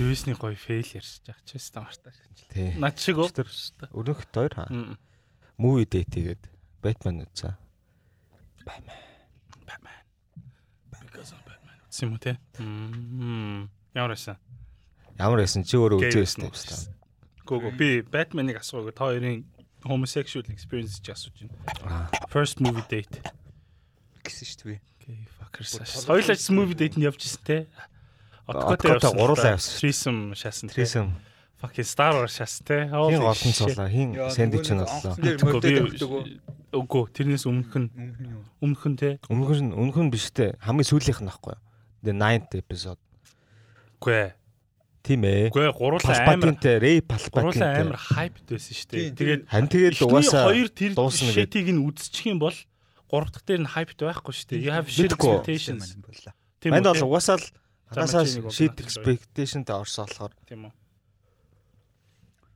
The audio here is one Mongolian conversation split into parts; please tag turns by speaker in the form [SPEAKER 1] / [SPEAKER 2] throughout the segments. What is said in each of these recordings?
[SPEAKER 1] Дисни гоё фейл ярьж байгаа ч байсан мартаа шинжил.
[SPEAKER 2] Тий.
[SPEAKER 1] Над шиг уу? Тэр шүү
[SPEAKER 2] Өнөөхд хоёр хаа.
[SPEAKER 1] дээ.
[SPEAKER 2] Movie Date гээд Batman үзсэн.
[SPEAKER 1] Batman. Because of Batman. Үзсэн юм уу те? Мм. Ямар байсан?
[SPEAKER 2] Ямар байсан чи өөрөө
[SPEAKER 1] Гэй
[SPEAKER 2] үзсэн юм
[SPEAKER 1] үзсэн
[SPEAKER 2] байна.
[SPEAKER 1] Гүүгүү би Batman-ыг асуугаа та хоёрын homosexual experience ч асууж байна. First movie date.
[SPEAKER 3] гэсэн шүү дээ.
[SPEAKER 1] Okay, fuckers.
[SPEAKER 3] Бүр
[SPEAKER 1] Хоёул ажсан movie date-нд явж ирсэн те. Откотой
[SPEAKER 2] Откотой
[SPEAKER 1] явсан.
[SPEAKER 2] гурлаа явсан.
[SPEAKER 1] Threesome шаасан те.
[SPEAKER 2] Трисэм
[SPEAKER 1] Fucking Star Wars шаасан те. Holy
[SPEAKER 2] хин олон
[SPEAKER 1] shit.
[SPEAKER 2] цулаа, хин сэндвич нь боллоо.
[SPEAKER 1] Тэгэхгүй, би-
[SPEAKER 3] Мөрдөд
[SPEAKER 1] Үгүй, тэрнээс өмнөх нь өмнөх нь те.
[SPEAKER 2] Өмнөх нь өмнөх нь биш те. Хамгийн сүүлийнх нь баггүй. The 9th episode.
[SPEAKER 1] Үгүй ээ.
[SPEAKER 2] Тийм ээ.
[SPEAKER 1] Үгүй ээ, гурлаа амар
[SPEAKER 2] Палпатинтэй, Рэй
[SPEAKER 1] гурлаа
[SPEAKER 2] Палпатинтэй.
[SPEAKER 1] амар hyped байсан шүү дээ.
[SPEAKER 3] Тийм,
[SPEAKER 1] Тэгээд
[SPEAKER 2] Харин тэгэл угаасаа
[SPEAKER 1] хоёр тэр
[SPEAKER 2] дуусна гэдэг.
[SPEAKER 1] шитийг нь үзчих юм бол гурав дахь дээр нь hyped байхгүй шүү дээ. You have shit
[SPEAKER 2] Мэдгүй.
[SPEAKER 1] expectations. Тийм
[SPEAKER 2] Манд
[SPEAKER 1] үү,
[SPEAKER 2] бол угаасаа л
[SPEAKER 1] За,
[SPEAKER 2] ханасаа
[SPEAKER 1] Мачиныг бол
[SPEAKER 2] shit
[SPEAKER 1] надад
[SPEAKER 2] expectation та орсон болохоор
[SPEAKER 1] тийм үү.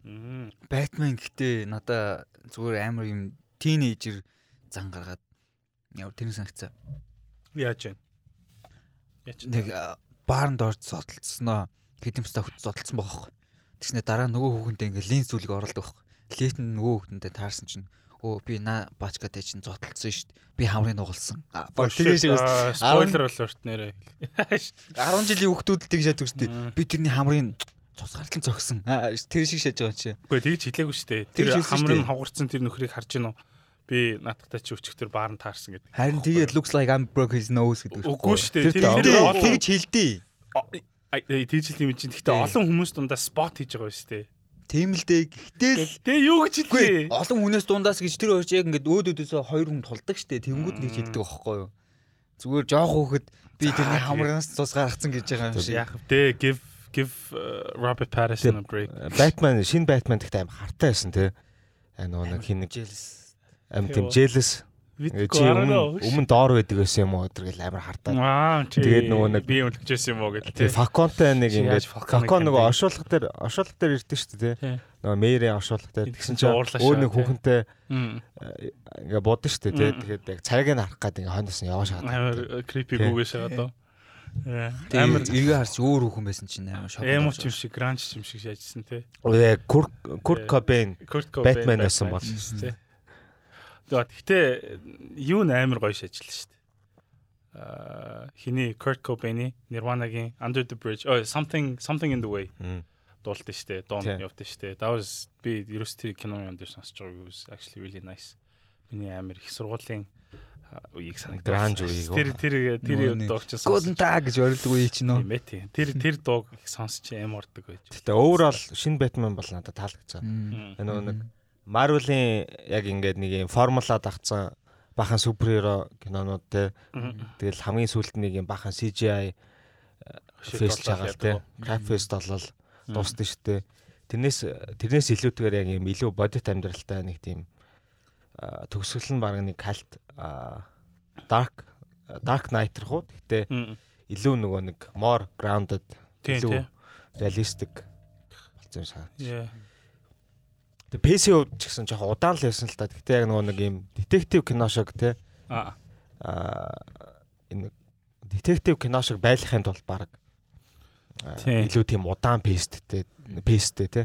[SPEAKER 1] Мм.
[SPEAKER 3] Batman гэхдээ надаа зүгээр амар юм тийнейжер зан гаргаад яв тэр санагцаа.
[SPEAKER 1] Яаж вэ? Яач.
[SPEAKER 3] Нэг а, баарнд орж зодтолцсноо хитэмстэй хөт зодтолцсон байгаа хөөхгүй. Тэгснэ дараа нөгөө хүүхэндээ ингээ линз зүйлийг оролдог байхгүй. Линз нь нөгөө хүүхэндээ таарсан чинь өө би на бачкатай чинь зодтолцсон шүү дээ. Би хамрыг нугалсан. А,
[SPEAKER 1] Оо,
[SPEAKER 3] бүр Тэгээс
[SPEAKER 1] Oh, shit,
[SPEAKER 3] бас
[SPEAKER 1] аа,
[SPEAKER 3] арван-
[SPEAKER 1] spoiler alert нэрээ.
[SPEAKER 3] 10 жилийн хүүхдүүд тэгж яддаг шүү
[SPEAKER 1] Мм.
[SPEAKER 3] дээ. Би тэрний хамрыг цуцгаарлан зогсон. А, Тэр шиг шааж байгаа чи.
[SPEAKER 1] Үгүй тэгж хэлээгүй шүү дээ.
[SPEAKER 3] Тэгж
[SPEAKER 1] Тэр
[SPEAKER 3] хэлсэн шүү
[SPEAKER 1] хамрын
[SPEAKER 3] дээ.
[SPEAKER 1] хавгарцсан тэр нөхрийг харж гинөө. Би натгатай чи өчгтөр баарн таарсан гэдэг.
[SPEAKER 3] Харин тэгээд looks like I'm broke his nose гэдэг.
[SPEAKER 1] Үгүй шүү дээ.
[SPEAKER 2] Тэр
[SPEAKER 1] Тэр
[SPEAKER 2] дээр
[SPEAKER 1] тэр
[SPEAKER 3] дээ.
[SPEAKER 1] олон
[SPEAKER 3] Тэгж хэлдэй.
[SPEAKER 1] Ай, ай, тэгж л юм чинь. Гэхдээ
[SPEAKER 3] Тий.
[SPEAKER 1] олон хүмүүс дундаа спот хийж байгаа шүү дээ.
[SPEAKER 3] Тийм л дээ. Гэтэл
[SPEAKER 1] Тэ юу гэж хэлээ?
[SPEAKER 3] Үгүй олон хүнээс дундаас гэж тэр хоёр ч яг ингээд өөд өөдөөсөө хоёр хүн тулдаг штэ тэнгууд нэг хэлдэг байхгүй юу зүгээр жоох хөөхд би тэрний хамраас цус гаргацсан гэж байгаа юм шиг
[SPEAKER 1] Яах вэ? Give give uh, Robert Pattinson a break.
[SPEAKER 2] э, Batman шинэ Batman гэхдээ аим хартай байсан те. Аа нөгөө нэг хин нэг
[SPEAKER 3] жилс
[SPEAKER 2] аим
[SPEAKER 1] Тий,
[SPEAKER 2] тийм
[SPEAKER 1] ба.
[SPEAKER 2] jealous
[SPEAKER 1] Мэдгүй,
[SPEAKER 2] чи
[SPEAKER 1] I don't know.
[SPEAKER 2] өмнө өмнө доор байдаг байсан юм уу тэргээл амар хартай.
[SPEAKER 1] Аа, чи.
[SPEAKER 2] Тэгээд нөгөө нэг-
[SPEAKER 1] би өнгөлчихсэн юм уу гэдэг.
[SPEAKER 2] Тэгээ факонтай нэг
[SPEAKER 1] Чи яаж
[SPEAKER 2] ингээд
[SPEAKER 1] Falcon-ыг
[SPEAKER 2] факон нөгөө
[SPEAKER 1] хэмдэг?
[SPEAKER 2] оршуулга дээр оршуулга дээр ирдэг шүү дээ тий.
[SPEAKER 1] Тий.
[SPEAKER 2] Нөгөө мэйрийн оршуулга дээр
[SPEAKER 1] Тэгсэн
[SPEAKER 2] тэгсэн
[SPEAKER 1] чинь
[SPEAKER 2] чинь
[SPEAKER 1] уурлаа
[SPEAKER 2] өөр
[SPEAKER 1] шаа,
[SPEAKER 2] нэг
[SPEAKER 1] тий.
[SPEAKER 2] хүүхэнтэй
[SPEAKER 1] Мм.
[SPEAKER 2] ингээд бодсон шүү дээ тий.
[SPEAKER 1] Мм.
[SPEAKER 2] Тэгээд яг царайг нь харах гэдэг ингээд хоноос нь яваа шахаад.
[SPEAKER 1] Амар э, creepy
[SPEAKER 2] Тий.
[SPEAKER 1] бүгэш байгаа доо. Яа, Э,
[SPEAKER 3] амар
[SPEAKER 1] Амар
[SPEAKER 3] эргээ харч өөр хүн байсан чинь амар шок
[SPEAKER 1] эмоч юм шиг, grunge юм шиг яжсэн те.
[SPEAKER 2] Үгүй Курт Курт Кобен
[SPEAKER 1] Kurt
[SPEAKER 2] Batman байсан бол.
[SPEAKER 1] те. Тэгвэл гэхдээ юу н амар гоё шажилсан шүү дээ. Аа, хиний Kurt Cobain-ийн Nirvana-гийн Under the Bridge, oh something something in the way дуулдаг штэ дон
[SPEAKER 2] Тий.
[SPEAKER 1] явдаг штэ that was би ерөөс тэр киноны юм дээр сонсож байгааг was actually really nice миний амир их сургуулийн а, үеийг санагдсан
[SPEAKER 2] Гранж үеийг
[SPEAKER 1] тэр
[SPEAKER 2] уу?
[SPEAKER 1] тэр тэр дууг ч
[SPEAKER 3] гудн
[SPEAKER 1] сонсож
[SPEAKER 3] та гэж орилдог үе чинь нөө
[SPEAKER 1] юм ээ тий. тэр тэр дууг их сонсож аим ордог байж
[SPEAKER 2] Гэтэ overall шинэ Batman бол надад таалагдсан.
[SPEAKER 3] Мм.
[SPEAKER 2] Энэ нөгөө нэг Marvel-ийн яг ингээд нэг юм формула дагцсан бахан суперхеро кинонууд те. Тэгэл хамгийн сүүлд нэг юм бахан CGI фест жагаал э, те. Crap fest болол дуусна шүү дээ. Тэрнээс тэрнээс илүүтэйгээр яг юм илүү бодит амьдралтай нэг тийм а, төгсгөл нь баг нэг калт а, dark э, dark knight руу. Гэтэ илүү нөгөө нэг more grounded
[SPEAKER 1] тий тий
[SPEAKER 2] илүү реалистик болсон юм шиг.
[SPEAKER 1] Яа.
[SPEAKER 2] Тэг PC хувьд ч гэсэн жоохон удаан л байсан л та. Гэтэ яг нөгөө нэг юм детектив кино шиг те
[SPEAKER 1] а
[SPEAKER 2] аа энэ детектив кино шиг байхын тулд баг аа,
[SPEAKER 1] Тий.
[SPEAKER 2] илүү тийм удаан песттэй песттэй те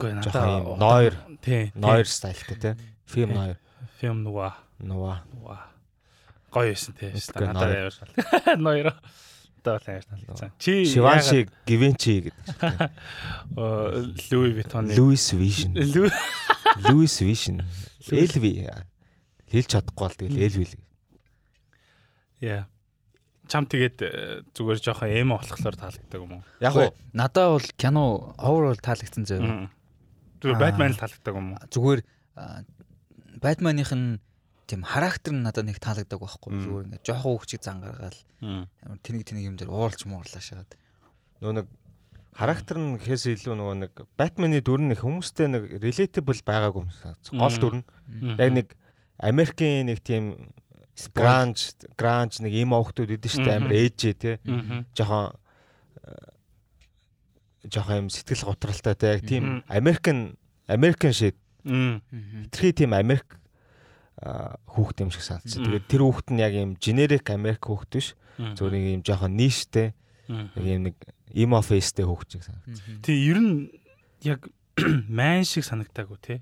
[SPEAKER 1] гоо
[SPEAKER 2] жоохон юм
[SPEAKER 1] надаа
[SPEAKER 2] ноёр
[SPEAKER 1] тий
[SPEAKER 2] ноёр стайлтэй те фильм
[SPEAKER 1] Тий.
[SPEAKER 2] ноёр
[SPEAKER 1] фильм нуга
[SPEAKER 2] нува
[SPEAKER 1] нуга гоё байсан тий
[SPEAKER 2] Үгүй,
[SPEAKER 1] надад амир ноёро одоо л амир таалагдсан чи яагаад-
[SPEAKER 2] Шиванши Гивенчи гэдэг
[SPEAKER 1] Э, Луи Витоны
[SPEAKER 2] Луис Вижн
[SPEAKER 1] Луи
[SPEAKER 2] Луис Вижн Элви хэлж чадахгүй бол тэгэл элви л
[SPEAKER 1] Яа. Чам тэгээд э, зүгээр жоохон эм болохлоор таалагдаг юм уу?
[SPEAKER 2] яг уу
[SPEAKER 3] надаа бол кино overall таалагдсан зөө
[SPEAKER 1] Зүгээр
[SPEAKER 3] Аа.
[SPEAKER 1] Batman л таалагдаг юм уу?
[SPEAKER 3] зүгээр а, Batman-ийнх нь тийм характер нь надад нэг таалагдаг байхгүй
[SPEAKER 1] Мм.
[SPEAKER 3] зүгээр ингээд жоох хүүхчиг зан гаргаал
[SPEAKER 1] Мм.
[SPEAKER 3] амар тэнэг тэнэг юм дээр ууралж муурлаа шахаад
[SPEAKER 2] нөгөө нэг характер нь гэхээс илүү нөгөө нэг Батманы дүр нь их хүмүүстэй нэг relatable байгаагүй юм санагдсан. Гол
[SPEAKER 1] Мм.
[SPEAKER 2] дүр нь яг нэг Америкийн нэг тийм гранж гранж нэг им охтууд идэв штэ
[SPEAKER 1] Мгм.
[SPEAKER 2] амар ээжээ те
[SPEAKER 1] Мм.
[SPEAKER 2] жоохон э, жоохон юм сэтгэл готралтай те яг тийм
[SPEAKER 1] Мгм.
[SPEAKER 2] Америкэн Америкэн шиг
[SPEAKER 1] Мм.
[SPEAKER 2] тэрхий тийм Америк а, хүүхд юм шиг санагдсан.
[SPEAKER 1] Мгм.
[SPEAKER 2] Тэгээд тэр хүүхд нь яг юм generic Америк хүүхд биш.
[SPEAKER 1] Мм.
[SPEAKER 2] Зөв нэг юм жоохон ништэй
[SPEAKER 1] Мм.
[SPEAKER 2] нэг юм нэг Им офистэй хөгжиг санаг.
[SPEAKER 1] Тий, ер нь яг майн шиг санагтаагүй те.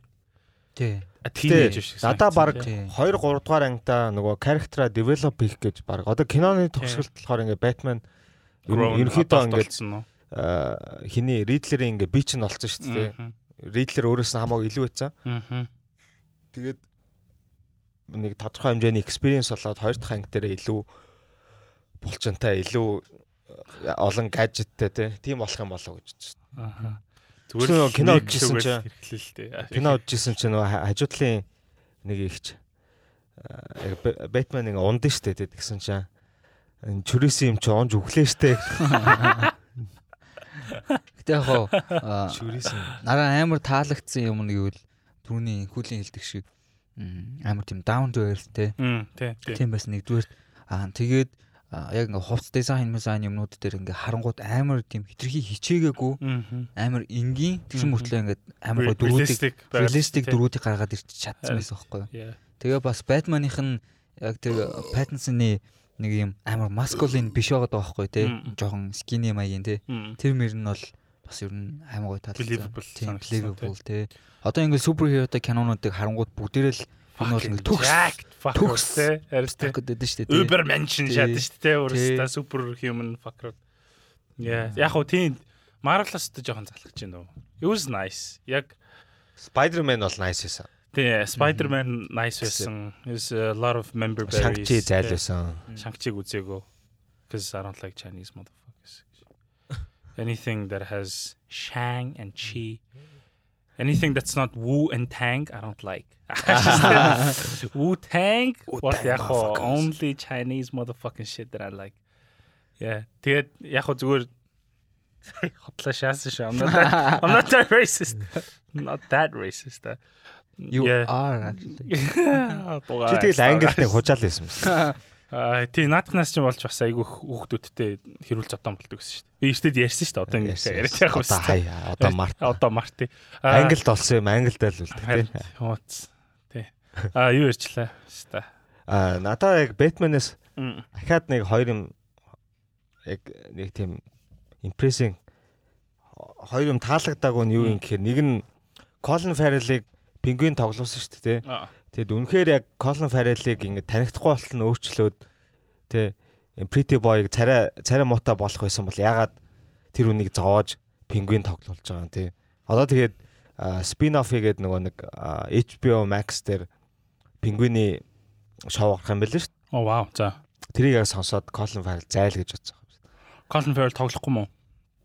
[SPEAKER 3] Тий.
[SPEAKER 1] Тийнейж шиг.
[SPEAKER 2] Надаа баг 2
[SPEAKER 1] санагдсан, тий.
[SPEAKER 2] 3 дугаар ангида нөгөө character develop хийх гэж баг. Одоо киноны төгсгөлт болохоор ингээ Batman ер
[SPEAKER 1] Grown
[SPEAKER 2] нь ерөнхийдөө
[SPEAKER 1] adult
[SPEAKER 2] ингээ
[SPEAKER 1] болсон уу?
[SPEAKER 2] аа, хиний Riddler-ийн ингээ бич нь олцсон шүү дээ.
[SPEAKER 1] Мгм.
[SPEAKER 2] Riddler өөрөөс нь хамаагүй илүү байсан.
[SPEAKER 1] Мгм.
[SPEAKER 2] Тэгээд нэг тодорхой хэмжээний experience болоод хоёр дахь анги дээр илүү булчинтай илүү э, олон гаджеттэй тий. Тийм болох юм болов гэж бодчих.
[SPEAKER 1] Аха.
[SPEAKER 2] Зөв, кино
[SPEAKER 1] нэг
[SPEAKER 2] үзчихсэн
[SPEAKER 1] шүүгээл
[SPEAKER 2] чинь-
[SPEAKER 1] хэрхлээ л дээ.
[SPEAKER 2] Кино үзсэн чинь нөгөө ха- хажуудлын нэг ихч э, яг Бэ- Бэтмен ингээ унд нь штэ тий гэсэн чинь энэ чөрөөсөн юм чи унж өглөө штэ.
[SPEAKER 3] Гэтэ яг хоо аа,
[SPEAKER 2] Чөрөөсөн.
[SPEAKER 3] нараа амар таалагдсан юм нь гэвэл түүний хүлийн хэлдэг шиг м, амар тийм down to earth те.
[SPEAKER 1] Мм, тий. тий.
[SPEAKER 3] Тийм байсан нэгдүгээр аа тэгээд аа, яг ингээ хувц дизайн дизайн юмнууд дээр ингээ харангууд амар тийм хитрхи хичээгээгүй
[SPEAKER 1] Мгм.
[SPEAKER 3] амар энгийн тэгшин
[SPEAKER 1] Мгм.
[SPEAKER 3] мөртлөө ингээ амар гоо дөрүүдийг
[SPEAKER 1] Realistic байгаад,
[SPEAKER 3] реалистик
[SPEAKER 1] тий. Э.
[SPEAKER 3] дөрүүдийг гаргаад ирчих чадсан
[SPEAKER 1] Харин.
[SPEAKER 3] байсан байхгүй юу.
[SPEAKER 1] Yeah.
[SPEAKER 3] Тэгээ бас Batman-ийнх нь яг тэр э, Pattinson-ы нэг юм амар masculine биш байгаад байгаа байхгүй те.
[SPEAKER 1] Мм.
[SPEAKER 3] Жохон skinny маягийн те.
[SPEAKER 1] Мм.
[SPEAKER 3] Тэр мөр нь бол бас ер нь амар гоё таалагдсан.
[SPEAKER 1] Believable
[SPEAKER 3] Тийм,
[SPEAKER 1] санагдсан, тий.
[SPEAKER 3] believable тий. Одоо ингээд суперхиро та кинонуудыг харангууд бүгдээрэл энэ бол ингээд төгс төгс.
[SPEAKER 1] төгс тий. Арис тий.
[SPEAKER 3] так гэдэг шүү дээ. тий.
[SPEAKER 1] Uber mention
[SPEAKER 3] Тий.
[SPEAKER 1] шат шүү дээ.
[SPEAKER 3] Тий.
[SPEAKER 1] Өөрөөсөө super human fucker. Yeah. Яг хөө тийм Marvel-аас ч жоохон залхаж байна уу. It was nice. Яг
[SPEAKER 2] Spider-Man бол nice байсан.
[SPEAKER 1] тий Spider-Man nice байсан. There's a lot of member berries.
[SPEAKER 2] Shang-Chi зайлсан.
[SPEAKER 1] Shang-Chi үзээгөө. Cuz I don't like Chinese motherfuckers. Anything that has Shang and Chi. Anything that's not Wu and Tang, I don't like. Wu Tang, what the hell? Only Chinese motherfucking shit that I like. Yeah. Тэгээд яг хөө зүгээр хотлоо шаасан шүү. I'm not that, I'm not that racist. Not that racist. Ah, uh.
[SPEAKER 3] You
[SPEAKER 1] Yeah.
[SPEAKER 3] are actually.
[SPEAKER 1] Чи
[SPEAKER 2] Чи тэгэл англитэн хужаал байсан юм.
[SPEAKER 1] Аа тий наадхнаас ч юм болж бас айгүй хүүхдүүдтэй хэрүүл зодон болдог гэсэн шүү дээ. Би эртэд ярьсан шүү дээ. Одоо ингэ яриад явах
[SPEAKER 2] Одоо
[SPEAKER 1] юм.
[SPEAKER 2] хаяа, одоо март.
[SPEAKER 1] Одоо марти.
[SPEAKER 2] Англид олсон юм, англид л үлдээ.
[SPEAKER 1] Хууц. Тий. Аа юу ярьчлаа шүү дээ.
[SPEAKER 2] Аа надаа яг Batman-ээс
[SPEAKER 1] Мм.
[SPEAKER 2] ахаад нэг хоёр юм яг нэг тийм импрессинг хоёр юм таалагдаагүй нь юу юм гэхээр нэг нь Colin Farrell-ыг пингвин тоглосон шүү дээ. тэ.
[SPEAKER 1] Аа.
[SPEAKER 2] Тэгэд үнэхээр яг Colin Farrell-ыг ингэ танихдахгүй болтол нь өөрчлөөд тэ Pretty Boy-ыг царай царай муутай болох байсан бол ягаад тэр үнийг зовоож пингвин тоглуулж байгаа юм тий. Одоо тэгээд спин-офф хийгээд нөгөө нэг аа, HBO Max дээр пингвиний шоу гарах юм байл шүү.
[SPEAKER 1] Оо вау. За.
[SPEAKER 2] Тэрийг яг сонсоод Colin Farrell зайл гэж бодсон юм шүү.
[SPEAKER 1] Colin Farrell тоглохгүй мó.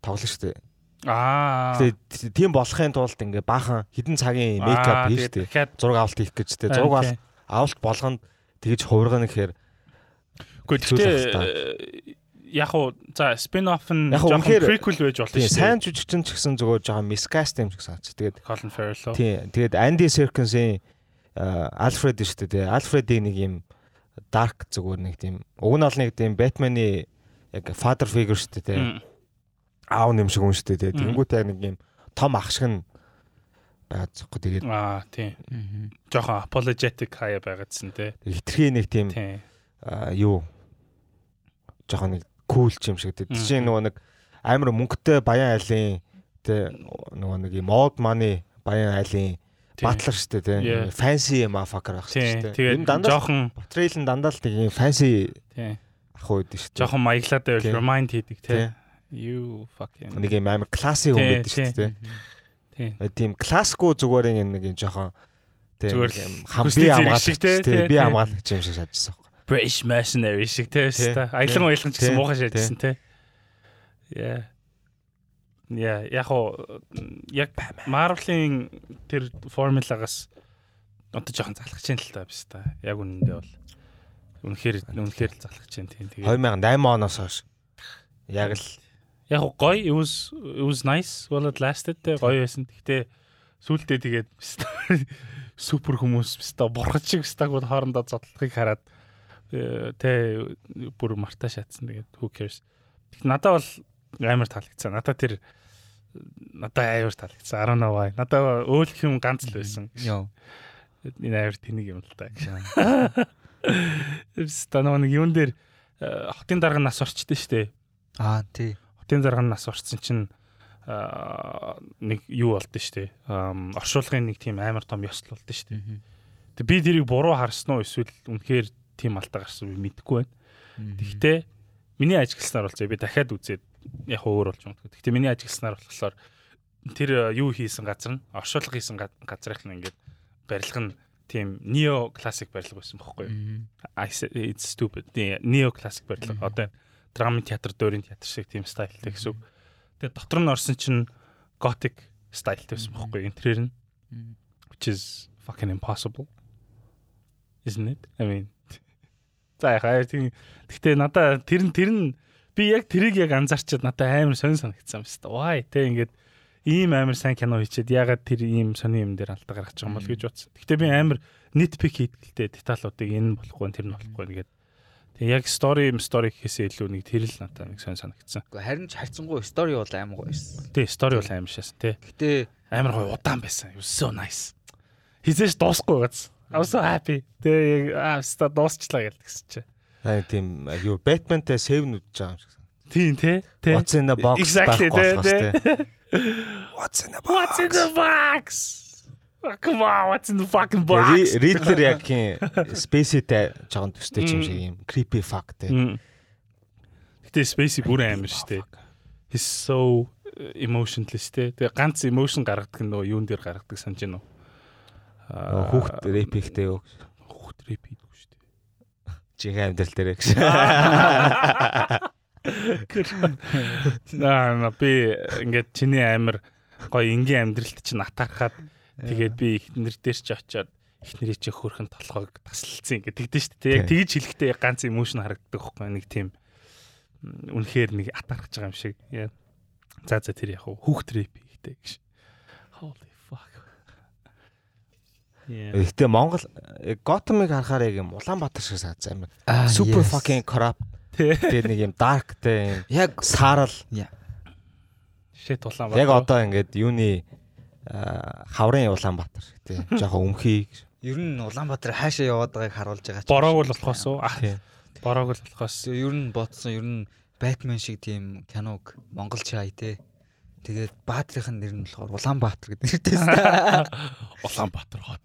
[SPEAKER 2] Тоглоно шүү дээ.
[SPEAKER 1] Аа.
[SPEAKER 2] Тэгээд тийм болохын тулд ингээ баахан хідэн цагийн мейкап
[SPEAKER 1] дээ.
[SPEAKER 2] хийж дээ.
[SPEAKER 1] Дахиад
[SPEAKER 2] Зураг авалт хийх гэж дээ.
[SPEAKER 1] Харин тий.
[SPEAKER 2] Зураг авалт- авалт болгонд тэгж хувиргана гэхээр
[SPEAKER 1] гоо
[SPEAKER 2] зүйл
[SPEAKER 1] тэгтээ
[SPEAKER 2] ахтаа.
[SPEAKER 1] э, яг уу за спин-офф нь
[SPEAKER 2] Яг хуу
[SPEAKER 1] жоохон
[SPEAKER 2] үнэхээр-
[SPEAKER 1] prequel байж болно
[SPEAKER 2] Тийм
[SPEAKER 1] шүү.
[SPEAKER 2] сайн жүжигчин ч гэсэн зөвхөн жоохон мискаст юм ч гэсэн санаач. Тэгээд
[SPEAKER 1] Colin Farrell.
[SPEAKER 2] тийм тэгээд Andy Serkins-ийн Alfred шүү дээ. Alfred-ийн нэг юм dark зүгээр нэг тийм уг нь бол нэг тийм Batman-ы яг father figure шүү дээ.
[SPEAKER 1] Мм.
[SPEAKER 2] Аав нэм шиг юм шүү дээ.
[SPEAKER 1] Мм.
[SPEAKER 2] Тэнгүүтэй яг нэг юм том ах шиг нь байгаад зүггүй. Тэгээд
[SPEAKER 1] Аа тий.
[SPEAKER 3] Mhm.
[SPEAKER 1] Жоохон apologetic хаяа байгаадсэн тий.
[SPEAKER 2] хитрхи нэг тийм
[SPEAKER 1] Тий.
[SPEAKER 2] аа, юу жоохон нэг кул ч юм шиг дээ.
[SPEAKER 1] Мм.
[SPEAKER 2] Жишээ нь нөгөө нэг амар мөнгөтэй баян айлын тэ нөгөө нэг юм мод маны баян айлын
[SPEAKER 1] Тий.
[SPEAKER 2] батлар шүү дээ
[SPEAKER 1] Yeah.
[SPEAKER 2] тийм фэнси юм афакер байх шүү
[SPEAKER 1] Тий.
[SPEAKER 2] дээ.
[SPEAKER 1] Тэгээд
[SPEAKER 2] Энэ дандаа
[SPEAKER 1] жоохон
[SPEAKER 2] трейлэн дандаа л тийм фэнси
[SPEAKER 1] тий.
[SPEAKER 2] ах ууд шүү дээ.
[SPEAKER 1] Жоохон маяглаад байвал
[SPEAKER 2] Тий.
[SPEAKER 1] remind хийдэг тий.
[SPEAKER 2] Тий.
[SPEAKER 1] You fucking
[SPEAKER 2] нэг юм амар класси хүн
[SPEAKER 1] Тий,
[SPEAKER 2] байдаг шүү дээ.
[SPEAKER 3] Mhm.
[SPEAKER 1] тий.
[SPEAKER 2] Тийм классико зүгээр юм нэг юм жоохон тийм
[SPEAKER 1] Зүгээр л
[SPEAKER 2] юм хам
[SPEAKER 1] хүсний
[SPEAKER 2] би
[SPEAKER 1] зэрэг
[SPEAKER 2] хамгаалагч
[SPEAKER 1] шиг тий, тий,
[SPEAKER 2] тийм би
[SPEAKER 1] тий.
[SPEAKER 2] хамгаалагч юм шиг шатчихсан.
[SPEAKER 1] British mercenary шиг тий.
[SPEAKER 2] Тий.
[SPEAKER 1] Ста аялан
[SPEAKER 2] Тий.
[SPEAKER 1] аялан ч гэсэн
[SPEAKER 2] Тий.
[SPEAKER 1] муухай шаажсан тий. Yeah. Yeah, яг хоо яг Marvel-ийн тэр формулагаас одоо жоохон залхаж байна л та биш та. Яг үнэндээ бол үнэхээр үнэхээр л залхаж байна тий. Тэгээд
[SPEAKER 2] 2008 оноос хойш яг л
[SPEAKER 1] Яг гоо гоё it was it was nice well it lasted те, гоё байсан. Гэхдээ сүүлдээ тэгээд супер хүмүүс бистэ бурхан шиг бистэ бол хоорондоо зодлохыг хараад э, тэ бүр мартаа шатсан тэгээд who cares. Тэг надаа бол амар таалагдсан. Надаа тэр надаа амар таалагдсан. I don't know why. Надаа өөлх юм ганц л байсан.
[SPEAKER 3] Йоо.
[SPEAKER 1] Энэ амар тэнэг юм л та. Бистэ нөгөө нэг юун дээр э, хотын дарга нас орчдөө штэ.
[SPEAKER 3] Аа Ah, тий.
[SPEAKER 1] хотын зарга нь нас орсон чинь аа, нэг юу болд нь штэ. Ам, Оршуулгын нэг тийм амар том ёсл болд нь штэ.
[SPEAKER 3] Mhm.
[SPEAKER 1] Тэг би тэрийг буруу харсан уу эсвэл үнэхээр тийм алдаа гарсан би мэдэхгүй байна.
[SPEAKER 3] Mhm.
[SPEAKER 1] Гэхдээ миний ажигласнаар бол зөө би дахиад үзээд яг хөө өөр болж байгаа. Гэхдээ миний ажигласнаар болохоор тэр э, юу хийсэн газар нь оршуулга хийсэн га- газрынх нь ингээд барилга нь тийм нео классик барилга байсан бохоггүй юу?
[SPEAKER 3] Mhm.
[SPEAKER 1] I said it's stupid. Нео классик барилга. Одоо драмын театр, дуурийн театр шиг тийм стайлтэй гэсэн үг. Тэгээ дотор нь орсон чинь готик стайлтэй байсан бохоггүй юу? Интерьер нь
[SPEAKER 3] Мгм.
[SPEAKER 1] which is fucking impossible. Isn't it? I mean За яхаа тийм. Гэтэ надаа тэр нь тэр нь би яг тэрийг яг анзаарчаад надад амар сонь санагдсан юм шүү дээ. Why тэг ингээд ийм амар сайн кино хийчихэд ягаад тэр ийм сони юм дээр алдаа гаргаж байгаа юм бол гэж утсан. Гэтэ би амар nitpick хийдгэлтэй деталуудыг энэ нь болохгүй нь тэр нь болохгүй нэгэд тэг яг story юм story гэхээсээ илүү нэг тэр л надад нэг сонь санагдсан.
[SPEAKER 3] Гэхдээ харин ч харцангуй стори бол аим гоё байсан.
[SPEAKER 1] Тэ story бол амар шээс тэ.
[SPEAKER 3] Гэтэ
[SPEAKER 1] Амар гоё удаан байсан. It was So nice. Хизээш дуусахгүй гац. I was so happy. Тэ яг аста дуусчлаа гэл тэгсэн чи.
[SPEAKER 2] Аа тийм а, юу Batman-тай save нүдж байгаа юм шиг. санагдав.
[SPEAKER 1] Тийм тэ. Тэ.
[SPEAKER 2] What's in the box
[SPEAKER 1] Exactly, тэ,
[SPEAKER 2] болохоос
[SPEAKER 1] тэ.
[SPEAKER 2] What's in the box?
[SPEAKER 1] What's in the box? Oh, come on, what's in the fucking box?
[SPEAKER 2] Ридлер яг хин Space-тэй жоохон төстэй ч юм шиг юм. Creepy fuck те.
[SPEAKER 1] Мм. Mm. Гэтэ Spacey бүр амар штэ. He's so uh, emotionless те. Тэгээ ганц emotion гаргадаг нь нөгөө юун дээр гаргадаг санаж байна уу? Аа,
[SPEAKER 2] Хүүхд рэпихтэй юу?
[SPEAKER 1] хүүхд рэп хийдэггүй штэ.
[SPEAKER 2] Жинхэнэ амьдрал дээр гэж.
[SPEAKER 1] Наа на би ингээд чиний амир гоё энгийн амьдралд чинь атархаад тэгээд би эхнэр дээр ч очиод эхнэрээ чи хөрхөн толгойг таслалцсан ингээд тэгдэж штэ. Тэг яг
[SPEAKER 2] Тий.
[SPEAKER 1] тэгж хэлэхдээ яг ганц emotion харагддаг хөхгүй нэг тийм м, үнэхээр нэг атархаж байгаа юм шиг. Яа. За за тэр яг хүүхд рэп ихтэй гэж. Holy fuck. Yeah.
[SPEAKER 2] Гэхдээ Монгол э, Gotham-ыг харахаар яг юм Улаанбаатар шиг санагдсан юм.
[SPEAKER 3] аа,
[SPEAKER 2] Super
[SPEAKER 3] yes.
[SPEAKER 2] fucking corrupt
[SPEAKER 1] Тэ.
[SPEAKER 2] те нэг юм darkтэй юм.
[SPEAKER 3] яг
[SPEAKER 2] Саарл
[SPEAKER 1] Shit улаан
[SPEAKER 2] яг одоо ингээд юуны а, хаврын Улаанбаатар шиг те. Жоохон өмхий гэж.
[SPEAKER 3] ер нь Улаанбаатар хаашаа яваад байгааг харуулж байгаа ч
[SPEAKER 1] бороог л болохоос уу? Ах,
[SPEAKER 2] Тийм.
[SPEAKER 1] Бороог л болохоос.
[SPEAKER 3] Ер нь бодсон ер нь Batman шиг тийм киног Монгол чай те. Тэгээд Баатрийн нэр нь болохоор Улаанбаатар гэдэг нэртэйсэн.
[SPEAKER 1] Улаанбаатар хот.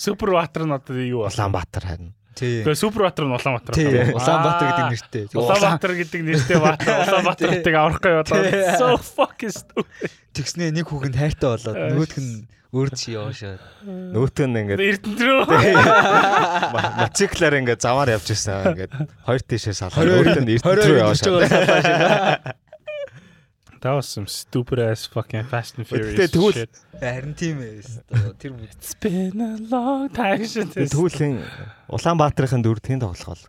[SPEAKER 1] Супербаатар нь одоо юу бол?
[SPEAKER 2] Улаанбаатар харин.
[SPEAKER 3] Тийм.
[SPEAKER 1] Тэгээ Супербаатар нь Улаанбаатар
[SPEAKER 3] Тийм.
[SPEAKER 1] хот.
[SPEAKER 3] Улаанбаатар гэдэг
[SPEAKER 1] Аа.
[SPEAKER 3] нэртэй.
[SPEAKER 1] Улаанбаатар гэдэг нэртэй баатар Улаанбаатар
[SPEAKER 3] Тий.
[SPEAKER 1] гэдэг аврахгүй болоо.
[SPEAKER 3] Тий.
[SPEAKER 1] So fucking stupid.
[SPEAKER 3] Тэгснээ нэг хүүхэнд хайртай болоод
[SPEAKER 1] Ой.
[SPEAKER 3] нөгөөх нь өөр чи яваашаад.
[SPEAKER 2] Нүүтэн ингээд
[SPEAKER 1] Эрдэнэ рүү.
[SPEAKER 2] мотоциклаар ингээд заваар явж байсан ингээд хоёр тишээ салхаа
[SPEAKER 3] Хоёр-
[SPEAKER 2] өөртөө эрт рүү яваа шат.
[SPEAKER 1] That was some stupid ass fucking Fast and Furious.
[SPEAKER 2] Тэгтээ тэгвэл-
[SPEAKER 1] shit.
[SPEAKER 3] Харин тийм ээ. ёстой. Тэр бүгд
[SPEAKER 1] It's been a long time since this.
[SPEAKER 2] Түүлийн Улаанбаатарын дөрөвдгийн тоглох бол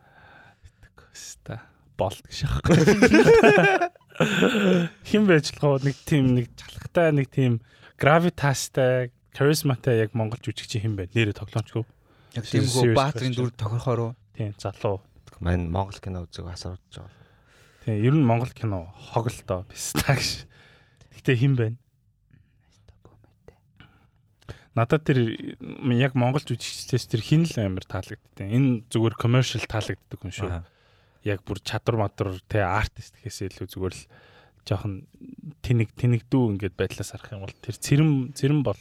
[SPEAKER 1] Ста болт гэж аахгүй. Хин байж л гоо нэг тийм нэг чалхтай нэг тийм гравитастай харизматай яг монгол жүжигчин хин бэ? Нэрээ тоглоомчгүй.
[SPEAKER 3] яг тийм хөө
[SPEAKER 1] serious
[SPEAKER 3] Баатрийн
[SPEAKER 1] question.
[SPEAKER 3] дүр тохирохоор уу?
[SPEAKER 1] Тийм залуу.
[SPEAKER 2] мань Монгол кино үзэг асууж байгаа.
[SPEAKER 1] Тийм ер нь монгол кино хог л доо пистакш. Гэтэ хин бэ? Надад тэр м, яг монгол жүжигчдээс тэр хин л амар таалагддیں۔ Энэ зүгээр commercial таалагддаг юм шүү. яг бүр чадвар мадар те артист гэхээс илүү зүгээр л жоохон тэнэг тэнэгдүү ингээд байдлаас харах юм бол тэр цэрэм цэрэм бол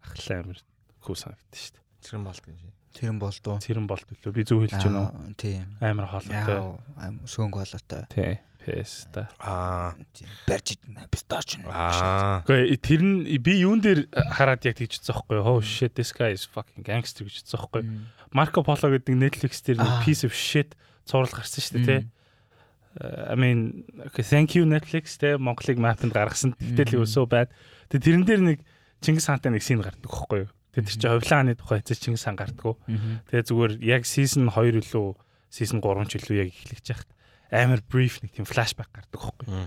[SPEAKER 1] ахлаа амир хүү санагдчих шүү
[SPEAKER 2] Цэрэн болт гэж.
[SPEAKER 3] Тэр нь болдоо.
[SPEAKER 1] дээ. Цэрэм бол төлөө би зөв хэлж байна уу?
[SPEAKER 3] Аа, Тийм.
[SPEAKER 1] Амир хоолойтой.
[SPEAKER 3] Яа, сөнгө болоотой.
[SPEAKER 1] Тий. Пэста.
[SPEAKER 2] Аа.
[SPEAKER 3] Тийм, Барьж идэнэ пистач.
[SPEAKER 2] Аа.
[SPEAKER 1] Гэхдээ тэр нь би юун дээр хараад яг тэгж утсан байхгүй юу? Oh shit this guy is fucking gangster гэж утсан байхгүй юу? Марко Поло гэдэг Netflix дээр нэг
[SPEAKER 3] Аа.
[SPEAKER 1] piece of shit цуврал гарсан шүү дээ тий.
[SPEAKER 3] Мм.
[SPEAKER 1] Uh, I mean okay, thank you Netflix те Монголыг мапанд гаргасан. Гэтэл
[SPEAKER 3] Мм.
[SPEAKER 1] өсөө байд. Тэгээ тэрэн дээр нэг Чингис хаантай нэг син гардаг байхгүй юу? Тэгээ тэр чинь ховлын хааны тухай хэзээ Чингис хаан гардаг. Тэгээ зүгээр яг season 2 илүү season 3 ч илүү яг эхлэж яхад амар brief нэг тийм flashback гардаг байхгүй юу?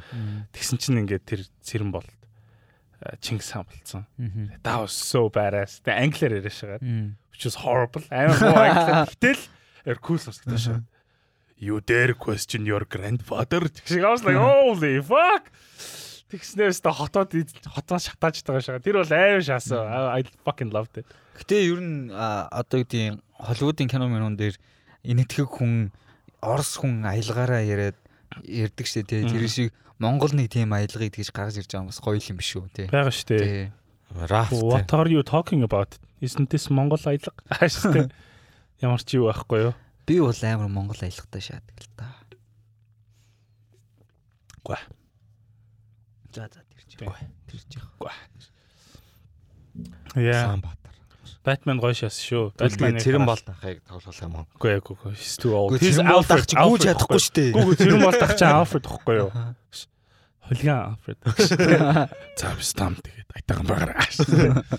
[SPEAKER 1] Тэгсэн чинь ингээд тэр цэрэн бол Чингис хаан болцсон. That was so badass. Тэгээ англиар яриа шагаа which is horrible. Амар хуу англи. Гэтэл ер cool сонсогдож шээ. You dare question your grandfather? Тэгшиг I was like holy fuck. Тэгснээр өстө хотоод ид- хотоо шатааж байгаа шээ. Тэр бол аим шаасан. I I fucking loved it.
[SPEAKER 3] Гэтэ ер нь а, одоо гэдэг Холливуудын кино мөрөн дээр энэтхэг хүн Орос хүн аялгаараа яриад ярддаг шүү дээ. Тэр шиг Монгол нэг тийм аялгыг тэгж гаргаж ирж байгаа юм бас гоё юм биш үү тий.
[SPEAKER 1] Бага шүү дээ.
[SPEAKER 3] Тий.
[SPEAKER 2] Рафт.
[SPEAKER 1] What are you talking about? Isn't this Монгол аялга? Ааш тий. Ямар ч юу байхгүй юу?
[SPEAKER 3] Би бол амар Монгол аялгатай шаадаг л та.
[SPEAKER 1] Гва.
[SPEAKER 3] За за тэрч.
[SPEAKER 1] Тий.
[SPEAKER 3] Тэрч яах.
[SPEAKER 1] Яа.
[SPEAKER 2] Улаан Баатар.
[SPEAKER 1] Batman гоё шас шүү.
[SPEAKER 2] Батманы
[SPEAKER 1] Batman-ыг
[SPEAKER 2] цэрэн
[SPEAKER 1] хараад-
[SPEAKER 2] болт ахыг тоглох юм.
[SPEAKER 1] Үгүй ээ, үгүй. He's too old.
[SPEAKER 3] Гэхдээ тэрэн бол дах чи гүүж чадахгүй шүү дээ.
[SPEAKER 1] Гүү тэрэн бол дах чи Alfred ихгүй юу? Хулиан Alfred. За би стам тэгээд айтахан багаар.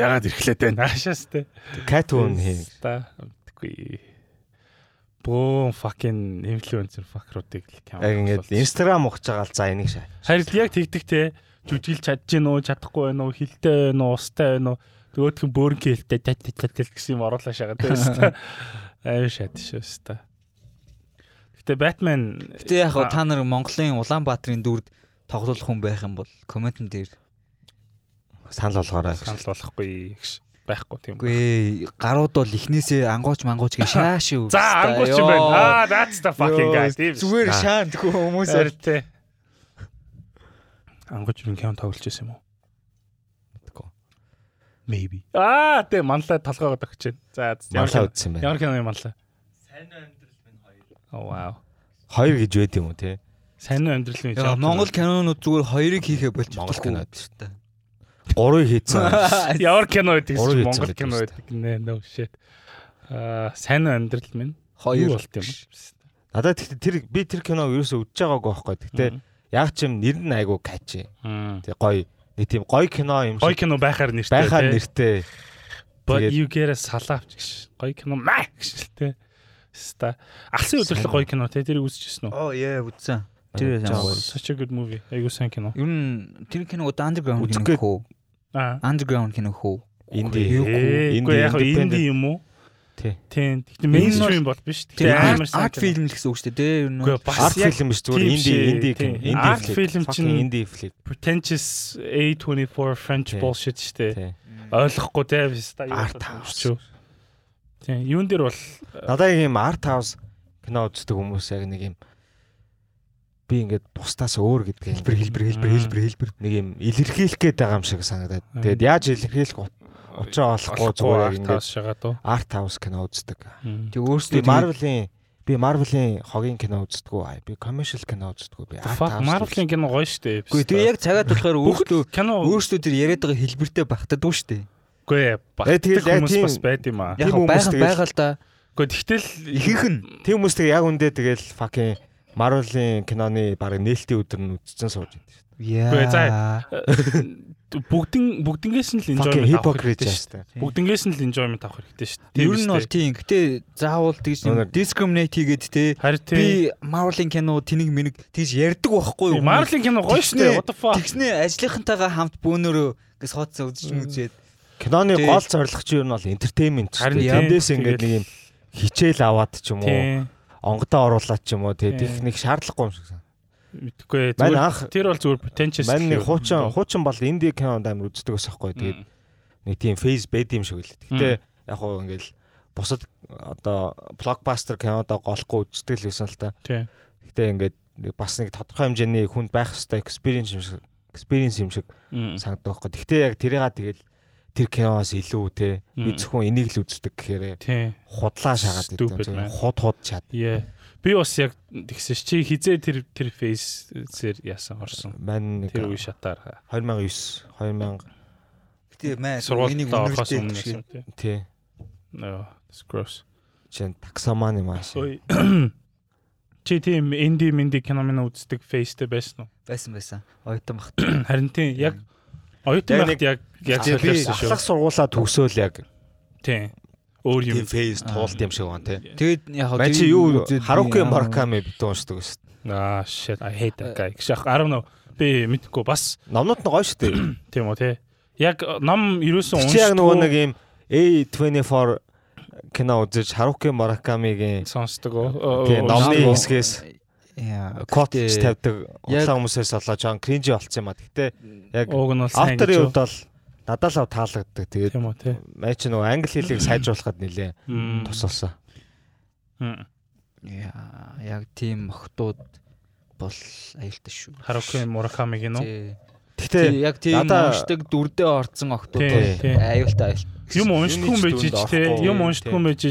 [SPEAKER 1] Ягаад ирэхлээд байна? Ашаас тээ.
[SPEAKER 2] Catwoman хий.
[SPEAKER 1] Та мэдгүй. Бөө fucking influencer fuck-руудыг л
[SPEAKER 2] Яг ингээд Instagram ухаж байгаа л за энийг шаа.
[SPEAKER 1] Харин яг тэгдэг те жүжиглж чадчих гинөө чадахгүй байноу хилтэй байноу устай байноу нөгөөдхөн бөөрнгийн хилтэй тат тат тат тат гэсэн юм оруулаа шагаад байсан. Аюу шат шүү ста. Гэтэ Batman
[SPEAKER 3] Гэтэ яг хөө та нар Монголын Улаанбаатарын дүрд тоглох хүн байх юм бол комментэн дээр
[SPEAKER 2] Санал болгоорой.
[SPEAKER 1] санал болохгүй гэж байхгүй тийм.
[SPEAKER 3] үгүй ээ, гарууд бол эхнээсээ ангууч мангууч гэж шааш юу.
[SPEAKER 1] За ангууч юм байна. Аа that's the fucking guy. тийм шүү.
[SPEAKER 3] Зүгээр шаан тхүү хүмүүс
[SPEAKER 1] Харин те. Ангууч юу кем тоглож байсан юм уу? Maybe. Аа тийм манлай толгоогод өгч байна. За ямар
[SPEAKER 2] Манлаа
[SPEAKER 1] кино-
[SPEAKER 2] үзсэн байна.
[SPEAKER 1] ямар кино юм манлай? Сайн амьдрал минь хоёр. Oh wow.
[SPEAKER 2] Хоёр гэж байд юм уу те?
[SPEAKER 1] Сайн уу амьдрал минь.
[SPEAKER 3] Яа,
[SPEAKER 1] жаахан
[SPEAKER 3] Монгол кинонууд зүгээр хоёрыг хийхээ болж
[SPEAKER 2] Монгол кинод
[SPEAKER 3] шүү дээ.
[SPEAKER 2] Гурыг хийцэн.
[SPEAKER 1] Ямар кино байдаг
[SPEAKER 2] Гурав
[SPEAKER 1] вэ?
[SPEAKER 2] хийцэн
[SPEAKER 1] Монгол
[SPEAKER 2] байдаг
[SPEAKER 1] кино
[SPEAKER 2] шүү
[SPEAKER 1] байдаг нэ. No shit. Аа, сайн уу амьдрал минь. Юу
[SPEAKER 3] Хоёр
[SPEAKER 1] болт юм?
[SPEAKER 2] Надад тэгтээ тэр би тэр киног ерөөсөө үзэж байгаагүй байхгүй. Тэгтээ яг ч юм нэр нь айгүй качи.
[SPEAKER 1] Мм.
[SPEAKER 2] Тэг гоё. Нэг тийм гоё кино юм
[SPEAKER 1] Гой
[SPEAKER 2] шиг
[SPEAKER 1] кино байхаар нэртэй.
[SPEAKER 2] байхаар
[SPEAKER 1] тий.
[SPEAKER 2] нэртэй.
[SPEAKER 1] But
[SPEAKER 2] тэгээд-
[SPEAKER 1] you get a salafч гэж. Гой кино маа гэж л тээ. Ста. Алсын өдрөлт
[SPEAKER 2] Сайн
[SPEAKER 1] гой кино тий. Тэрийг үзчихсэн үү?
[SPEAKER 3] Оо яа үзсэн. Тэр
[SPEAKER 2] Тэр
[SPEAKER 3] сайн гоё.
[SPEAKER 1] Such a good movie. Айгуу сайн кино.
[SPEAKER 3] Ер нь тэр киног underground кино
[SPEAKER 2] Үзэхгүй.
[SPEAKER 3] хөө.
[SPEAKER 1] Аа.
[SPEAKER 3] Underground кино хөө.
[SPEAKER 2] Инди.
[SPEAKER 3] Юу
[SPEAKER 1] Ээ,
[SPEAKER 2] Инди,
[SPEAKER 1] Үгүй яг хөө
[SPEAKER 2] independent.
[SPEAKER 1] инди юм уу?
[SPEAKER 2] Тий.
[SPEAKER 1] Тийм. Тэгтээ мейнстрим бол биш.
[SPEAKER 3] Тэр
[SPEAKER 1] Тэгтээ амар сайн
[SPEAKER 3] арт
[SPEAKER 1] кино.
[SPEAKER 3] фильм л гэсэн үг шүү дээ. Ер нь
[SPEAKER 1] Үгүй бас
[SPEAKER 2] Арт
[SPEAKER 1] яг
[SPEAKER 2] фильм биш зүгээр
[SPEAKER 1] тийм
[SPEAKER 2] инди
[SPEAKER 1] шээ,
[SPEAKER 2] инди
[SPEAKER 1] тийм.
[SPEAKER 2] кино.
[SPEAKER 1] Арт
[SPEAKER 2] Инди
[SPEAKER 1] фильм
[SPEAKER 2] фильм чинь
[SPEAKER 1] чинь-
[SPEAKER 2] инди флик
[SPEAKER 1] pretentious A24 French
[SPEAKER 2] Тий.
[SPEAKER 1] bullshit штэ.
[SPEAKER 2] тий.
[SPEAKER 1] Ойлгохгүй те биста
[SPEAKER 2] Арт хаус.
[SPEAKER 1] Тийм, юун дээр бол
[SPEAKER 2] Надад яг юм арт хаус кино үздэг хүмүүс яг нэг юм би ингээд бусдаас өөр гэдэг хэлбэр хэлбэр хэлбэр хэлбэр хэлбэр нэг юм илэрхийлэх гээд байгаа юм шиг санагдаад. Тэгээд яаж илэрхийлэх ут- учраа олохгүй зүгээр яг
[SPEAKER 1] таас
[SPEAKER 2] ингээд
[SPEAKER 1] шагаад уу.
[SPEAKER 2] арт хаус кино үздэг.
[SPEAKER 1] Мм.
[SPEAKER 3] Тэг
[SPEAKER 2] Би
[SPEAKER 3] өөрсдөө Marvel
[SPEAKER 2] Marvel-ийн би Marvel-ийн хогийн кино үздэггүй. Аа, Би commercial кино үздэггүй. Би
[SPEAKER 1] The Fuck Marvel-ийн кино гоё штэ.
[SPEAKER 3] Үгүй тэг яг цагаад болохоор өөрсдөө
[SPEAKER 1] кино
[SPEAKER 3] өөрсдөө тэр яриад байгаа хэлбэртэй багтадгүй шүү дээ.
[SPEAKER 1] үгүй ээ.
[SPEAKER 2] Э, тэгэл,
[SPEAKER 1] Багтдаг
[SPEAKER 2] яг
[SPEAKER 1] хүмүүс
[SPEAKER 2] тийм-
[SPEAKER 1] бас байд юм аа.
[SPEAKER 3] Яг
[SPEAKER 2] Тийм хүмүүс
[SPEAKER 3] байга
[SPEAKER 2] тэгэл-
[SPEAKER 3] байга л да.
[SPEAKER 1] Үгүй тэгтэл
[SPEAKER 3] Ихэнх нь
[SPEAKER 2] тийм хүмүүс тэг яг үндэ тэгэл fucking Marvel-ийн киноны баг нээлтийн өдөр нь үзсэн сууж байдаг шүү
[SPEAKER 1] Үгүй, заа.
[SPEAKER 3] яа.
[SPEAKER 1] бүгдэн бүгднгээс нь л
[SPEAKER 2] дээ. Fucking
[SPEAKER 1] enjoyment авах
[SPEAKER 2] hypocrite
[SPEAKER 1] хэрэгтэй
[SPEAKER 2] шүү
[SPEAKER 1] штэ.
[SPEAKER 2] дээ.
[SPEAKER 1] Бүгднгээс нь л enjoyment авах хэрэгтэй штэ.
[SPEAKER 3] Ер нь бол тийм. Гэтэ заавал тэгж юм
[SPEAKER 2] Өнөр-
[SPEAKER 3] discriminate хийгээд те
[SPEAKER 1] харин тийм
[SPEAKER 3] би Marvel-ийн кино тэнэг минэг тэгж ярддаг байхгүй юу?
[SPEAKER 1] Marvel-ийн кино гоё штэ.
[SPEAKER 3] Тэгснэ-
[SPEAKER 1] What the fuck?
[SPEAKER 3] Тэгснээ ажлынхантайгаа хамт бөөнөрөө гэж суудсан үзэж үзээд
[SPEAKER 2] Киноны
[SPEAKER 3] Тэг.
[SPEAKER 2] гол зорилго чинь юу нь бол entertainment шүү
[SPEAKER 1] Харин
[SPEAKER 2] дээ.
[SPEAKER 1] тийм.
[SPEAKER 2] Тэндээс
[SPEAKER 1] Тэгэл-
[SPEAKER 2] ингээд нэг юм хичээл аваад ч юм уу,
[SPEAKER 1] Тийм.
[SPEAKER 2] онгодоо оруулаад ч юм уу тэг
[SPEAKER 1] Тийм.
[SPEAKER 2] их нэг шаардлагагүй юм шиг санагдав.
[SPEAKER 1] Мэдгүй ээ.
[SPEAKER 2] Мань
[SPEAKER 1] Зүгээр-
[SPEAKER 2] анх-
[SPEAKER 1] Тэр бол зүгээр pretentious.
[SPEAKER 2] Мань нэг
[SPEAKER 1] гэхээ.
[SPEAKER 2] хуучин хуучин бол инди кинонд амар үздэг ус байхгүй. Тэгээд
[SPEAKER 1] Мм.
[SPEAKER 2] нэг тийм фейз байд юм шиг л. Гэтэ яг хуу ингээл бусад одоо блокбастер кинодоо голхгүй үздэг л байсан л та.
[SPEAKER 1] Тийм.
[SPEAKER 2] Гэтэ ингээд нэг бас нэг тодорхой хэмжээний хүнд байх хэвээр experience юм шиг experience юм шиг
[SPEAKER 1] Мм.
[SPEAKER 2] санагдах байхгүй. Гэтэ яг тэрийга тэгэл тэр киноос илүү те би
[SPEAKER 1] Мм.
[SPEAKER 2] зөвхөн энийг л үздэг гэхээр
[SPEAKER 1] Тийм.
[SPEAKER 2] худлаа шагаад
[SPEAKER 1] Stupid man.
[SPEAKER 2] гэдэг. Худ худ чад.
[SPEAKER 1] Яа. Би бас яг тэгсэн чи хизээ тэр тэр фейсээр яасан орсон.
[SPEAKER 2] Мань нэг
[SPEAKER 1] Тэр үе шатаар.
[SPEAKER 2] 2009 2000
[SPEAKER 3] гэтээ мэн
[SPEAKER 1] Сургуульд
[SPEAKER 3] энийг
[SPEAKER 1] орохоос
[SPEAKER 3] өнөрлөж
[SPEAKER 1] өмнө
[SPEAKER 3] гэж.
[SPEAKER 1] яасан тийм.
[SPEAKER 2] тий
[SPEAKER 1] No, it's gross.
[SPEAKER 2] чин таксаманы маш.
[SPEAKER 1] Ой. Чи тийм инди минди кино мэн үздэг фейстэй байсан уу?
[SPEAKER 3] Байсан байсан. Ойтон бах.
[SPEAKER 1] Харин тийм яг оюутан
[SPEAKER 2] Яг
[SPEAKER 1] байхад яг яг
[SPEAKER 2] Тий, би
[SPEAKER 1] солиорсон шүү.
[SPEAKER 2] ахлах сургуулаа төгсөөл яг
[SPEAKER 1] Тийм. Өөр юм.
[SPEAKER 2] фейз туулт юм шиг байна тий.
[SPEAKER 3] Тэгээд яг
[SPEAKER 2] Ман чи юу Харуки Мураками битүү уншдаг шүү дээ.
[SPEAKER 1] Аа shit, I hate that
[SPEAKER 2] Э.
[SPEAKER 1] guy. Шах 10 би мэдхгүй бас
[SPEAKER 2] Номнууд нь гоё шүү дээ.
[SPEAKER 1] тийм үү тий. Яг ном ерөөсөн
[SPEAKER 2] Чи яг нөгөө нэг юм A24 кино үзэж Харуки Муракамигийн
[SPEAKER 1] сонсдог уу?
[SPEAKER 2] тий номны
[SPEAKER 3] ном-
[SPEAKER 2] хэсгээс
[SPEAKER 3] Яа.
[SPEAKER 2] котч тавьдаг
[SPEAKER 3] яг-
[SPEAKER 2] улаан хүмүүсээс олоо жоон кринжи болцсон юм а. Гэтэ яг
[SPEAKER 1] Ууг нь бол сайн гэж
[SPEAKER 2] авторын
[SPEAKER 1] юу?
[SPEAKER 2] хувьд бол надад л ав таалагддаг. Тэгээд
[SPEAKER 1] Тийм үү тий.
[SPEAKER 2] май чи нөгөө англи хэлийг сайжруулахад нэлээ
[SPEAKER 1] Мм.
[SPEAKER 2] тусалсан.
[SPEAKER 1] Мм.
[SPEAKER 3] Яа, яг тийм охтууд бол аюултай шүү.
[SPEAKER 1] Харуки Муракамигийн үү?
[SPEAKER 3] Тий.
[SPEAKER 2] Гэтэ
[SPEAKER 3] Тий, яг тийм
[SPEAKER 2] надаа-
[SPEAKER 3] уншдаг дүрдээ орцсон охтууд
[SPEAKER 1] Тий,
[SPEAKER 3] бол
[SPEAKER 1] тий.
[SPEAKER 3] аюултай аюултай.
[SPEAKER 1] Юм уншдгүй юм
[SPEAKER 2] Юуны ч
[SPEAKER 1] байж
[SPEAKER 2] дүнд
[SPEAKER 1] те.
[SPEAKER 2] орохгүй,
[SPEAKER 1] Юм
[SPEAKER 2] тий.
[SPEAKER 1] уншдгүй юм байж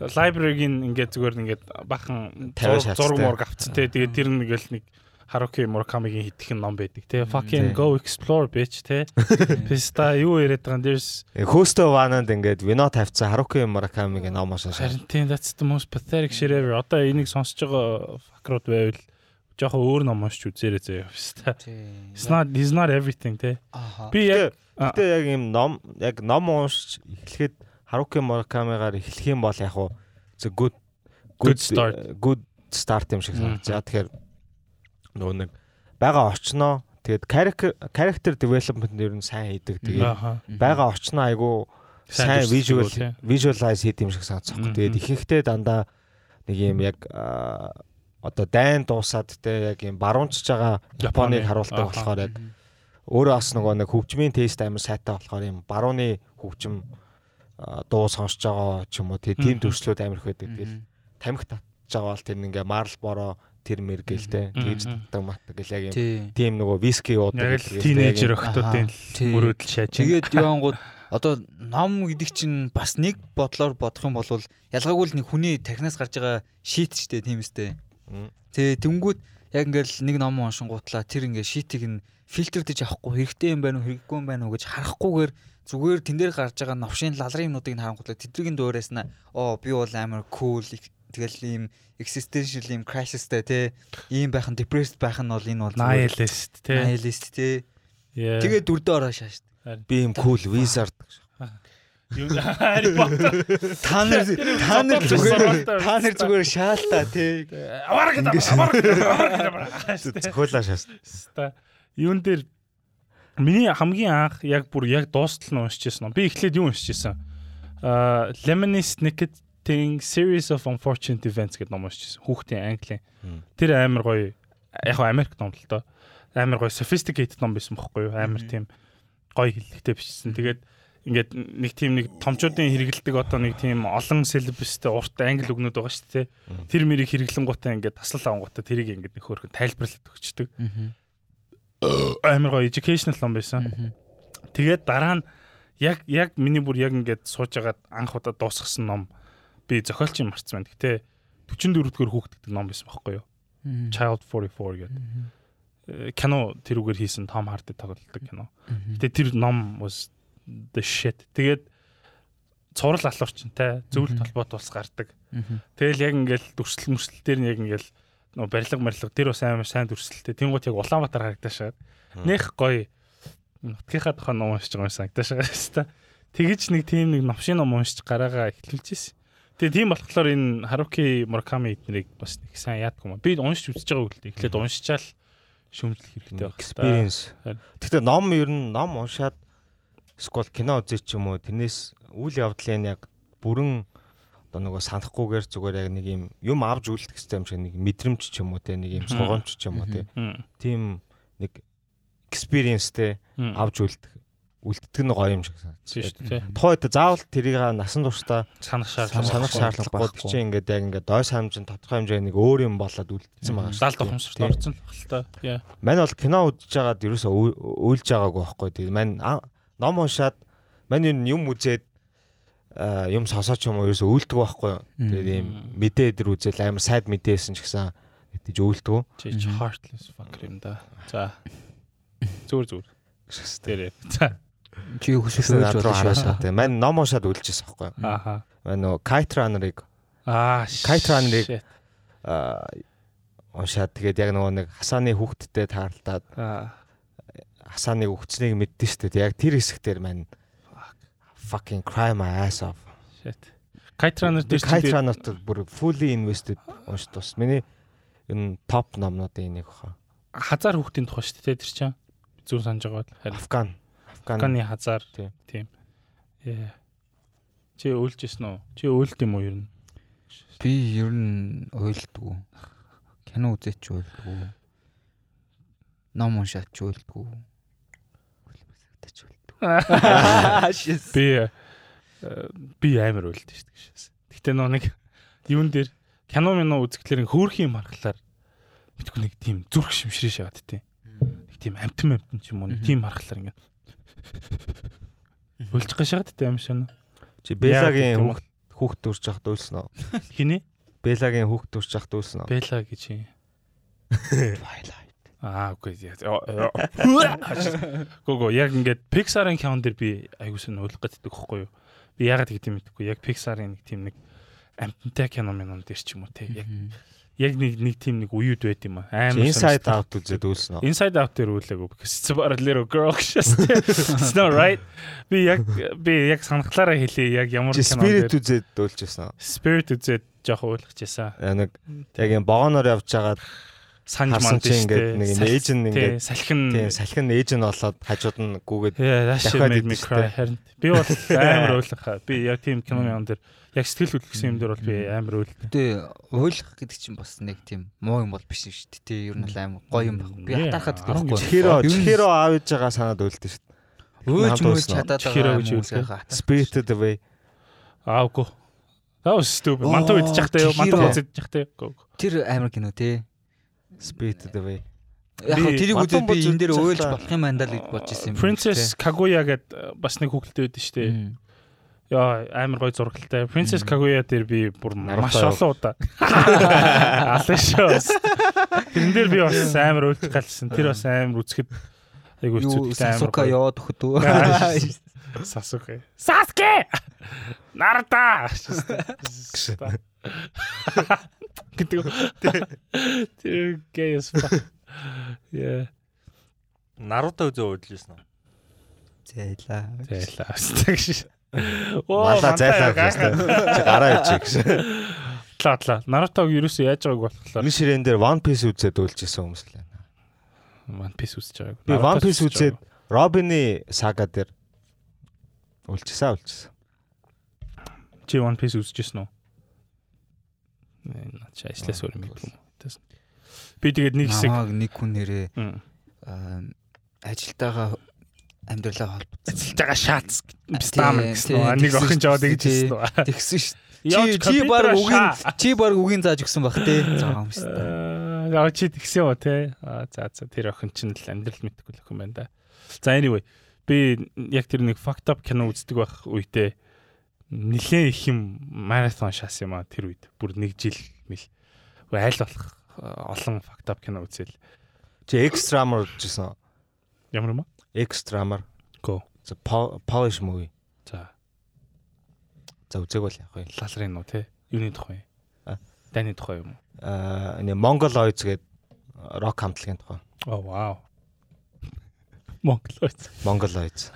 [SPEAKER 1] library-гийн ингээд зүгээр ингээд бахан
[SPEAKER 2] Тавиа
[SPEAKER 1] зураг
[SPEAKER 2] шалцтай.
[SPEAKER 1] зураг мураг авцсан те. Тэгээд тэр нэгэл нэг Харуки Муракамигийн хитгэн ном байдаг те. Fucking
[SPEAKER 2] тий.
[SPEAKER 1] go explore bitch те. Писта юу яриад байгаа юм дэрс.
[SPEAKER 2] хөөстөө вананд ингээд вино тавьсан Харуки Муракамигийн ном уншсан шал.
[SPEAKER 1] Харин that's the most pathetic shit ever. Одоо энийг сонсож байгаа fuckrууд байвал жоохон өөр ном уншиж үзээрэй заяа. Писта.
[SPEAKER 3] Тий.
[SPEAKER 1] It's not he's not everything те.
[SPEAKER 3] Аха.
[SPEAKER 1] Би яг А.
[SPEAKER 2] Гэтэ яг юм ном яг ном уншиж эхлэхэд Харуки Муракамигаар эхлэх юм бол яг хуу зөв good
[SPEAKER 1] Good start.
[SPEAKER 2] э, good start юм шиг
[SPEAKER 1] Мм.
[SPEAKER 2] санагдаж. Тэгэхээр нөгөө нэг байгаа очноо тэгээд character character development нь ер нь сайн хийдэг. Тэгээд
[SPEAKER 1] Аха.
[SPEAKER 2] байгаа очноо айгүй
[SPEAKER 1] Сайн
[SPEAKER 2] сайн visual
[SPEAKER 1] дүрсэлдэг бол, тий.
[SPEAKER 2] visualize хийх юм шиг санагдахгүй.
[SPEAKER 1] Мгм.
[SPEAKER 2] Тэгээд ихэнхдээ дандаа нэг юм яг аа, одоо дайн дуусаад те яг юм баруунчж байгаа
[SPEAKER 1] Японыг,
[SPEAKER 2] Японыг харуулдаг
[SPEAKER 1] аха.
[SPEAKER 2] болохоор яг өөрөө бас нөгөө нэг хөгжмийн тест амар сайтай болохоор юм барууны хөгжим аа, дуу сонсож байгаа ч юм уу те тийм
[SPEAKER 1] Мгм.
[SPEAKER 2] төрслүүд амар их байдаг. Тэгэл тамхи татж байгаа бол тэр нэг ингээ марл бороо тэр мэргэлтэй
[SPEAKER 1] Мгм.
[SPEAKER 2] тэгж татдаг матдаг гэл яг юм
[SPEAKER 3] Тий.
[SPEAKER 2] тийм нөгөө виски
[SPEAKER 1] Яг л
[SPEAKER 2] уудаг гэл яг юм.
[SPEAKER 1] тинейжер охтуудын
[SPEAKER 3] Аха. Тий.
[SPEAKER 1] мөрөөдөл шааж.
[SPEAKER 3] Тэгээд явангууд одоо ном гэдэг чинь бас нэг бодлоор бодох юм бол ялгаагүй л нэг хүний тархинаас гарч байгаа шийт ч гэдэг тийм үстэй.
[SPEAKER 2] Мм.
[SPEAKER 3] Тэгээ тэнгүүд яг ингээл нэг ном уншингуутлаа тэр ингээ шийтийг нь фильтрдэж авахгүй хэрэгтэй юм байна уу хэрэггүй юм байна уу гэж харахгүйгээр зүгээр тэн дээр гарч байгаа новшийн лалрын юмнуудыг нь харангуутлаа тэдний дуурайс нь оо би бол амар кул тэгэл ийм existential ийм crashтэй те ийм байх нь depressed байх нь бол энэ бол зүгээр
[SPEAKER 1] Nihilist те.
[SPEAKER 3] nihilist те
[SPEAKER 1] Yeah.
[SPEAKER 3] тэгээ дүрдээ ороо шааш
[SPEAKER 2] би юм cool wizard
[SPEAKER 1] Юу- Harry Potter.
[SPEAKER 3] Та нар та нар
[SPEAKER 1] Бодож
[SPEAKER 3] зүгээр
[SPEAKER 1] сургалтаа
[SPEAKER 3] та нар зүгээр шаалтаа тий.
[SPEAKER 1] Uh, Аваар гэдэг. Аваар гэдэг.
[SPEAKER 2] зөвхөлөө шаас.
[SPEAKER 1] Ста. Юун дээр миний хамгийн анх яг бүр яг дуустал нь уншижсэн юм. Би эхлээд юу уншижсэн? Аа, Lemonis Nicketing Series of Unfortunate Events гэдэг ном уншижсэн. Хүүхдийн англи.
[SPEAKER 2] Мм.
[SPEAKER 1] Тэр амар гоё. Яг хөө Америк ном л доо. Амар гоё sophisticated ном байсан бохгүй юу? Амар тийм гоё хэллэгтэй бичсэн. Тэгээд ингээд нэг тийм нэг томчуудын хэрэгэлдэг одоо нэг тийм олон syllabusтэй урт англи үгнүүд байгаа шүү дээ.
[SPEAKER 2] Мм.
[SPEAKER 1] Тэр мэрийг хэрэглэн гутаа ингээд таслал авангуудаа тэрийг ингээд нэг хөөрхөн тайлбарлаж өгчдөг. амар гоё educational ном байсан. Тэгээд дараа нь яг яг миний бүр яг ингээд сууж агаад анх удаа дуусгасан ном би зохиолч юм марцсан байна. Гэтэ 44 дэх хүүхдэгдэг ном байсан байхгүй юу? Child 44 гэдэг. Э, Кино тэрүүгээр хийсэн Том Харди тоглолдог кино. Гэтэ тэр ном was the shit. Тэгээд цуврал алуурчтай зөвлөлт
[SPEAKER 3] Мгм.
[SPEAKER 1] толгойд ус гардаг. Тэгэл яг ингээл дүрслэл мөрслэл дээр нь яг ингээл нөө барилга барилга тэр бас амар сайн дүрслэлтэй. Тэнгуут яг Улаанбаатар харагдашаа.
[SPEAKER 2] Мм.
[SPEAKER 1] Нэх гоё. Нутгийнхаа тухайн ном уншиж байгаа юм санагдашаа хэвээр. Тэгэж нэг тийм нэг новшин ном уншиж гараагаа эхлүүлж ирсэн. Тэгээ тийм болохоор энэ Харуки Мураками эднэрийг бас нэг сайн яадгүй юм. аа. Би уншиж үзэж байгаа үгэлтэй. Эхлээд уншичаал шөмжлөх хэрэгтэй байх.
[SPEAKER 2] experience.
[SPEAKER 1] Харин.
[SPEAKER 2] Гэтэ ном ер нь ном уншаад эсвэл кино үзэж ч юм уу тэрнээс үйл явдлын яг бүрэн одоо нөгөө санахгүйгээр зүгээр яг нэг юм юм авж үлдэх гэсэн юм шиг нэг мэдрэмж ч юм уу те нэг юм
[SPEAKER 1] Мгм.
[SPEAKER 2] сургамж ч юм уу те
[SPEAKER 1] Мм.
[SPEAKER 2] тийм нэг experienceтэй
[SPEAKER 1] Мм.
[SPEAKER 2] авж үлдэх үлддэг нь гоё юм шиг
[SPEAKER 1] Тийм
[SPEAKER 2] санагдаж байна.
[SPEAKER 1] шүү дээ. тий.
[SPEAKER 2] Тухайд заавал тэрийг насан туршдаа
[SPEAKER 1] Санах шаардлага.
[SPEAKER 2] санах шаардлагагүй
[SPEAKER 3] байхгүй.
[SPEAKER 2] чинь ингээд яг ингээд дойс хамжин тодорхой хэмжээний нэг өөр юм болоод үлдсэн байгаа шүү.
[SPEAKER 1] Далд ухамсарт орсон л багтаа. Яа.
[SPEAKER 2] Мань бол кино үзэж байгаад ерөөсөө ү- үйлж байгаагүй байхгүй. Тэгээд мань а- ном уншаад мань ер нь юм үзээд а, юм сонсооч юм уу ерөөсөө үйлдэг байхгүй. Тэгээд ийм мэдээ дээр үзэл амар сайд мэдээсэн ч гэсэн тэгж үйлдэг.
[SPEAKER 1] Чич
[SPEAKER 3] Мгм.
[SPEAKER 1] heartless fucker юм да. За. Зүгээр зүгээр. Дээрээ. За.
[SPEAKER 3] Чи юу хүсэж
[SPEAKER 2] Тэгсэн
[SPEAKER 3] байж
[SPEAKER 2] над руу
[SPEAKER 3] болно.
[SPEAKER 2] хараасаа тийм. Мань ном уншаад үйлжсэн байхгүй.
[SPEAKER 1] Ааха.
[SPEAKER 2] Мань нөгөө Кайтраныг
[SPEAKER 1] Аа.
[SPEAKER 2] Кайтраныг
[SPEAKER 1] shit.
[SPEAKER 2] а, уншаад тэгээд яг нөгөө нэг Хасааны хүүхдтэй тааралдаад
[SPEAKER 1] Аа.
[SPEAKER 2] Хасааныг өгцнийг мэддэн шүү дээ. Яг тэр хэсэг дээр мань fucking cry my ass off.
[SPEAKER 1] Shit. Кайтранер
[SPEAKER 2] Би
[SPEAKER 1] дээр чинь тэгээд-
[SPEAKER 2] Кайтранот бүр fully invested унш тус. Миний энэ топ номнуудын нэг хаа.
[SPEAKER 1] хазар хүүхдийн тухай шүү дээ тэр чинь. Зүг санаж байгаа бол. Харин
[SPEAKER 2] Афган. Афган.
[SPEAKER 1] Афганы хазар.
[SPEAKER 2] Тийм.
[SPEAKER 1] Тийм. Яа. Чи өүлжсэн үү? Чи өүлд юм уу юу?
[SPEAKER 3] Би ер нь ойлдгүй. Кино үзээч ойлдгүй. Ном уншаач ойлдгүй. Үлэмсэгдэж ойлдгүй.
[SPEAKER 1] Би э, би амар өүлд шүү дээ. Гэтэ нөө нэг юун дээр кино минь үзэхлээр хөөх юм харахлаар битгүй нэг тийм зүрх шимшрээ шаваад тийм. Нэг тийм амтэн амтэн ч юм уу нэг тийм харахлаар ингээд Улж гашаад тийм шана.
[SPEAKER 2] Чи Белагийн хүүхд хүүхд төрж яхад үйлсэн үү?
[SPEAKER 1] Хиний?
[SPEAKER 2] Белагийн хүүхд төрж яхад үйлсэн үү?
[SPEAKER 1] Бела гэж юм.
[SPEAKER 2] Twilight.
[SPEAKER 1] Аа үгүй. Гого яг ингээд Pixar-ын кинон дээр би аягуулсан ойлгох гэдэг хэвхэвгүй юу? Би ягаад гэдэг юм бэ? Яг Pixar-ын нэг тийм нэг амттай кино минь дээр ч юм уу те. Яг яг нэг нэг тийм нэг уюуд байт юм аа.
[SPEAKER 2] Чи Inside Out үзээд үйлсэн үү?
[SPEAKER 1] Inside Out дээр үлээгөө because it's about a little girl just. It's not right. Би яг би яг санахлаараа хэлээ яг ямар
[SPEAKER 2] Чи
[SPEAKER 1] кино
[SPEAKER 2] Spirit
[SPEAKER 1] дээр
[SPEAKER 2] үзээд үйлжсэн үү?
[SPEAKER 1] Spirit үзээд жоох ойлгожээсаа.
[SPEAKER 2] Яа, Нэг яг юм вагоноор явж байгаа
[SPEAKER 1] Санж
[SPEAKER 2] харсан
[SPEAKER 1] манд
[SPEAKER 2] чи ингээд нэг нээж нь
[SPEAKER 1] тийм
[SPEAKER 2] ингээд
[SPEAKER 1] салхин
[SPEAKER 2] тийм салхин нээж нь болоод хажууд нь гүгээд
[SPEAKER 1] Yeah, that shit
[SPEAKER 2] дахиад
[SPEAKER 1] made me cry
[SPEAKER 2] идчихтэй.
[SPEAKER 1] харин. Би бол амар ойлгохаа. Би яг тийм киноны юм дээр яг сэтгэл хөдлөсөн юм дээр бол би амар ойлгох.
[SPEAKER 3] Гэтэ ойлгох гэдэг чинь бас нэг тийм муу юм бол биш юм шүү дээ. Тэ ер нь л аим гоё юм байна. Би
[SPEAKER 1] Yeah,
[SPEAKER 3] хатаахад
[SPEAKER 1] арав
[SPEAKER 3] байхгүй.
[SPEAKER 2] чихэрөө
[SPEAKER 3] Ер нь
[SPEAKER 2] чихэрөө аав ээж байгаа санаад үлдсэн шүү
[SPEAKER 3] Өөж
[SPEAKER 2] Хамт
[SPEAKER 3] мөж
[SPEAKER 2] дуусна.
[SPEAKER 3] чадаад
[SPEAKER 1] Чихэрөө
[SPEAKER 3] байгаа
[SPEAKER 1] гэж
[SPEAKER 3] гэж
[SPEAKER 1] үлдэх.
[SPEAKER 3] үзэх.
[SPEAKER 2] дээ. Spirited Away.
[SPEAKER 1] Аа үгүй. That was stupid.
[SPEAKER 3] Оо,
[SPEAKER 1] Мантуу идчихтэй юу? Мантуу
[SPEAKER 3] чихэрээ.
[SPEAKER 1] үзчихтэй юу?
[SPEAKER 3] Тэр амар кино те.
[SPEAKER 2] Spirited Away.
[SPEAKER 3] Яг хөө тэрийг
[SPEAKER 2] Батан
[SPEAKER 3] үзээд би
[SPEAKER 2] бүз
[SPEAKER 3] энэ дээр
[SPEAKER 2] үзэх
[SPEAKER 3] ойлж
[SPEAKER 2] та.
[SPEAKER 3] болох юм андаа л гэж бодож исэн юм. биш
[SPEAKER 1] Princess Kaguya гэд э, бас нэг хүүхэлтэй байдсан шүү дээ.
[SPEAKER 3] Мм.
[SPEAKER 1] Яа, амар гой зургалтай. Princess Kaguya дээр би бүр
[SPEAKER 2] Наруто
[SPEAKER 1] маш
[SPEAKER 2] юу?
[SPEAKER 1] олон удаа. Алан шоус. Тэрэн дээр би бас амар үйлдэх галсан. Тэр бас амар үзэхэд айгу
[SPEAKER 3] Юу
[SPEAKER 1] хэцүүдтэй амар.
[SPEAKER 3] Сасука
[SPEAKER 1] гоё.
[SPEAKER 3] яваад өгөх үү?
[SPEAKER 1] Аа, Сасуке. Саске! Наруто! Гэдэг. Тэр гейс. Яа.
[SPEAKER 4] Наруто үзөө үйлжсэн үү?
[SPEAKER 3] Зайлаа.
[SPEAKER 1] Зайлаа. Тэгш.
[SPEAKER 2] Мала зайлаа гэсэн. Чи гараа ичээ гэсэн.
[SPEAKER 1] Тлаа тлаа. Нарутог ерөөсөө яаж байгааг болохоор
[SPEAKER 2] Энэ ширээн дээр One Piece үзээд үйлжсэн хүмүүс л байна.
[SPEAKER 1] One Piece үзэж байгааг.
[SPEAKER 2] Би One Piece үзээд Robin-ы сага дээр үйлжсэн үйлжсэн.
[SPEAKER 1] чи One Piece үзчихсэн үү? Энэ чи ажлаас өөр юм бий. Би тэгээд нэг хэсэг
[SPEAKER 3] Намаг нэг хүн нэрээ
[SPEAKER 1] Мм.
[SPEAKER 3] аа, ажилтайгаа амьдралаа холбоцсон.
[SPEAKER 1] зэлтэйгээ шаац бистам
[SPEAKER 3] Тийм,
[SPEAKER 1] гэсэн
[SPEAKER 3] тийм,
[SPEAKER 1] үү? Нэг
[SPEAKER 3] тэгсэн
[SPEAKER 1] охин жаваад
[SPEAKER 3] шүү дээ,
[SPEAKER 1] ингэж хэлсэн үү?
[SPEAKER 3] Тэгсэн шүү.
[SPEAKER 1] Явж
[SPEAKER 3] Чи чи баг
[SPEAKER 1] компьютераа
[SPEAKER 3] үгийн
[SPEAKER 1] шаа.
[SPEAKER 3] чи баг үгийн зааж өгсөн бах те. Заа юмс.
[SPEAKER 1] Э, Аа, яа чи тэгсэн үү те? Аа, За за тэр охин чинь л амьдрал мэдгүй л охин байна да. За anyway би яг тэр нэг fucked up кино үздэг байх үедээ нилээн их юм маратон шаас юм аа тэр үед бүр нэг жил мэл Үгүй, айл болох аа, олон fucked up кино үзэл
[SPEAKER 2] Чи Extra-мор үйлжсэн.
[SPEAKER 1] ямар юм аа?
[SPEAKER 2] Extra-мор.
[SPEAKER 1] Го.
[SPEAKER 2] За Pol- Polish movie.
[SPEAKER 1] За
[SPEAKER 2] За үзег бол явах юм.
[SPEAKER 1] лалрын уу те? Юуны тухай?
[SPEAKER 2] А.
[SPEAKER 1] Дайны тухай юм уу?
[SPEAKER 2] Аа, энэ Mongol Oiz гээд рок хамтлагийн тухай.
[SPEAKER 1] Оо вау. Монгол үз.
[SPEAKER 2] Mongol Oiz.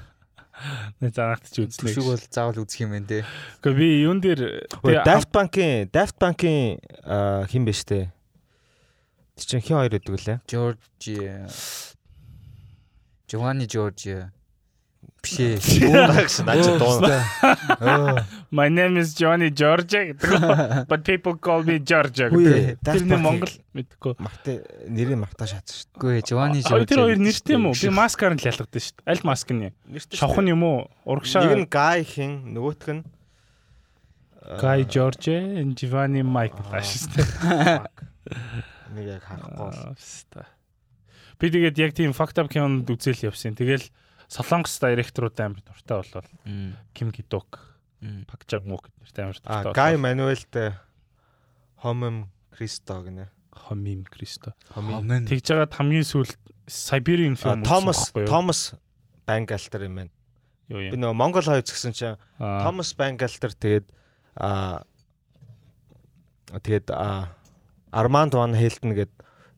[SPEAKER 1] Нэг занагт чи үзлээ.
[SPEAKER 3] Түшиг бол заавал үзэх юм байна те.
[SPEAKER 1] Гэхдээ би юун дээр
[SPEAKER 2] Ой,
[SPEAKER 1] би
[SPEAKER 2] Daft Punk-ийн Daft Punk-ийн аа, хин бэ штэ. Тэр чинь хин хоёр гэдэг лээ.
[SPEAKER 3] Жоржи Жованни Жоржи биш ээ.
[SPEAKER 2] Наач дуу.
[SPEAKER 1] My name is Johnny George гэдэг. үү? But people call me George.
[SPEAKER 2] Үе,
[SPEAKER 1] гэдэг. Тэр нэг
[SPEAKER 2] Daft Punk-ийн-
[SPEAKER 1] Монгол мэдгүй.
[SPEAKER 2] Магтай нэрийн магтаа шатсан штэ.
[SPEAKER 3] Үгүй ээ, Жованни
[SPEAKER 1] Хоёр
[SPEAKER 3] Жоржи.
[SPEAKER 1] тэр хоёр нэртэй юм уу? Би маскаар нь л ялгадсан шүү дээ. Аль маск нь? Шавхан юм уу?
[SPEAKER 2] Нэг
[SPEAKER 1] Урагшаа
[SPEAKER 2] нь Guy хин, нөгөөх нь
[SPEAKER 1] Guy George, and Giovanni Mike шүү дээ.
[SPEAKER 2] нэг яг харахгүй.
[SPEAKER 1] Аа, ста. Би тэгээд яг тийм fucked up кинонд үзэл явсан. Тэгэл Солонгос директорууд амар дуртай болвол
[SPEAKER 3] Мм,
[SPEAKER 1] Ким Гидок,
[SPEAKER 3] мм.
[SPEAKER 1] Пак Чаг Мук нэртэй амар
[SPEAKER 2] А
[SPEAKER 1] дуртай.
[SPEAKER 2] Guy Manuel-тэй Homem Christo гинэ.
[SPEAKER 1] Хомим Кристо.
[SPEAKER 3] Амен.
[SPEAKER 1] Тэгж жагаад хамгийн сүүлд Siberian
[SPEAKER 2] А,
[SPEAKER 1] film
[SPEAKER 2] Thomas Thomas Bangalter юм байна.
[SPEAKER 1] юу
[SPEAKER 2] Би
[SPEAKER 1] юм.
[SPEAKER 2] нөгөө Монгол хоёр гэсэн чинь
[SPEAKER 1] Аа.
[SPEAKER 2] Томас Бангалтер тэгээд аа тэгээд аа Арманд Ван Хелтен гэд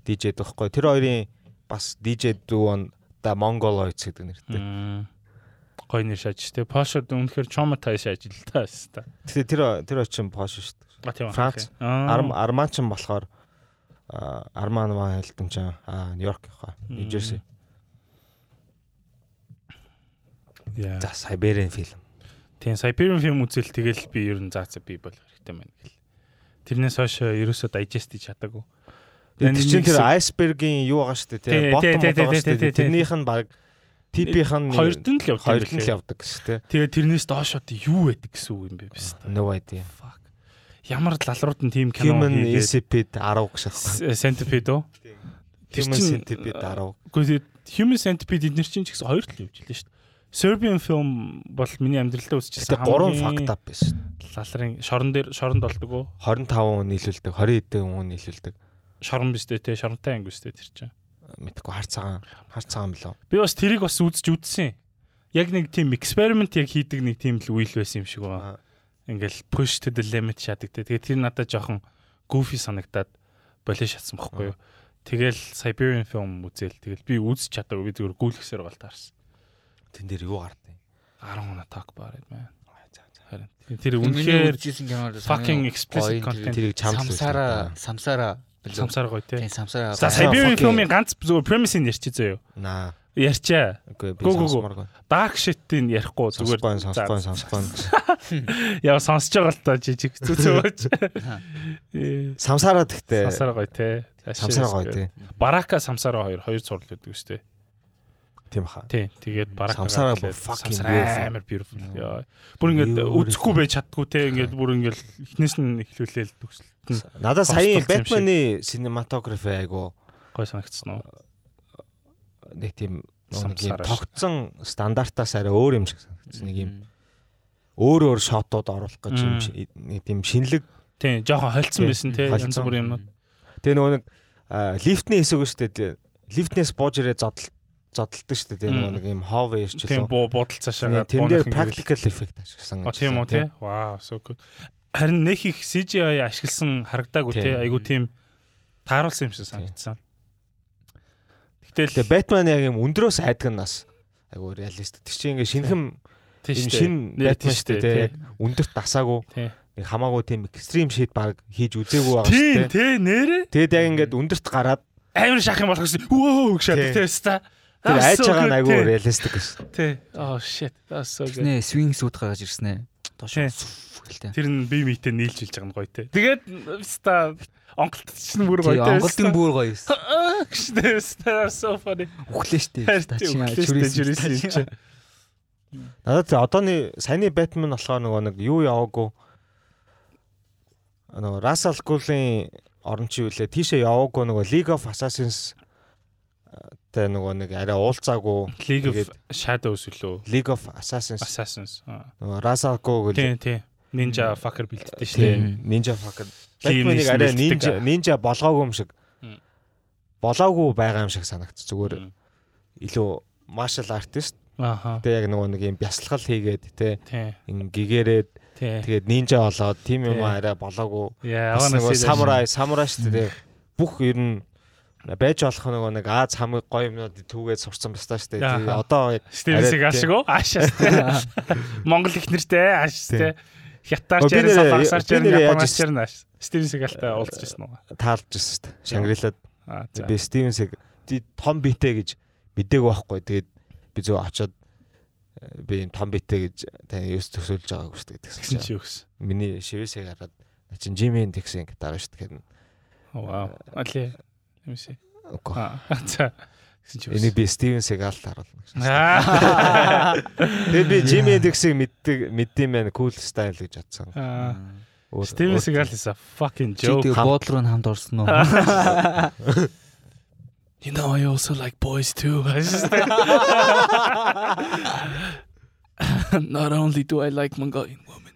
[SPEAKER 2] дижэд байхгүй. Тэр хоёрын бас дижэ дүүн да Монгол ойц гэдэг нэртэй.
[SPEAKER 1] Мм. Гой нэр шааж те. Пошод үнэхээр traumatize ажил та хэвээр.
[SPEAKER 2] Тэгээд тэр тэр очин пош шүү дээ.
[SPEAKER 1] А тийм
[SPEAKER 2] Франц. Арм Арманч нь болохоор аа Арман Ван Хелтен ч аа Нью-Йорк яха. Нью-Джерси.
[SPEAKER 1] Яа.
[SPEAKER 2] За Сайберийн фильм.
[SPEAKER 1] Тийм Siberian film үзэл тэгэл би ер нь заа цаа би бол хэрэгтэй байна гэл. Тэрнээс хойш э, ерөөсөө digest хийж чадаагүй.
[SPEAKER 2] Тэр чинь тэр
[SPEAKER 1] Нэг хэсэг-
[SPEAKER 2] айсбергийн юу байгаа шүү дээ
[SPEAKER 1] Тий,
[SPEAKER 2] тий. Ботом
[SPEAKER 1] тий, тий,
[SPEAKER 2] байгаа шүү
[SPEAKER 1] тий, тий,
[SPEAKER 2] дээ.
[SPEAKER 1] тий.
[SPEAKER 2] Тэрнийх нь баг типийнх нь
[SPEAKER 1] Хоёрд нь л явдаг. юм
[SPEAKER 2] хоёрд нь
[SPEAKER 1] билээ.
[SPEAKER 2] л явдаг шүү дээ.
[SPEAKER 1] Тэгээ тэрнээс доош одоо юу байдаг гэсэн үг юм бэ? Бис.
[SPEAKER 2] No idea.
[SPEAKER 1] Fuck. Ямар лалрууд нь тийм кино
[SPEAKER 2] Human
[SPEAKER 1] хийгээд
[SPEAKER 2] SCP-д 10 гэж
[SPEAKER 1] С-
[SPEAKER 2] байна.
[SPEAKER 1] Centipede үү? Тэр
[SPEAKER 2] Human
[SPEAKER 1] чинь-
[SPEAKER 2] SCP-д 10.
[SPEAKER 1] Гэхдээ Human Centipede эднэр чинь ч гэсэн хоёр тал явж лээ шүү дээ. Serbian film бол миний амьдралдаа
[SPEAKER 2] Гэтэ
[SPEAKER 1] үзчихсэн
[SPEAKER 2] 3 fucked up байсан.
[SPEAKER 1] лалрын шорон дээр шоронд болдог уу?
[SPEAKER 2] 25 хүн нийлүүлдэг, 20 хэдэн хүн нийлүүлдэг.
[SPEAKER 1] Шорон биш дээ те, шоронтой анги биш дээ тэр чинь.
[SPEAKER 2] Мэдхгүй хар цагаан, хар цагаан билүү.
[SPEAKER 1] Би бас тэрийг бас үзэж үзсэн. Яг нэг тийм experiment яг хийдэг нэг тийм л үйл байсан юм шиг байна.
[SPEAKER 2] Аа.
[SPEAKER 1] Ингээл push to the limit шатдаг те. Тэгээ тэр надад жоохон goofy санагдаад болоо шатсан байхгүй юу. Тэгэл Siberian film үзэл. Тэгэл би үзэж чадаагүй. Би зүгээр гүйлгсээр бол таарсан.
[SPEAKER 2] Тэн дээр юу гардаг юм?
[SPEAKER 1] 10 удаа talk about it man.
[SPEAKER 2] Аа, за, за.
[SPEAKER 1] Харин тэр
[SPEAKER 3] Үнэхээр
[SPEAKER 1] үнэхээр
[SPEAKER 3] үзсэн киноор
[SPEAKER 1] fucking explicit content.
[SPEAKER 2] Тэрийг чамд л
[SPEAKER 3] Самсара, самсара. билүү?
[SPEAKER 1] самсаар гоё те.
[SPEAKER 3] Тийм самсара.
[SPEAKER 1] За
[SPEAKER 2] сайн.
[SPEAKER 1] Siberian
[SPEAKER 2] fucking-
[SPEAKER 1] film-ийн ганц зүгээр premise-ийг ярьчих заяа.
[SPEAKER 2] Наа.
[SPEAKER 1] Ярьчаа.
[SPEAKER 2] Үгүй би
[SPEAKER 1] Гү, гү, гү.
[SPEAKER 2] сонсоморгүй.
[SPEAKER 1] Dark shit-ийг ярихгүй зүгээр.
[SPEAKER 2] Сонсохгүй,
[SPEAKER 1] За,
[SPEAKER 2] сонсохгүй, сонсохгүй.
[SPEAKER 1] Яа сонсож байгаа л та жижиг зүцөөж.
[SPEAKER 2] Самсараа гэхдээ
[SPEAKER 1] Самсара Э, гоё те.
[SPEAKER 2] самсараа Э, гоё тий.
[SPEAKER 1] Барака самсара хоёр хоёр цуврал гэдэг үстэй.
[SPEAKER 2] Тийм хаа.
[SPEAKER 1] Тий. Тэгээд барака
[SPEAKER 2] Самсара бол fucking beautiful.
[SPEAKER 1] амар beautiful. Яа. Бүр ингээд
[SPEAKER 2] Beautiful.
[SPEAKER 1] үзэхгүй байж чаддгүй те. Ингээд бүр ингээд эхнээс нь эхлүүлээл төгсөлт нь
[SPEAKER 2] Надад
[SPEAKER 1] Бостолсон юм
[SPEAKER 2] сая
[SPEAKER 1] шиг.
[SPEAKER 2] Batman-ы cinematography айгу
[SPEAKER 1] гоё санагдсан уу?
[SPEAKER 2] нэг тийм нэг юм
[SPEAKER 1] Самсараа ш-
[SPEAKER 2] тогтсон стандартаас арай өөр юм шиг санагдсан. Нэг юм өөр өөр шотууд оруулах гэж юм
[SPEAKER 1] Мм.
[SPEAKER 2] ши- нэг тийм шинэлэг.
[SPEAKER 1] Тий. Жохон холцсон
[SPEAKER 2] Тий,
[SPEAKER 1] байсан те.
[SPEAKER 2] холцсон.
[SPEAKER 1] Янз бүрийн юмнууд.
[SPEAKER 2] Тэгээ нөгөө нэг аа, лифтний хэсэг шүү дээ. тий. Лифтнээс бууж ирээ зодтол зодтолдог шүү дээ. Тэгээ
[SPEAKER 1] Мм.
[SPEAKER 2] нөгөө нэг юм hove ирч
[SPEAKER 1] Тий.
[SPEAKER 2] гэсэн.
[SPEAKER 1] Буу будал цаашаагаа
[SPEAKER 2] Тэр дээр
[SPEAKER 1] буунах юм гээд.
[SPEAKER 2] practical effect ашигласан.
[SPEAKER 1] А
[SPEAKER 2] гэж
[SPEAKER 1] тийм үү
[SPEAKER 2] хэлсэн, тий.
[SPEAKER 1] те. Вау, so good. Харин нэх их CGI ашигласан харагдаагүй
[SPEAKER 2] Тий.
[SPEAKER 1] те. Айгу тийм тааруулсан юм шиг санагдсан. Гэтэл
[SPEAKER 2] Тэгээ Batman яг юм өндрөөс айдган нас. Айгу реалист. Тэр чинь ингээ шинхэн
[SPEAKER 1] тийм
[SPEAKER 2] юм шинэ Batman шүү дээ. тий. Өндөрт дасаагүй.
[SPEAKER 1] Тий.
[SPEAKER 2] Нэг хамаагүй тийм extreme shit баг хийж үзээгүй байгаа шүү
[SPEAKER 1] Тийм
[SPEAKER 2] дээ.
[SPEAKER 1] тий нэрэ
[SPEAKER 2] Тэгээд яг ингээд өндөрт гараад
[SPEAKER 1] амар шах юм болох гэсэн. Вөө гэж шат
[SPEAKER 2] Тий.
[SPEAKER 1] тий ста.
[SPEAKER 2] тэр айж байгаа нь айгу реалистик гэсэн.
[SPEAKER 1] Тий. Oh shit. That's so good.
[SPEAKER 3] Тэснэ swing suit гаргаж ирсэн ээ. Тоош
[SPEAKER 1] Тий.
[SPEAKER 3] гэлтэй.
[SPEAKER 1] Тэр нь би митэ нийлж хэлж байгаа нь гоё тий. Тэгээд ста онголт чинь бүр гоё
[SPEAKER 3] Тэгээ
[SPEAKER 1] тий.
[SPEAKER 3] Монголын бүр гоё юус.
[SPEAKER 1] Гэхдээ ста so funny.
[SPEAKER 3] Үхлээ штэ.
[SPEAKER 1] Харин тий, үхлээстэй
[SPEAKER 3] Чүрээсэн.
[SPEAKER 1] жирээсэн юм чинь.
[SPEAKER 2] Надад зөв одооны саяны Batman болохоор нөгөө нэг юу яваагүй. Нөгөө Russell Crowe-ийн орончи үлээ тийшээ яваагүй нөгөө League of Assassins э, тэ нөгөө нэг арай уулзаагүй.
[SPEAKER 1] League of
[SPEAKER 2] Тэгээд
[SPEAKER 1] Shadows үлээ.
[SPEAKER 2] League of Assassins
[SPEAKER 1] Assassins. аа.
[SPEAKER 2] нөгөө Russell Crowe гэл
[SPEAKER 1] Тий, тий. Ninja
[SPEAKER 2] Hmm.
[SPEAKER 1] fucker бэлддэг шүү дээ.
[SPEAKER 2] тийм Ninja Fucker.
[SPEAKER 1] Тийм,
[SPEAKER 2] Batman-ыг арай
[SPEAKER 1] нэлээд
[SPEAKER 2] Ninja
[SPEAKER 1] бэлддэг.
[SPEAKER 2] Ninja болгоогүй юм шиг.
[SPEAKER 1] Мм.
[SPEAKER 2] Болоогүй байгаа юм шиг санагц. Зүгээр
[SPEAKER 1] Мм.
[SPEAKER 2] илүү martial artist
[SPEAKER 1] Ааха.
[SPEAKER 2] тэ яг нөгөө нэг юм бясалгал хийгээд тэ
[SPEAKER 1] Тий,
[SPEAKER 2] ин гэгэрээд
[SPEAKER 1] тий.
[SPEAKER 2] Тэгээд нинжа болоод тийм юм
[SPEAKER 1] Тий.
[SPEAKER 2] арай болоогүй.
[SPEAKER 1] Яа,
[SPEAKER 2] Бас нөгөө
[SPEAKER 1] нэг
[SPEAKER 2] самурай, самурай шүү дээ. Бүх ер нь байж болох нөгөө нэг Аз хамгийн гоё юмнууд түүгээд сурцсан бастаа шүү дээ.
[SPEAKER 1] Яаха.
[SPEAKER 2] Тэгээд одоо яг
[SPEAKER 1] Стивсиг
[SPEAKER 2] арай-
[SPEAKER 1] ашиг уу? Ашаас тий. Монгол их нэртэй ашаас
[SPEAKER 2] Тий.
[SPEAKER 1] тий. Хятадч
[SPEAKER 2] Өө, би
[SPEAKER 1] ярина,
[SPEAKER 2] нэрээ-
[SPEAKER 1] салбарч
[SPEAKER 2] би
[SPEAKER 1] ярина,
[SPEAKER 2] нэрээ яаж
[SPEAKER 1] японоч
[SPEAKER 2] ирсэн?
[SPEAKER 1] ярина аш. Стивсиг алтай уулзчихсан уу?
[SPEAKER 2] таалж ирсэн шүү дээ. Шангрилаад
[SPEAKER 1] Аа, за.
[SPEAKER 2] би Стивенсиг "Ти том битэ гэж мдэггүй байхгүй. Тэгээд би зөв очоод э, би энэ том битэ гэж тань юус төсөөлж байгаагүй шүү дээ
[SPEAKER 1] Тэгсэн
[SPEAKER 2] гэсэн чинь.
[SPEAKER 1] чи юу гэсэн?
[SPEAKER 2] Миний шивээсээ гараад наа чин Жимэн тэгсэн гэдэг дараа шүү дээ.
[SPEAKER 1] Вау. Али. Юмши.
[SPEAKER 2] Үгүй.
[SPEAKER 1] Аа, за. Тэгсэн чи юу
[SPEAKER 2] Энийг
[SPEAKER 1] гэсэн?
[SPEAKER 2] би Стивенсиг алт харуулна гэсэн.
[SPEAKER 1] Аа.
[SPEAKER 2] Тэгээд би Jimmy Hendrix-ийг мэддэг мэддэм байх cool style гэж бодсон.
[SPEAKER 1] Аа.
[SPEAKER 2] Өөр-
[SPEAKER 1] Стивсиг
[SPEAKER 2] өөр-
[SPEAKER 1] алтай са fucking
[SPEAKER 3] Чи
[SPEAKER 1] joke.
[SPEAKER 3] тэг
[SPEAKER 2] хам-
[SPEAKER 3] буудлын руу хамт орсон уу?
[SPEAKER 1] You know I also like boys too. Not only do I like Mongolian women,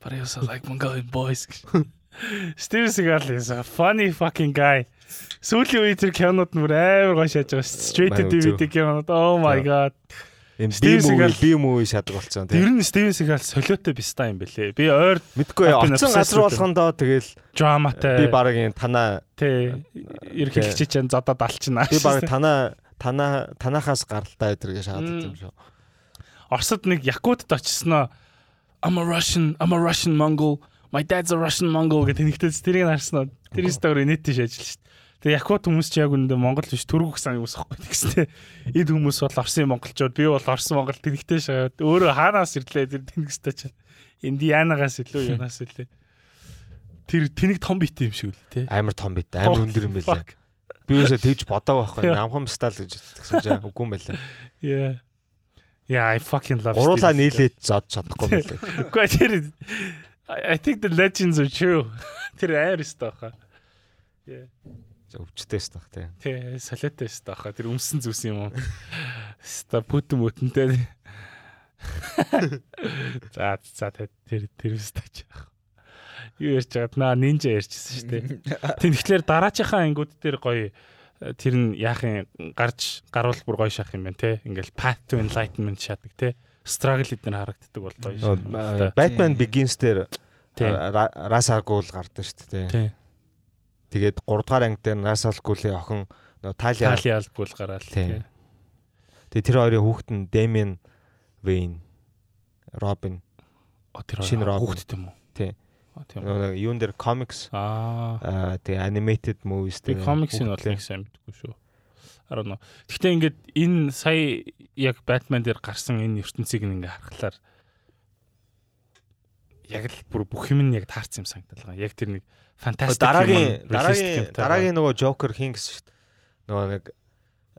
[SPEAKER 1] but I also like Mongolian boys. Steven Seagal is a funny fucking guy. Сүүлийн үе тэр кинонууд нь бүр амар гоё шааж байгаа. шүү. Straight to
[SPEAKER 2] Манай
[SPEAKER 1] DVD
[SPEAKER 2] үзүү.
[SPEAKER 1] кинонууд. Oh my god.
[SPEAKER 2] Ийм
[SPEAKER 1] Steven
[SPEAKER 2] би муу
[SPEAKER 1] Seagal-
[SPEAKER 2] би муу шадаг болсон
[SPEAKER 1] Ер
[SPEAKER 2] тийм.
[SPEAKER 1] нь Steven Seagal солиотой биста юм бэлээ. Би ойр
[SPEAKER 2] Мэдгүй
[SPEAKER 1] I've been
[SPEAKER 2] оцсон
[SPEAKER 1] obsessed with
[SPEAKER 2] газар
[SPEAKER 1] him.
[SPEAKER 2] болгондоо тэгэл би
[SPEAKER 1] драматай
[SPEAKER 2] баг ин танаа
[SPEAKER 1] тий ерх
[SPEAKER 2] тий.
[SPEAKER 1] хэлчих чинь задад алчна.
[SPEAKER 2] би баг танаа танаа танахаас гаралтай өдр гэж шаадаг
[SPEAKER 1] Мм.
[SPEAKER 2] юм шүү.
[SPEAKER 1] Оросд нэг Якутд очсноо I'm a Russian, I'm a Russian Mongol. My dad's a Russian Mongol гэдэг нэгтээс тэрийг нарснаа. Тэр стори нийт тийш ажиллаж шít. Тэгээ Якут хүмүүс ч яг үндэ Монгол биш түргүүх сан хүмүүс واخхой тэгснэ. Эд хүмүүс бол Оросын монголчууд, би бол Орос монгол тэнхтэй шахаад өөрөө хаанаас ирлээ тэр тэнхстэй чинь. Индианагаас илүү юунаас илүү. Тэр тэнэг том бит юм шиг үл тээ.
[SPEAKER 2] Амар том бит, амар өндөр юм байлаа. Би юусаа тэгж бодоагүй байхгүй.
[SPEAKER 1] Yeah.
[SPEAKER 2] Намхан стайл гэж бодсон чинь үгүй юм байлаа.
[SPEAKER 1] Yeah. Yeah, I fucking love.
[SPEAKER 2] Гуруулаа
[SPEAKER 1] Steven Seagal.
[SPEAKER 2] нийлээд зод чадахгүй байлаа.
[SPEAKER 1] Гэхдээ тэр I, I think the legends are true. Тэр аир стаха. Yeah.
[SPEAKER 2] Өвчтэй шнах тий.
[SPEAKER 1] Тэ солиотой шүү дээ. Тэр өмсөн зүс юм уу? Ста бүтэн бүтэнтэй. За за тэ- тэр тэр үстэж яах. Юу ярьж байгаад наа нинжа ярьчихсан шүү дээ. Тэг тэгэхээр дараачийнхаа ангууд дээр гоё э, тэр нь яахын гарч гарвал бүр гоё шах юм байна те. Ингээл path to enlightenment шатдаг те. Struggle эдгээр харагддаг бол гоё
[SPEAKER 2] Нөө,
[SPEAKER 1] шах.
[SPEAKER 2] а, Batman Begins дээр
[SPEAKER 1] Тий.
[SPEAKER 2] Расагул гардаг шүү дээ. тий.
[SPEAKER 1] Тий.
[SPEAKER 2] Тэгээд 3 дугаар анги дээр Расагулын охин нөө Талия.
[SPEAKER 1] Тали албгүй л гараал те.
[SPEAKER 2] Тий. Тэгээд тэр хоёрын хүүхэд нь Damien Wayne Robin
[SPEAKER 1] О тэр
[SPEAKER 2] Шинэ
[SPEAKER 1] хоёр
[SPEAKER 2] Робин.
[SPEAKER 1] хүүхэд юм уу?
[SPEAKER 2] Тий.
[SPEAKER 1] О, тийм үү?
[SPEAKER 2] нөө юун дээр comics
[SPEAKER 1] Аа.
[SPEAKER 2] аа тэгээ animated movies
[SPEAKER 1] Би
[SPEAKER 2] дээр
[SPEAKER 1] комиксын бол нэг сайн мэдгүй шүү. I don't know. Гэхдээ ингээд энэ сая яг Batman дээр гарсан энэ ертөнцийг нь ингээд харахаар яг л бүр бүх юм нь яг таарсан юм санагдал байгаа. Яг тэр нэг фантастик
[SPEAKER 2] дараагийн
[SPEAKER 1] юм, realistic
[SPEAKER 2] дараагийн
[SPEAKER 1] юмтай
[SPEAKER 2] дараагийн нөгөө Joker хийн гэсэн шүү дээ. Нөгөө нэг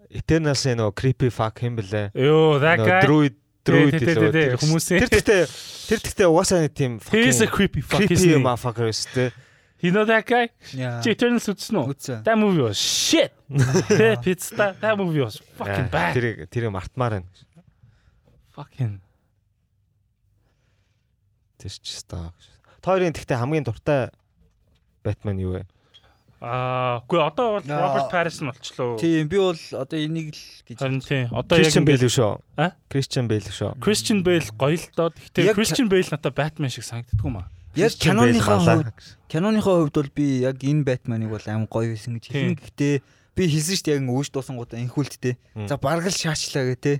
[SPEAKER 2] Eternals-ийн нөгөө creepy fuck хэм
[SPEAKER 1] байгаа.
[SPEAKER 2] блэ.
[SPEAKER 1] Йоо, that
[SPEAKER 2] Нөгөө
[SPEAKER 1] guy.
[SPEAKER 2] druid druid
[SPEAKER 1] Тэ, тэ, тэ,
[SPEAKER 2] илүү.
[SPEAKER 1] тэ,
[SPEAKER 2] Тэр
[SPEAKER 1] хүмүүсийн-
[SPEAKER 2] Тэр гэхдээ тэр гэхдээ угаасаа нэг тийм
[SPEAKER 1] He's a
[SPEAKER 2] fucking
[SPEAKER 1] creepy fuck.
[SPEAKER 2] creepy
[SPEAKER 1] Creepy ma. Ah.
[SPEAKER 2] motherfucker шүү дээ.
[SPEAKER 1] You know that guy?
[SPEAKER 3] Яа.
[SPEAKER 1] Чи Eternals үзсэн үү?
[SPEAKER 3] Үзсэн.
[SPEAKER 1] That movie was shit. Тэ пицца that movie was fucking
[SPEAKER 2] Аа,
[SPEAKER 1] bad.
[SPEAKER 2] Тэрийг тэрийг мартмаар байна.
[SPEAKER 1] Fucking
[SPEAKER 2] Тэр ч ёстой. Тойрын гэхдээ хамгийн дуртай Batman юу вэ?
[SPEAKER 1] аа, үгүй одоо бол
[SPEAKER 3] Наа.
[SPEAKER 1] Robert Pattinson болчлоо.
[SPEAKER 3] Тийм би бол одоо энийг л гэж
[SPEAKER 1] Харин тийм. Одоо яг
[SPEAKER 2] Christian
[SPEAKER 1] ингээд
[SPEAKER 2] Bale шүү.
[SPEAKER 1] А?
[SPEAKER 2] Christian Bale шүү.
[SPEAKER 1] Christian Bale гоё л доо. Гэхдээ
[SPEAKER 3] Яг-
[SPEAKER 1] Christian Bale надад Batman шиг санагддаг юм аа.
[SPEAKER 3] яг
[SPEAKER 2] Christian Bale
[SPEAKER 3] киноныхаа
[SPEAKER 2] балаа.
[SPEAKER 3] хувьд киноныхаа хувьд бол би яг энэ Бэтменыг бол аим гоё байсан гэж
[SPEAKER 1] Тийм.
[SPEAKER 3] хэлэн гэхдээ би хэлсэн шүү дээ яг өөж дуусангуудаа энхүүлттэй.
[SPEAKER 2] Мм.
[SPEAKER 3] За баргал шаачлаа гэ тэ.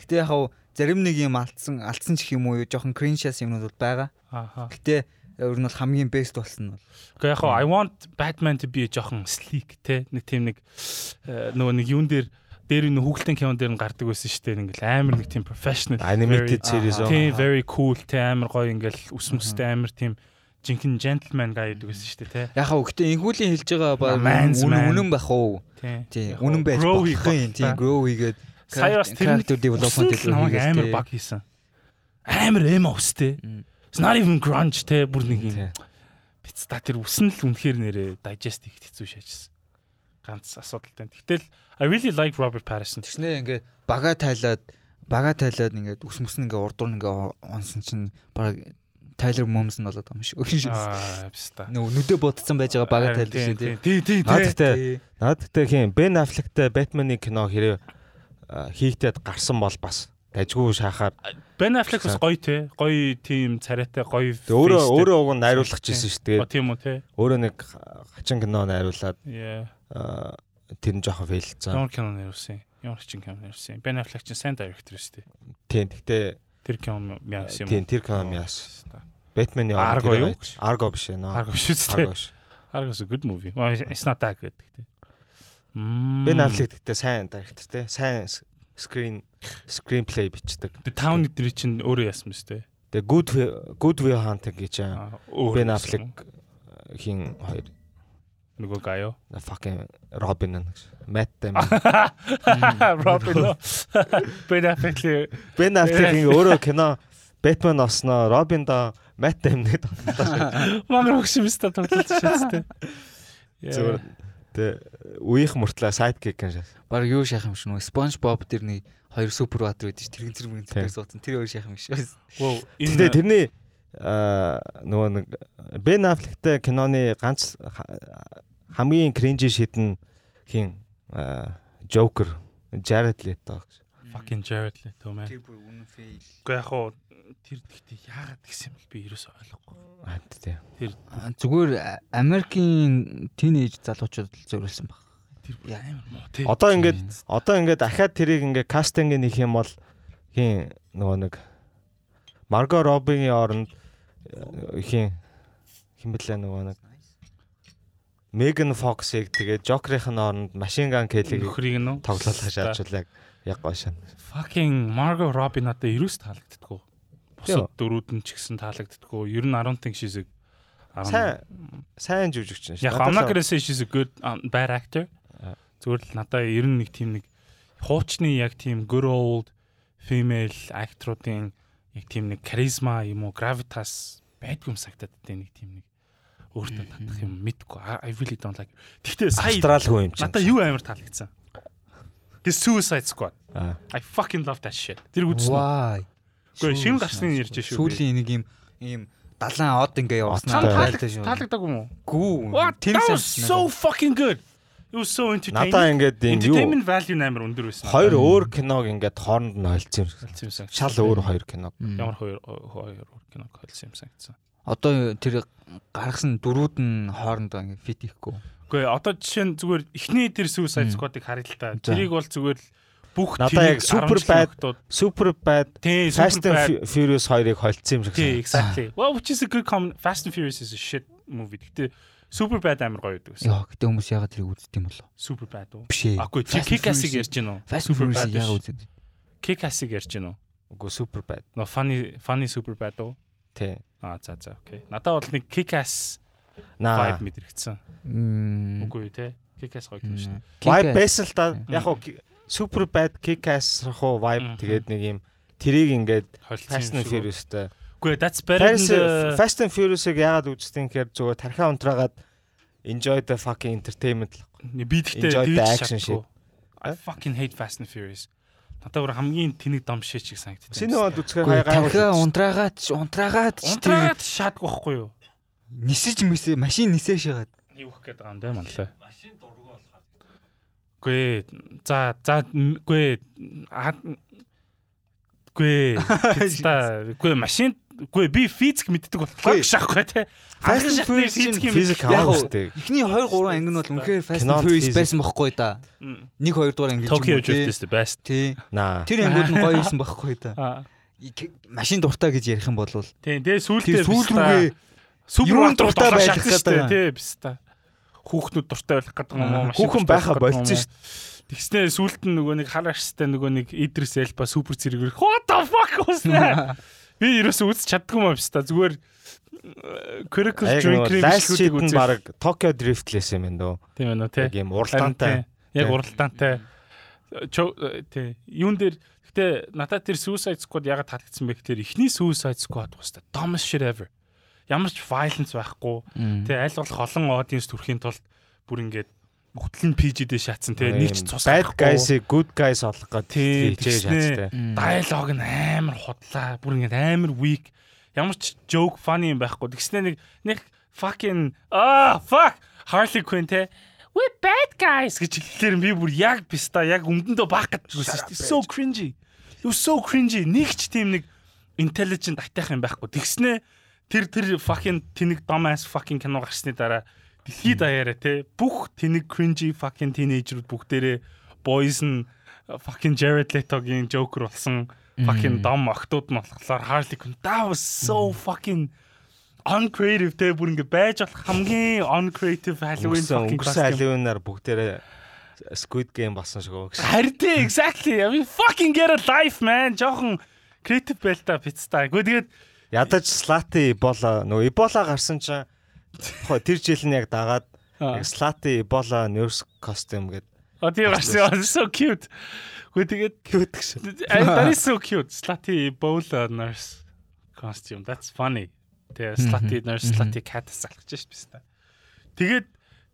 [SPEAKER 3] Гэтэ яг хав зарим нэг юм алдсан алдсан ч их юм уу жоохон криншас юмнууд бол байгаа.
[SPEAKER 1] Ааха.
[SPEAKER 3] Гэтэ ер нь бол хамгийн best болсон нь бол
[SPEAKER 1] Гэхдээ яг хоо I want Batman to be a жоохон sleek те нэг тийм нэг э, нөгөө нэг юун дээр дээр нь хүүхэлдэйн кинон дээр нь гардаг байсан шүү дээ. Ингээл амар нэг тийм professional
[SPEAKER 2] Animated series
[SPEAKER 1] very- Ah,
[SPEAKER 2] оо.
[SPEAKER 1] Тийм very cool те амар гоё ингээл ус мөстэй амар тийм жинхэнэ gentleman guy гэдэг байсан шүү дээ те.
[SPEAKER 3] яг хав гэтэ энхүүлийн хэлж байгаа ба
[SPEAKER 1] Man's man.
[SPEAKER 3] үнэн үнэн байх уу?
[SPEAKER 1] Тийм.
[SPEAKER 3] Тийм
[SPEAKER 1] Яг
[SPEAKER 3] үнэн
[SPEAKER 1] хоо,
[SPEAKER 3] байж
[SPEAKER 1] grow
[SPEAKER 3] болох юм.
[SPEAKER 1] хийх
[SPEAKER 3] Тийм
[SPEAKER 1] байх.
[SPEAKER 3] grow хийгээд
[SPEAKER 1] Сая бас тэр нэг
[SPEAKER 3] character development
[SPEAKER 1] Усанд л намайг
[SPEAKER 3] хийгээд,
[SPEAKER 1] амар
[SPEAKER 3] тэ.
[SPEAKER 1] баг хийсэн. Амар эмо ус те.
[SPEAKER 3] Мм.
[SPEAKER 1] It's not even grunge те бүр нэг юм.
[SPEAKER 2] Тий.
[SPEAKER 1] Пицца тэр үсэн л үнэхээр нэрээ digest их хэцүү шаажсан. Ганц асуудалтай. Гэтэл I really like Robert Pattinson.
[SPEAKER 3] Тэгснээ ингээд бага тайлаад бага тайлаад ингээд ус мөснө ингээд урд нь ингээд онсон чинь баг тайлер момс нь болоод байгаа юм шиг.
[SPEAKER 1] Аа, пста.
[SPEAKER 3] Нөө нүдэ бодсон байж байгаа бага тайл шүү дээ.
[SPEAKER 1] Тий, тий,
[SPEAKER 2] Наад
[SPEAKER 1] тий.
[SPEAKER 2] гэхдээ Наад гэхдээ хин Бен Аффлектэй Батманы кино хэрэг хийгдээд гарсан бол бас дажгүй шахаар
[SPEAKER 1] Ben Affleck бас гоё те. Гоё team царайтай гоё.
[SPEAKER 2] Тэ өөрөө
[SPEAKER 1] faceтэй.
[SPEAKER 2] өөрөө уг нь найруулах гэсэн шүү
[SPEAKER 1] Оо,
[SPEAKER 2] дээ. Тэгээд
[SPEAKER 1] тийм үү те.
[SPEAKER 2] өөрөө нэг ха- хачин кино найруулад
[SPEAKER 1] Yeah.
[SPEAKER 2] а, тэр нь жоохон фейлцсан.
[SPEAKER 1] Ямар кино нэрвсэн? Ямар чин кино нэрвсэн? Ben Affleck чин сайн director шүү дээ.
[SPEAKER 2] Тийм гэхдээ
[SPEAKER 1] Тэр кино мяс юм.
[SPEAKER 2] тийм тэр кино яас. Батманы
[SPEAKER 1] Argo юу?
[SPEAKER 2] Арго биш ээ. нөө.
[SPEAKER 1] Харгав шүү дээ.
[SPEAKER 2] Argo биш.
[SPEAKER 1] Харгав шүү good movie. Well, It's not that good Mm. гэдэг. Мм.
[SPEAKER 2] Бен Аффлек гэхдээ сайн дайректор те. Сайн с- screen screenplay бичдэг.
[SPEAKER 1] The Town эдгээр чинь өөрөө яссан биз дээ.
[SPEAKER 2] Тэгээ Good Will- Good Will Hunting гэж аа,
[SPEAKER 1] Аа, өөрөө
[SPEAKER 2] Бен
[SPEAKER 1] яссан
[SPEAKER 2] Аффлек
[SPEAKER 1] юм.
[SPEAKER 2] э, хин хоёр
[SPEAKER 1] нөгөө гаяо.
[SPEAKER 2] fucking Robin нэ гэж. Matt Damon.
[SPEAKER 1] Робин нөө. Бен Аффлек
[SPEAKER 2] Бен Аффлекийн өөрөө кино Бэтмен осноо, Робин до Мат Дэмнэд
[SPEAKER 1] Манай хөшм ста тоглож шээстэй.
[SPEAKER 2] зүгээр тэ үеийнх мөртлөө сайдкик гэж.
[SPEAKER 3] Баг юу шахах юм шиг нөө SpongeBob тэр нэг хоёр супер баатар байдаг шүү. Тэрэн зэрэг
[SPEAKER 2] Тийм.
[SPEAKER 3] зэрэг суудсан. Тэр хоёр шахах юм шиг.
[SPEAKER 1] Воо.
[SPEAKER 2] Гэтэ тэрний аа, нөгөө нэг Бен Аффлектэй киноны ганц ха- хамгийн кринжи шидэн хин Джокер Jared Leto гэж.
[SPEAKER 1] fucking Jared Leto man.
[SPEAKER 3] бүр үнэн фейл.
[SPEAKER 1] Уу яг хуу тэр гэхдээ яагаад гэсэн юм бэ? Би ерөөсөө ойлгохгүй.
[SPEAKER 2] Аа тий.
[SPEAKER 3] Зүгээр а- Америкийн тинейж залуучууд л зориулсан баг.
[SPEAKER 1] Тэр бүр амар муу тий.
[SPEAKER 2] Одоо ингээд одоо ингээд ахаад тэрийг ингээд кастинг нэх юм бол хин нөгөө нэг Марго Робигийн оронд э, хин хин блэ нөгөө нэг Меган Фоксыг тэгээд Жокерийн оронд машин ган келийг
[SPEAKER 1] нөхрийг нь үү?
[SPEAKER 2] тоглоулах шаардлагатай яг яг гоё шин.
[SPEAKER 1] Fucking Margot Robbie надад ерөөс таалагддаггүй.
[SPEAKER 2] Йоо.
[SPEAKER 1] Бусад дөрүүд нь ч гэсэн таалагддаггүй. Ер нь 10 тэн шисэг.
[SPEAKER 2] Сайн сайн жүжигч нь шүү.
[SPEAKER 1] Яг I'm not gonna say she's a good um, bad actor.
[SPEAKER 2] Аа.
[SPEAKER 1] Зүгээр л надаа ер нь нэг тийм нэг хуучны яг тийм good old female actor-уудын яг тийм нэг charisma юм уу gravitas байдгүй юм санагдаад тэ нэг тийм нэг өөртөө татах юм мэдгүй. I I really don't like. Гэхдээ сая
[SPEAKER 2] Австралгүй юм чинь.
[SPEAKER 1] надаа юу амар таалагдсан. His Suicide Squad.
[SPEAKER 2] Аа.
[SPEAKER 1] I fucking love that shit. Тэр үзсэн.
[SPEAKER 3] Why?
[SPEAKER 1] Үгүй шинэ гарсны ярьж шүү.
[SPEAKER 3] Сүүлийн нэг юм ийм далайн од ингээ явсан.
[SPEAKER 2] Чам
[SPEAKER 1] Таалагд-
[SPEAKER 3] байлтай шүү.
[SPEAKER 1] Таалагдаагүй юм уу?
[SPEAKER 3] Гүү.
[SPEAKER 1] What? That was
[SPEAKER 3] санагдана.
[SPEAKER 1] so fucking good. It was so entertaining.
[SPEAKER 2] Надаа ингээд юм юу
[SPEAKER 1] entertainment value нээр өндөр байсан.
[SPEAKER 2] хоёр өөр киног ингээд хооронд нь холцсон юм шиг.
[SPEAKER 1] Хэлсэн юм санагдсан.
[SPEAKER 2] Шал өөр хоёр кино.
[SPEAKER 3] Мм.
[SPEAKER 1] Ямар хоёр хоёр өөр киног хэлсэн юм санагдсан.
[SPEAKER 3] Одоо тэр гаргасан дөрүүд нь хоорондоо ингээ фит ихгүй.
[SPEAKER 1] Үгүй ээ, одоо жишээ нь зүгээр эхний тэр Suicide Squad-ыг харъя л та.
[SPEAKER 2] За.
[SPEAKER 1] Тэрийг бол зүгээр л бүх
[SPEAKER 2] Надаа яг супер байд- Супер Bad,
[SPEAKER 1] тий
[SPEAKER 2] Fast
[SPEAKER 1] супер
[SPEAKER 2] and
[SPEAKER 1] байд
[SPEAKER 2] Fu- Furious хоёрыг холцсон юм шиг.
[SPEAKER 1] Тий,
[SPEAKER 2] санагдав.
[SPEAKER 1] exactly. Well, which is a good comment. Fast and Furious is a shit movie. Гэтэ супер байд амар гоё гэдэг гэсэн.
[SPEAKER 3] Яа, гэтээ хүмүүс яагаад тэрийг үздэг юм болов?
[SPEAKER 1] Супер байд уу?
[SPEAKER 3] Биш ээ.
[SPEAKER 1] Агүй, чи
[SPEAKER 3] Fast and
[SPEAKER 1] Kick-Ass-ыг
[SPEAKER 3] Furious-
[SPEAKER 1] ярьж гин үү?
[SPEAKER 3] Fast and Furious яагаад үздэг?
[SPEAKER 1] Kick-Ass-ыг ярьж гин үү?
[SPEAKER 2] Үгүй Super Bad.
[SPEAKER 1] Но funny funny super байд уу?
[SPEAKER 2] Тий.
[SPEAKER 1] А за за окей. Надаа бол нэг Kick-Ass
[SPEAKER 2] Наа.
[SPEAKER 1] vibe мэдрэгдсэн.
[SPEAKER 3] Мм.
[SPEAKER 1] Үгүй юу, те. Kick-Ass гоё юм шүү.
[SPEAKER 2] Vibe
[SPEAKER 3] Kick-Ass.
[SPEAKER 2] байсан л да. Яг уу Super Bad, Kick-Ass хуу
[SPEAKER 1] Мгм.
[SPEAKER 2] vibe тэгээд нэг юм тэрийг ингээд Fast
[SPEAKER 1] Холцсон
[SPEAKER 2] and
[SPEAKER 1] юм шиг.
[SPEAKER 2] Furious-тэй
[SPEAKER 1] Үгүй, that's better
[SPEAKER 2] Paris-
[SPEAKER 1] than the-
[SPEAKER 2] Fast and Furious-ыг яагаад үзтiin гэхээр зүгээр тархиа унтраагаад enjoy the fucking entertainment л байхгүй.
[SPEAKER 1] Би тэгтээ
[SPEAKER 2] Enjoy the
[SPEAKER 1] тэгж
[SPEAKER 2] action
[SPEAKER 1] чадахгүй. I fucking hate Fast and Furious. Надад бүр хамгийн тэнэг дам шээ чиг санагдчихсан.
[SPEAKER 2] Синемад үзэхээр
[SPEAKER 3] Гүү, Танхаа
[SPEAKER 2] гайхалтай.
[SPEAKER 3] унтраагаад ч- унтраагаад ч тэр
[SPEAKER 1] Унтраад шаадгүй байхгүй юу?
[SPEAKER 3] нисэж мэсэ машин нисэж шагаад.
[SPEAKER 1] Юу гэх гээд байгаа юм бэ манлаа. Машин дургу болохоо. Гүй за за м, гүй аа, гүй та гүй машин гүй би физик мэддэг болохоор
[SPEAKER 3] Гүй.
[SPEAKER 1] шахгүй те. Анх
[SPEAKER 3] and
[SPEAKER 1] шатны
[SPEAKER 3] Furious-ийн
[SPEAKER 1] физик юм.
[SPEAKER 2] Физик
[SPEAKER 3] Яг уу.
[SPEAKER 2] хамаагүй шүү дээ.
[SPEAKER 3] Эхний 2 3 анги нь бол үнэхээр Fast and
[SPEAKER 2] Кинонд
[SPEAKER 3] Furious
[SPEAKER 2] physics.
[SPEAKER 3] байсан байхгүй да.
[SPEAKER 1] Мм.
[SPEAKER 3] 1 2 дугаар анги
[SPEAKER 1] Tokyo Drift is the best.
[SPEAKER 3] Тий.
[SPEAKER 2] Наа.
[SPEAKER 3] Тэр ангууд нь гоё байсан байхгүй да.
[SPEAKER 1] Аа.
[SPEAKER 3] Машин дуртай гэж ярих юм бол
[SPEAKER 1] Тийм тэгээ
[SPEAKER 3] тэр
[SPEAKER 1] сүүлдээ
[SPEAKER 3] сүүл рүүгээ
[SPEAKER 1] супер
[SPEAKER 3] юун
[SPEAKER 1] батруу
[SPEAKER 3] дуртай
[SPEAKER 1] дуртай
[SPEAKER 3] байх
[SPEAKER 1] байх
[SPEAKER 3] гэдэг юм.
[SPEAKER 1] гэдэг тий бис та. Хүүхнүүд дуртай байх гэдэг юм уу? машин
[SPEAKER 2] Хүүхэн
[SPEAKER 1] дуртай байх
[SPEAKER 2] байха
[SPEAKER 1] гэдэг юм уу?
[SPEAKER 2] болцсон шүү.
[SPEAKER 1] Тэгснээр сүулт нь нөгөө нэг хар арстай нөгөө нэг Идрис Элба супер зэрэг what the fuck уснаа. Би ерөөсөө үзэж чаддгүй юм байна та зүгээр э, critical
[SPEAKER 2] дээ. Яг
[SPEAKER 1] drink
[SPEAKER 2] нөгөө Last
[SPEAKER 1] review-ийг
[SPEAKER 2] Shit-ийн
[SPEAKER 1] үзээ.
[SPEAKER 2] баг Tokyo Drift лээс юм байна дөө.
[SPEAKER 1] Тийм байна уу тий.
[SPEAKER 2] Яг юм
[SPEAKER 1] Харин
[SPEAKER 2] уралдаантай.
[SPEAKER 1] тий. Яг
[SPEAKER 2] Тий.
[SPEAKER 1] уралдаантай. Э, чо- э, Тий. Юун дээр гэтээ надад тэр Suicide Squad ягаад таалагдсан бэ гэхээр эхний Suicide Squad уустай dumbest shit ever. Ямар ч violence байхгүй.
[SPEAKER 3] л
[SPEAKER 1] Тий аль болох олон audience төрхийн тулд бүр ингээд бүтлэн PG-дээ шаатсан тий. Нэг ч цус гарахгүй.
[SPEAKER 2] Bad guys-ийг good guys олох
[SPEAKER 1] Тий,
[SPEAKER 2] гэдэг хичээж
[SPEAKER 1] тэгснээ.
[SPEAKER 2] шаацтай.
[SPEAKER 1] диалог нь амар худлаа бүр ингэ амар weak ямар ч joke funny юм байхгүй тэгснэ нэг нэг fucking ah fuck Harley Quinn те we bad guys гэж хэлэхээр би бүр яг писта яг өмдөндөө баах гэж үзсэн шүү дээ so cringy it was so cringy нэг ч тийм нэг intelligent атайх юм байхгүй тэгснэ тэр тэр fucking тэнэг dumbass fucking кино гарсны дараа дэлхий даяараа те бүх тэнэг cringy fucking teenager-ууд бүгдээрээ boys нь э, fucking Jared Leto-гийн Joker болсон fucking дом охтууд нь болохоор Harley Quinn that was so fucking uncreative те бүр ингэ байж болох хамгийн uncreative Halloween
[SPEAKER 2] Өнгөрсөн
[SPEAKER 1] fucking
[SPEAKER 2] өнгөрсөн
[SPEAKER 1] costume.
[SPEAKER 2] Halloween-аар бүгдээрээ Squid Game болсон шүү гэх.
[SPEAKER 1] Харин exactly I mean fucking get a life man жоохон creative байл та пиццтай. Гэхдээ тэгээд
[SPEAKER 2] Ядаж Slati Ebola нөгөө Ebola гарсан чинь тухай тэр жил нь яг дагаад
[SPEAKER 1] Аа.
[SPEAKER 2] яг Slati Ebola nurse costume гэдэг
[SPEAKER 1] одоо гарсан so cute. Гэхдээ тэгээд
[SPEAKER 2] cute гэсэн.
[SPEAKER 1] And that is so cute. Slutty bowler nurse costume. That's funny. Тэгээ slutty nurse, slutty cat залгаж шв биш та. Тэгээд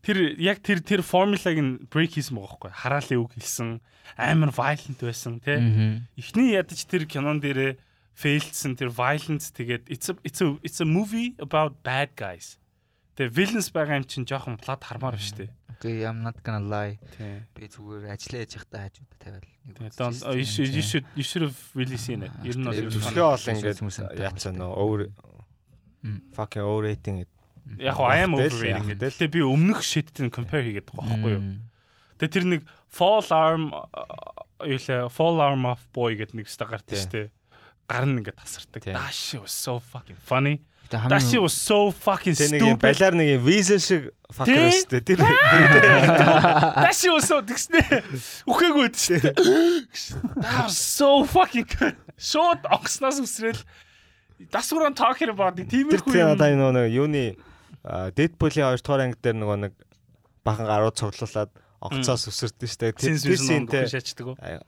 [SPEAKER 1] тэр яг тэр тэр формулагийг нь break хийсэн байгаа байхгүй. Хараалын үг хэлсэн, амар violent байсан тий. Эхний ядаж тэр кинон дээрээ failдсэн тэр violence тэгээд it's a it's a it's a movie about bad guys. Тэгээ villains байгаа юм чинь жоохон плат хармаар биш тий.
[SPEAKER 3] Окей, I'm not gonna lie.
[SPEAKER 1] Тий.
[SPEAKER 3] Би зүгээр ажиллаа яж явахдаа хажууд тавиал.
[SPEAKER 1] Тэгээ don't- oh, you should you should you should have really seen it. Ер нь бол it was funny.
[SPEAKER 2] Төсгөө ол ингээд
[SPEAKER 3] Хүмүүс энэ
[SPEAKER 2] яатсан нөө over
[SPEAKER 3] Мм.
[SPEAKER 2] fucking overrating гэдэг.
[SPEAKER 1] Яг хоо I am
[SPEAKER 2] Тэл,
[SPEAKER 1] overrated
[SPEAKER 2] яг
[SPEAKER 1] гэдэг. Гэтэ би өмнөх shit-тэй нь compare хийгээд байгаа байхгүй юу. Тэгээ тэр нэг fall arm а, юу лээ fall arm of boy гэдэг нэг ста гардаг
[SPEAKER 2] Тий.
[SPEAKER 1] шүү дээ. Гар нь ингээд тасардаг.
[SPEAKER 2] Тий.
[SPEAKER 1] That shit was so fucking funny.
[SPEAKER 3] Тэгээ
[SPEAKER 1] That
[SPEAKER 3] хамгийн
[SPEAKER 1] shit was so fucking
[SPEAKER 2] Тэ нэг юм
[SPEAKER 1] stupid.
[SPEAKER 2] балиар нэг юм визэл шиг
[SPEAKER 1] Тий?
[SPEAKER 2] fucker өстэй тэр.
[SPEAKER 1] That shit was so тэгснэ. Үхээгүй байд шүү дээ. That was so fucking good. Шууд онгоснаас үсрээл дасвран talking about нэг
[SPEAKER 2] Тэр
[SPEAKER 1] тиймэрхүү
[SPEAKER 2] тэр
[SPEAKER 1] юм.
[SPEAKER 2] надаа нөгөө нэг юуны а, Deadpool-ийн 2 дугаар анги дээр нөгөө нэг бахан гарууд цуглуулад онцоос өсөрдөн штэ.
[SPEAKER 1] Син
[SPEAKER 2] Тэр тэр
[SPEAKER 1] син
[SPEAKER 2] синтэй
[SPEAKER 1] дөхөж ячдаг.
[SPEAKER 2] а,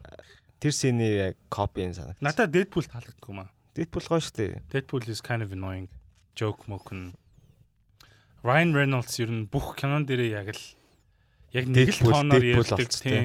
[SPEAKER 2] тэр синий яг копи энэ санагт.
[SPEAKER 1] Надаа Deadpool таалагдгүй маа.
[SPEAKER 2] Deadpool гоё штэ.
[SPEAKER 1] Deadpool is kind of annoying. joke mock нь Ryan Reynolds ер нь бүх кинон дээрээ яг л яг нэг л
[SPEAKER 2] Deadpool-
[SPEAKER 1] тоноор
[SPEAKER 2] Deadpool
[SPEAKER 1] ярьдаг
[SPEAKER 2] болцсон,
[SPEAKER 1] тийм.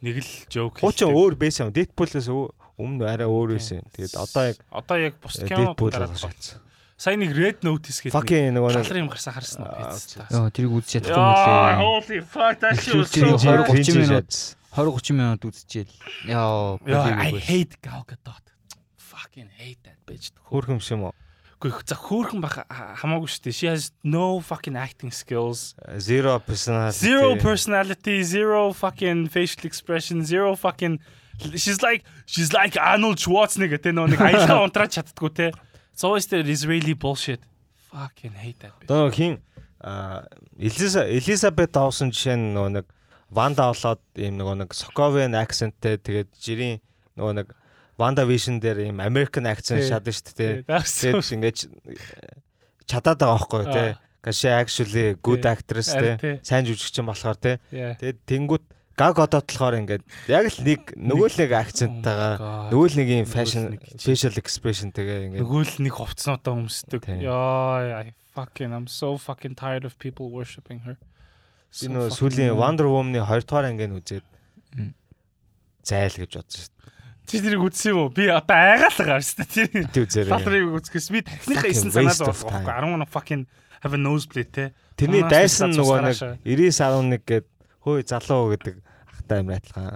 [SPEAKER 1] Нэг л joke.
[SPEAKER 2] Хуучин
[SPEAKER 1] хэлдэг.
[SPEAKER 2] өөр байсан юм. Deadpool-с ө- өмнө арай өөр байсан. Тэгээд одоо яг э,
[SPEAKER 1] одоо яг бус кино
[SPEAKER 2] Deadpool
[SPEAKER 1] дараад
[SPEAKER 2] болгож
[SPEAKER 1] байна.
[SPEAKER 2] шатсан.
[SPEAKER 1] Сайн нэг Red Notice гэдэг. нэг
[SPEAKER 2] Fucking нөгөө нэг
[SPEAKER 1] Талар юм гарсан харсан уу?
[SPEAKER 2] Аа,
[SPEAKER 1] Пиццтэй.
[SPEAKER 3] Яа, тэрийг үзэж чадсан
[SPEAKER 1] Яа,
[SPEAKER 3] мөлий.
[SPEAKER 1] holy fuck that shit was so
[SPEAKER 3] Хилчилж
[SPEAKER 1] hard.
[SPEAKER 3] хор- 30
[SPEAKER 2] 30
[SPEAKER 3] минут.
[SPEAKER 2] минут
[SPEAKER 3] 20 30 минут үзчихэл. Яа,
[SPEAKER 1] Яа, I
[SPEAKER 3] болиогүй.
[SPEAKER 1] hate Gal Gadot. Fucking hate that bitch.
[SPEAKER 2] хөөрхөн биш юм уу?
[SPEAKER 1] Гэхдээ за хөөрхөн бах ха- хамаагүй шүү дээ. She has no fucking acting skills.
[SPEAKER 2] Zero personality.
[SPEAKER 1] Zero personality, zero fucking facial expression, zero fucking She's like she's like Arnold Schwarzenegger тэ нөө нэг аялаа унтраад чаддггүй те. It's always the Israeli bullshit. Fucking hate that bitch.
[SPEAKER 2] Одоо нөгөө хин а, Элиза Элизабет Доусон жишээ нь нөгөө нэг Ванда болоод ийм нөгөө нэг Соковын акценттэй тэгээд жирийн нөгөө нэг Ванда Вишн дээр ийм American accent
[SPEAKER 1] Тий.
[SPEAKER 2] шатна шүү дээ.
[SPEAKER 1] That's
[SPEAKER 2] Тэгээд ингэж э, чадаад байгаа байхгүй юу, тий.
[SPEAKER 1] Аа.
[SPEAKER 2] Гэшээ actually good
[SPEAKER 1] Тий.
[SPEAKER 2] actress
[SPEAKER 1] Харин тий.
[SPEAKER 2] тий. Сайн жүжигчин болохоор тий.
[SPEAKER 1] yeah.
[SPEAKER 2] Тэгээд тэнгуут гаг одоотлохоор ингээд яг л нэг нөгөө л нэг акценттайгаа
[SPEAKER 1] God.
[SPEAKER 2] нөгөө л нэг юм
[SPEAKER 1] Нөгөө л
[SPEAKER 2] fashion
[SPEAKER 1] нэг чинь.
[SPEAKER 2] facial expression тэгээ ингээд
[SPEAKER 1] Нөгөө л нэг хувцснуудаа өмсдөг.
[SPEAKER 2] Тийм.
[SPEAKER 1] Яа, I fucking I'm so fucking tired of people worshipping her. So
[SPEAKER 2] би нөгөө
[SPEAKER 1] fucking
[SPEAKER 2] сүүлийн
[SPEAKER 1] annoying.
[SPEAKER 2] Wonder Woman-ы 2 дугаар ангийн үзээд
[SPEAKER 3] Мм.
[SPEAKER 2] зайл гэж бодсон шүү
[SPEAKER 1] Чи тэрийг үзсэн юм уу? Би одоо айгаалгаар шүү дээ. Тэр
[SPEAKER 2] дээ. Тэ үзээрэй.
[SPEAKER 1] Талрыг үзэхээс би тахныхаа
[SPEAKER 2] Fucking
[SPEAKER 1] исэн санаад
[SPEAKER 2] waste of
[SPEAKER 1] байгаа байхгүй. I don't want to fucking have a nosebleed те.
[SPEAKER 2] Тэрний
[SPEAKER 1] Манаас
[SPEAKER 2] дайсан
[SPEAKER 1] нэг
[SPEAKER 2] нөгөө
[SPEAKER 1] цус
[SPEAKER 2] нэг
[SPEAKER 1] гараашаа.
[SPEAKER 2] 9911 гээд хөөе залуу гэдэг ахтай амир адилхан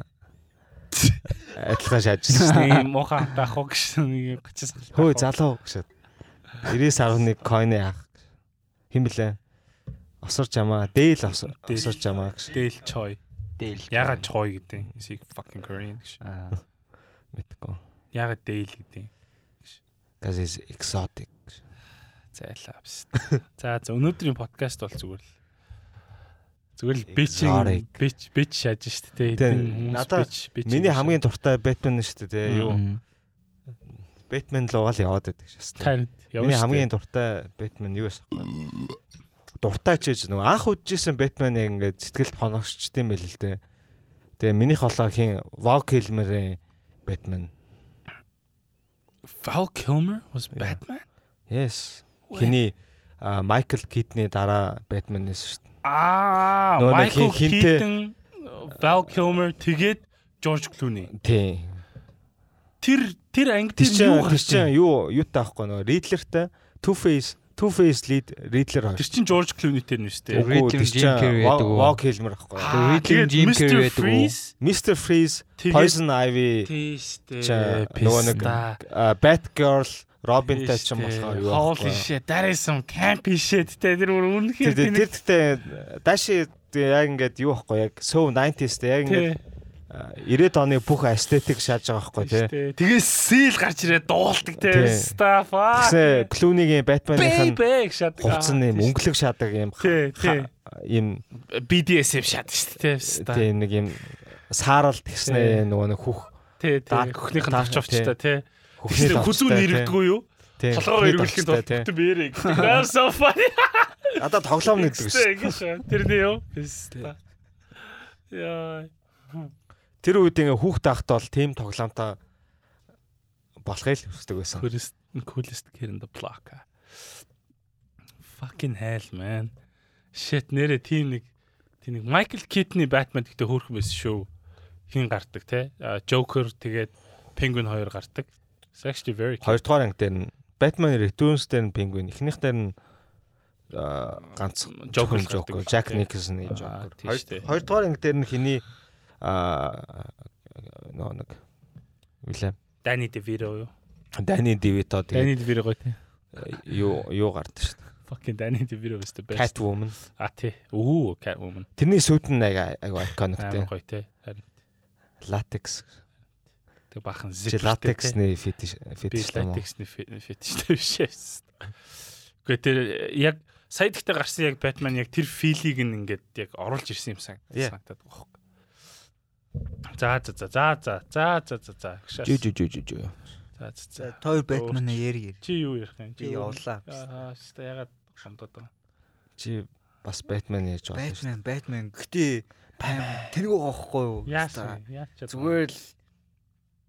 [SPEAKER 2] адилхан шаажчихсан.
[SPEAKER 1] Тэсний мохоо таах уу гэсэн нэг 30-аас гал.
[SPEAKER 2] Хөөе залуу гэшээ. 9911 coin-ы ах. Хим блэ? Осор жамаа, дээл осор
[SPEAKER 1] Дээл.
[SPEAKER 2] осор жамаа гэж
[SPEAKER 1] Дээл чой.
[SPEAKER 3] Дээл.
[SPEAKER 1] Ягаад чой гэдэг? Is he fucking Korean? гэж.
[SPEAKER 3] Аа.
[SPEAKER 2] мэдгүй.
[SPEAKER 1] Ягаад дээл гэдэг?
[SPEAKER 2] Cuz is exotic.
[SPEAKER 1] Зайлаа биш. За за өнөөдрийн подкаст бол зүгээр л зүгээр л
[SPEAKER 2] Exotic.
[SPEAKER 1] бичин бич бич шааж штэ те.
[SPEAKER 2] Тэ,
[SPEAKER 1] Эдэн хүмүүс
[SPEAKER 2] надаа
[SPEAKER 1] бич- бич
[SPEAKER 2] Миний
[SPEAKER 1] шааж.
[SPEAKER 2] хамгийн дуртай Batman шүү дээ, тий. Юу?
[SPEAKER 3] Мм.
[SPEAKER 2] Batman л угаал яваад байдаг шээ.
[SPEAKER 1] тайранд явна.
[SPEAKER 2] Миний хамгийн дуртай Batman юу байсан бэ? Дуртай ч гэж нөгөө анх үдчихсэн Batman-ыг ингээд сэтгэлд хоногшчд юм байл л дээ. Тэгээ миний холоо хин Val Kilmer-ийн Batman.
[SPEAKER 1] Val Kilmer was Batman.
[SPEAKER 2] Yes.
[SPEAKER 1] What?
[SPEAKER 2] Хиний а, Michael Keaton-ы дараа Batman нэс шүү дээ.
[SPEAKER 1] Аа,
[SPEAKER 2] Нөгөө нэг
[SPEAKER 1] Michael
[SPEAKER 2] хин- хинтэй-
[SPEAKER 1] Keaton, Val Kilmer тэгээд George Clooney.
[SPEAKER 2] Тий.
[SPEAKER 1] Тэр тэр анги
[SPEAKER 2] Тэр
[SPEAKER 1] тийм
[SPEAKER 2] чинь
[SPEAKER 1] юу
[SPEAKER 2] тэр
[SPEAKER 1] гарсан?
[SPEAKER 2] чинь юу юу таахгүй нөгөө Riddler-тай Two-Face, Two-Face lead Riddler хоёр.
[SPEAKER 1] Тэр чинь George Clooney-тэй нь шүү дээ.
[SPEAKER 3] Үгүй, Riddler
[SPEAKER 2] тэр
[SPEAKER 3] Jim
[SPEAKER 2] чинь
[SPEAKER 3] Carrey
[SPEAKER 2] Wa-
[SPEAKER 3] байдаг уу?
[SPEAKER 2] Val Kilmer ахгүй. юу?
[SPEAKER 1] Аа,
[SPEAKER 3] Riddler
[SPEAKER 1] тэгээд
[SPEAKER 3] Jim
[SPEAKER 1] Mr.
[SPEAKER 3] Carey байдаг уу?
[SPEAKER 1] Freeze
[SPEAKER 2] Mr. Freeze,
[SPEAKER 1] Тэгээд-
[SPEAKER 2] Poison Ivy,
[SPEAKER 1] Тийштэй.
[SPEAKER 2] Ча- нөгөө нэг- а, Batgirl, Robin тач юм болохоор юу
[SPEAKER 1] Хоол
[SPEAKER 2] байхгүй.
[SPEAKER 1] ишээ, that is some camp ишээд те тэр бүр
[SPEAKER 2] Тэр
[SPEAKER 1] үнэхээр
[SPEAKER 2] тэр
[SPEAKER 1] тэнэг-
[SPEAKER 2] тэр тэгтээ дааши яг ингээд юу байхгүй яг so 90s тэ яг
[SPEAKER 1] Тий,
[SPEAKER 2] ингээд а, 90-ад оны бүх aesthetic шааж байгаа байхгүй тий.
[SPEAKER 1] тийштэй. Тэгээс сил гарч ирээд дуулдаг те.
[SPEAKER 2] Тий.
[SPEAKER 1] Stuff.
[SPEAKER 2] Тэгсэн Clooney-гийн Batman-ийн
[SPEAKER 1] Baby шат.
[SPEAKER 2] хувцсан юм өнгөлөг шаадаг юм
[SPEAKER 1] Тий, тий.
[SPEAKER 2] ха- юм
[SPEAKER 1] BDSM шат шүү дээ. Stuff.
[SPEAKER 2] тийм нэг юм саарал тэгснэ нөгөө нэг хөх
[SPEAKER 1] Тий, тий.
[SPEAKER 2] Dark-
[SPEAKER 1] Хөхнийх нь
[SPEAKER 2] Dark,
[SPEAKER 1] давч авчтай тий.
[SPEAKER 2] хөхний
[SPEAKER 1] Тэгсэн хүзүүн нэрвдэггүй юу?
[SPEAKER 2] тийм
[SPEAKER 1] Толгоо эргүүлэхэд бол бүтэн бээрээ. That's so funny.
[SPEAKER 2] одоо тоглоом нэгдэг шүү
[SPEAKER 1] Тэгсэн гэж шээ. Тэрний юу? Яста. Яа.
[SPEAKER 2] тэр үед ингээ хүүхд тахт бол тийм тоглоомтой болохыг л хүсдэг байсан
[SPEAKER 1] Coolest coolest kid in the block. ah. Fucking hell man. Shit нэрэ тийм нэг тийм нэг Michael Keaton-ы Batman гэдэг хөөрхөн байсан шүү. Хин гардаг те. А, Joker тэгээд Penguin хоёр гардаг. It's actually very cute.
[SPEAKER 2] хоёрдугаар анги дээр нь Batman Returns дээр нь Penguin эхнийх дээр нь аа, ганц
[SPEAKER 1] Joker л
[SPEAKER 2] Joker
[SPEAKER 1] гардаг.
[SPEAKER 2] Jack
[SPEAKER 1] Тийм.
[SPEAKER 2] Nicholson-ы
[SPEAKER 1] Аа,
[SPEAKER 2] Joker
[SPEAKER 1] тийм шүү дээ.
[SPEAKER 2] Хоёр- хоёрдугаар анги дээр нь хиний аа нөө нэг үлээ
[SPEAKER 1] Danny DeVito юу?
[SPEAKER 2] Дани Дивито тэгээ
[SPEAKER 1] Danny DeVito гоё те.
[SPEAKER 2] юу юу гардаг шүү дээ
[SPEAKER 1] Fucking Danny DeVito is the best.
[SPEAKER 2] Catwoman
[SPEAKER 1] А тий. Оо Catwoman.
[SPEAKER 2] Тэрний сүйд нь ага ага iconic
[SPEAKER 1] Амар
[SPEAKER 2] те.
[SPEAKER 1] гоё те. Харин
[SPEAKER 2] Latex.
[SPEAKER 1] тэг бахан
[SPEAKER 2] Чи
[SPEAKER 1] zip.
[SPEAKER 2] latex-ний fetish
[SPEAKER 1] би
[SPEAKER 2] fetish юм уу?
[SPEAKER 1] латексны фетиштэй биш байсан. Гэхдээ тэр яг сая дэхтэй гарсан яг Batman яг тэр филийг нь ингээд яг оруулж ирсэн юм
[SPEAKER 2] Yeah.
[SPEAKER 1] санагдаад байгаа хөөх. За за за за за за за за за. Гшаас.
[SPEAKER 2] Жу жу жу жу жу.
[SPEAKER 1] За за за.
[SPEAKER 3] За, Toy Batman-а яри яри.
[SPEAKER 1] Чи юу ярих юм?
[SPEAKER 3] Би явлаа.
[SPEAKER 1] Аа, хэвээ ягаад хамдаад байгаа.
[SPEAKER 2] Чи бас Batman яаж байгаа шүү.
[SPEAKER 3] Batman, Batman. Гэтэ Batman тэнэг гоохгүй юу?
[SPEAKER 1] Яасан? Яач чадсан.
[SPEAKER 3] Зүгээр л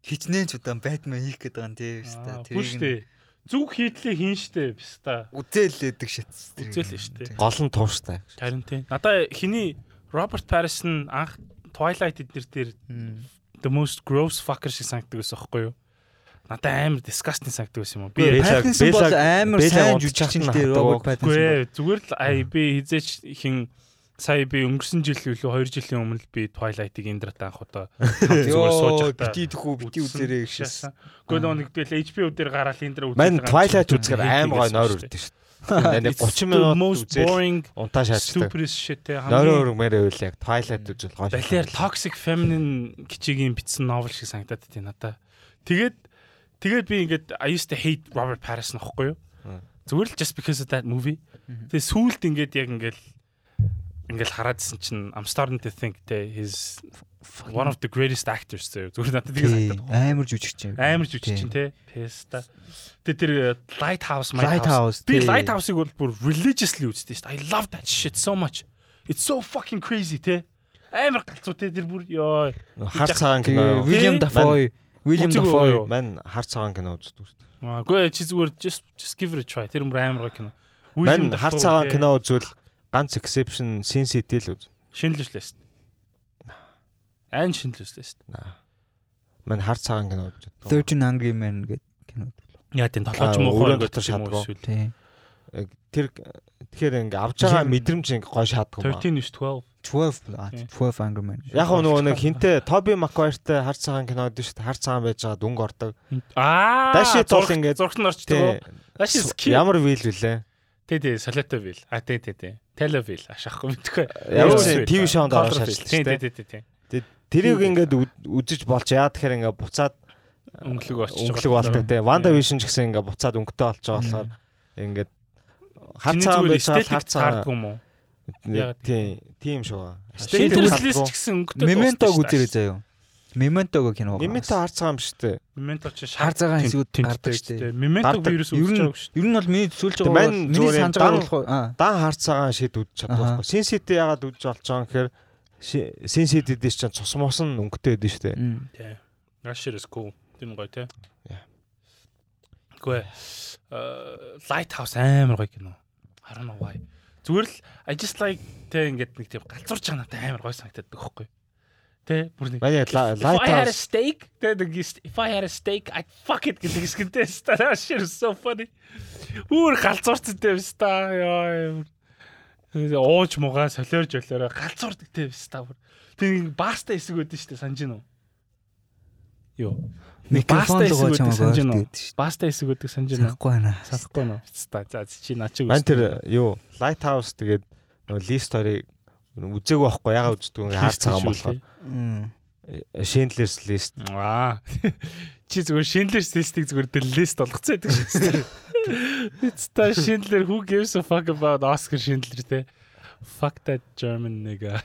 [SPEAKER 3] хичнээн ч удаан Batman хийх гээд байгаа юм
[SPEAKER 1] Аа,
[SPEAKER 3] тийм шүү дээ.
[SPEAKER 1] Бүштэй. зүг хийдлээ хийн штэ биш та.
[SPEAKER 3] Үзээлээдэг шат.
[SPEAKER 1] Үзээлээ штэ.
[SPEAKER 2] Гол нь тууштай.
[SPEAKER 1] Харин тийм. Надаа хиний Роберт Парис нь анх Twilight эднэр дээр the most gross fucker шиг санагддаг байсан байхгүй юу? Надад амар disgusting санагддаг байсан юм уу? Би
[SPEAKER 2] Бэлаг-
[SPEAKER 5] Паттинсон бол
[SPEAKER 2] Бэлаг-
[SPEAKER 5] амар
[SPEAKER 2] Бэлаг
[SPEAKER 5] сайн
[SPEAKER 2] унтчих
[SPEAKER 5] жүжигчин л
[SPEAKER 2] чадна
[SPEAKER 5] дээ Роберт
[SPEAKER 2] хатдаг.
[SPEAKER 5] Паттинсон. бол.
[SPEAKER 1] Үгүй зүгээр л ай
[SPEAKER 2] Mm.
[SPEAKER 1] би хизээч хин сая би өнгөрсөн жил үлээ 2 жилийн өмнө л би Twilight-ийг Индрат анх удаа хамт зүгээр сууж
[SPEAKER 5] Йоо,
[SPEAKER 1] байхдаа
[SPEAKER 5] бити тхүү, бити
[SPEAKER 1] үзсэн.
[SPEAKER 5] үзээрэй гэсэн.
[SPEAKER 1] Гэхдээ нөгөө нэг тэл HBO дээр гараад Индра үзэж
[SPEAKER 2] Мань Twilight үзэхээр
[SPEAKER 1] Хитийг
[SPEAKER 2] амар гой
[SPEAKER 1] хийсэн
[SPEAKER 2] нойр
[SPEAKER 1] шүү дээ.
[SPEAKER 2] үрдэн шүү дээ. Нэг 30 минут
[SPEAKER 1] most
[SPEAKER 2] үзээл
[SPEAKER 1] boring
[SPEAKER 2] унтаа шаарддаг.
[SPEAKER 1] stupid shit те хамгийн
[SPEAKER 2] Нойр өрмөр байл яг Twilight үзэл гой.
[SPEAKER 1] балер toxic feminine кичигийн бичсэн новел шиг санагдаад тийм надаа. Тэгээд тэгээд би ингээд I used to hate Robert Pattinson аахгүй юу?
[SPEAKER 2] Мм.
[SPEAKER 1] Зүгээр л just because of that movie. Тэгээд сүүлд ингээд яг ингээд ингээд хараадсэн чинь I'm starting to think те his one of the greatest actors те зүгээр надад тийм санагдаад.
[SPEAKER 5] Тий, Амар жүжигчин.
[SPEAKER 1] Амар жүжигчин те. Песта. Тэ тэр э, Lighthouse
[SPEAKER 5] Lighthouse,
[SPEAKER 1] Би
[SPEAKER 5] тий.
[SPEAKER 1] Lighthouse-ыг бол бүр religiously үзтээ шүү дээ. I love that shit so much. It's so fucking crazy те. Амар галзуу те тэр бүр ёо.
[SPEAKER 2] Хар цагаан
[SPEAKER 5] Тэгээ,
[SPEAKER 2] кино.
[SPEAKER 5] William
[SPEAKER 1] Тий.
[SPEAKER 5] Dafoe, William
[SPEAKER 1] Үзээгүй
[SPEAKER 5] Dafoe.
[SPEAKER 1] юу?
[SPEAKER 2] Мань хар цагаан кино үздэг шүү дээ.
[SPEAKER 1] Гэхдээ чи зүгээр just just give it a try. Тэр бүр амар гоо кино.
[SPEAKER 2] Мань
[SPEAKER 1] William
[SPEAKER 2] хар
[SPEAKER 1] Dafoe,
[SPEAKER 2] цагаан
[SPEAKER 1] те.
[SPEAKER 2] кино үзвэл ганц exception Sin City л үз.
[SPEAKER 1] шинэлжлээс. Айн шинэлжлээс.
[SPEAKER 2] Мань хар цагаан кино үздэг.
[SPEAKER 5] 13 Angry Men гэдэг кино.
[SPEAKER 1] Яа тийм толгойч
[SPEAKER 2] Аа,
[SPEAKER 1] муухай
[SPEAKER 2] өрөөнд
[SPEAKER 1] гэдэг
[SPEAKER 2] дотор
[SPEAKER 1] юм уу
[SPEAKER 2] шатгаа.
[SPEAKER 1] эсвэл.
[SPEAKER 5] Тий.
[SPEAKER 2] Тэр тэгэхээр ингээ авч байгаа мэдрэмж ингээ гой шаадгүй юм.
[SPEAKER 1] 13 is 12.
[SPEAKER 5] 12 аа, 12 Angry Men.
[SPEAKER 2] Яг хөө нөгөө нэг хинтээ Тоби Маквайртай хар цагаан кино үздэг шүү дээ. Хар цагаан байж байгаа дүнг ордог.
[SPEAKER 1] Аа.
[SPEAKER 2] Даши тул
[SPEAKER 1] зурагт-
[SPEAKER 2] ингээд-
[SPEAKER 1] зурагт нь орчдөг.
[SPEAKER 2] Тэ.
[SPEAKER 1] Даши skip.
[SPEAKER 2] Ямар вил вүлээ?
[SPEAKER 1] Тэ тэ солиото вил. А тэ тэ тэ. Телевил ашаахгүй мэдхгүй. Юу
[SPEAKER 2] Ямар ч
[SPEAKER 1] вэ?
[SPEAKER 2] TV шоунд ороод
[SPEAKER 1] Colorful.
[SPEAKER 2] шалжилж
[SPEAKER 1] Тэ
[SPEAKER 2] тээ.
[SPEAKER 1] тэ тэ тэ.
[SPEAKER 2] Тэрийг ингээд үд- үзэж болж яа тэгэхээр ингээд буцаад
[SPEAKER 1] Өнгөлөг очиж
[SPEAKER 2] өнгөлөг болдог те. Ванда Вишн ч гэсэн ингээд буцаад өнгөтэй болж байгаа болохоор ингээд хар цагаан байж байгаа хар
[SPEAKER 1] хаардаг
[SPEAKER 2] цагаан
[SPEAKER 1] юм уу? Яагаад?
[SPEAKER 2] тийм тийм шүү.
[SPEAKER 5] Шинэ
[SPEAKER 1] Шинэлжлээс ч гэсэн өнгөтэй.
[SPEAKER 5] Memento-г үзээрэй заяа. Memento-го кино.
[SPEAKER 2] Нэмэтэ хар цагаан биш те.
[SPEAKER 1] Memento ч
[SPEAKER 5] Хар цагаан хэсгүүд гардаг шүү дээ.
[SPEAKER 1] Memento
[SPEAKER 2] Гардаг.
[SPEAKER 1] вирус
[SPEAKER 5] Ер
[SPEAKER 1] үүсэж
[SPEAKER 5] нь
[SPEAKER 1] байгааг шүү.
[SPEAKER 5] ер нь бол миний төсөөлж
[SPEAKER 2] Тэгээ,
[SPEAKER 5] байгаа
[SPEAKER 2] мань
[SPEAKER 5] бол миний
[SPEAKER 2] зүгээр
[SPEAKER 5] санаж
[SPEAKER 2] юм,
[SPEAKER 5] байгаа
[SPEAKER 2] дан-
[SPEAKER 5] болох уу? аа
[SPEAKER 2] Дан хар цагаан шид үдж
[SPEAKER 5] Аха.
[SPEAKER 2] чаддаг. Син сити ягаад үдж болж байгаа юм гэхээр Си- Син сити дэс чинь цус мус нь өнгөтэй байдэн шүү дээ.
[SPEAKER 5] Мм.
[SPEAKER 1] Тэ. That shit is cool. Тин гоё те.
[SPEAKER 2] Yeah.
[SPEAKER 1] Гүй. Э Lighthouse амар гоё кино. I don't know why. Зүгээр л I just like те ингээд нэг тийм галзуурч байгаа надад амар гоё санагдаад байхгүй. Тэ бүр нэг
[SPEAKER 2] Манай
[SPEAKER 1] If I had a
[SPEAKER 2] лайтаус
[SPEAKER 1] steak, then the gist- if I had a steak, I'd fuck it гэдэг хэсгэнтэй ста. That shit is so funny. Өөр галзуурцтай биш та. Яа. Ууж мугаа солиорж болоорой галзуурдагтэй биш та. Тэр баста хэсэг өгдөн штэ санаж гинөө. Юу?
[SPEAKER 5] Микрофон
[SPEAKER 1] Баста
[SPEAKER 5] л гоож
[SPEAKER 1] хэсэг өгдөг санаж
[SPEAKER 5] байгаа
[SPEAKER 1] гинөө.
[SPEAKER 5] гэдэг шүү.
[SPEAKER 1] Баста хэсэг өгдөг санаж гинөө.
[SPEAKER 5] Санахгүй байна.
[SPEAKER 1] Санахгүй нөө. Ста. За чи наа чи
[SPEAKER 2] Ман тэр юу Lighthouse тэгээд нөгөө лист орыг үзээгүй байхгүй ягаа үздэг юм хаар цагаан болохоор
[SPEAKER 5] Мм.
[SPEAKER 2] Э, Шиндлерс лист
[SPEAKER 1] Аа. Чи зүгээр шинэлэр стилстик зүгээр дэллэст болгоцсон байдаг шээ. It's та шинэлэр who gives a fuck about Oscar шинэлэр те. Fuck that German nigga.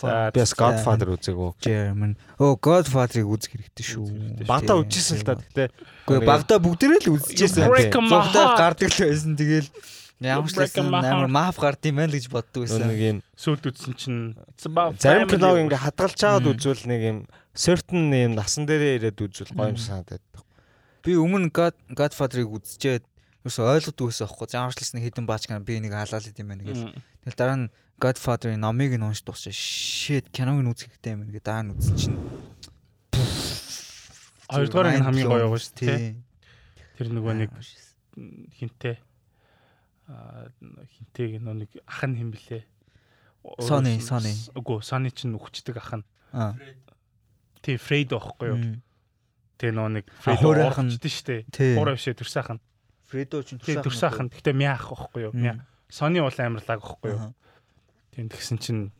[SPEAKER 1] За
[SPEAKER 2] бас Godfather үзээгүй.
[SPEAKER 5] German. Оо Godfather-ыг үзэх хэрэгтэй шүү.
[SPEAKER 2] Багада үзчихсэн л та гэхдээ
[SPEAKER 5] Гэхдээ багада бүгдээрээ л үзчихсэн.
[SPEAKER 2] break
[SPEAKER 1] my
[SPEAKER 5] Зурдаа
[SPEAKER 1] heart.
[SPEAKER 5] гардаг л байсан. Тэгэл ямар ч
[SPEAKER 1] break
[SPEAKER 5] байсан
[SPEAKER 1] my heart.
[SPEAKER 5] амар маф гард юм байна л гэж боддог
[SPEAKER 2] нөгөө нэг
[SPEAKER 5] байсан.
[SPEAKER 2] юм
[SPEAKER 1] сүлд үтсэн чинь it's about
[SPEAKER 2] зарим
[SPEAKER 1] family.
[SPEAKER 2] киног ингээ хадгалж чаад үзвэл нэг юм certain юм насан дээрээ ирээд үзвэл гоё юм санагдаад.
[SPEAKER 5] Би өмнө God Godfather-ыг үзчихээд ерөөсөө ойлгодгүй байсан аахгүй. Заамарчлсан хэдэн баач гэн би нэг халаал идэм байна гэж.
[SPEAKER 1] Мм.
[SPEAKER 5] Тэгэл дараа нь Godfather-ийн номыг нь уншиж дуусаа. Shit, киног нь үзэх хэрэгтэй юм гээд дараа нь үзсэн чинь
[SPEAKER 1] Хоёрдугаар нь хамгийн гоё байгаа шүү дээ.
[SPEAKER 5] Тий.
[SPEAKER 1] Тэр нөгөө нэг хинтээ аа хинтээг нөгөө нэг ах нь хэм блэ?
[SPEAKER 5] Sonny, Sonny.
[SPEAKER 1] Үгүй, Сони чинь өгчдөг ах нь.
[SPEAKER 5] Аа.
[SPEAKER 1] Тий, Фрейд байхгүй юу?
[SPEAKER 5] Мм.
[SPEAKER 1] Тэ нөө нэг
[SPEAKER 5] Хуур ах нь-
[SPEAKER 1] орчдөн штэ.
[SPEAKER 5] Тий.
[SPEAKER 1] Хуур авшээ төрсаах нь.
[SPEAKER 5] Фредо ч
[SPEAKER 1] Тий төрсаах нь. Гэтэ мяа ах байхгүй юу? Мяа. Сони уул амарлаг байхгүй юу?
[SPEAKER 5] Аха.
[SPEAKER 1] Тийм тэгсэн чинь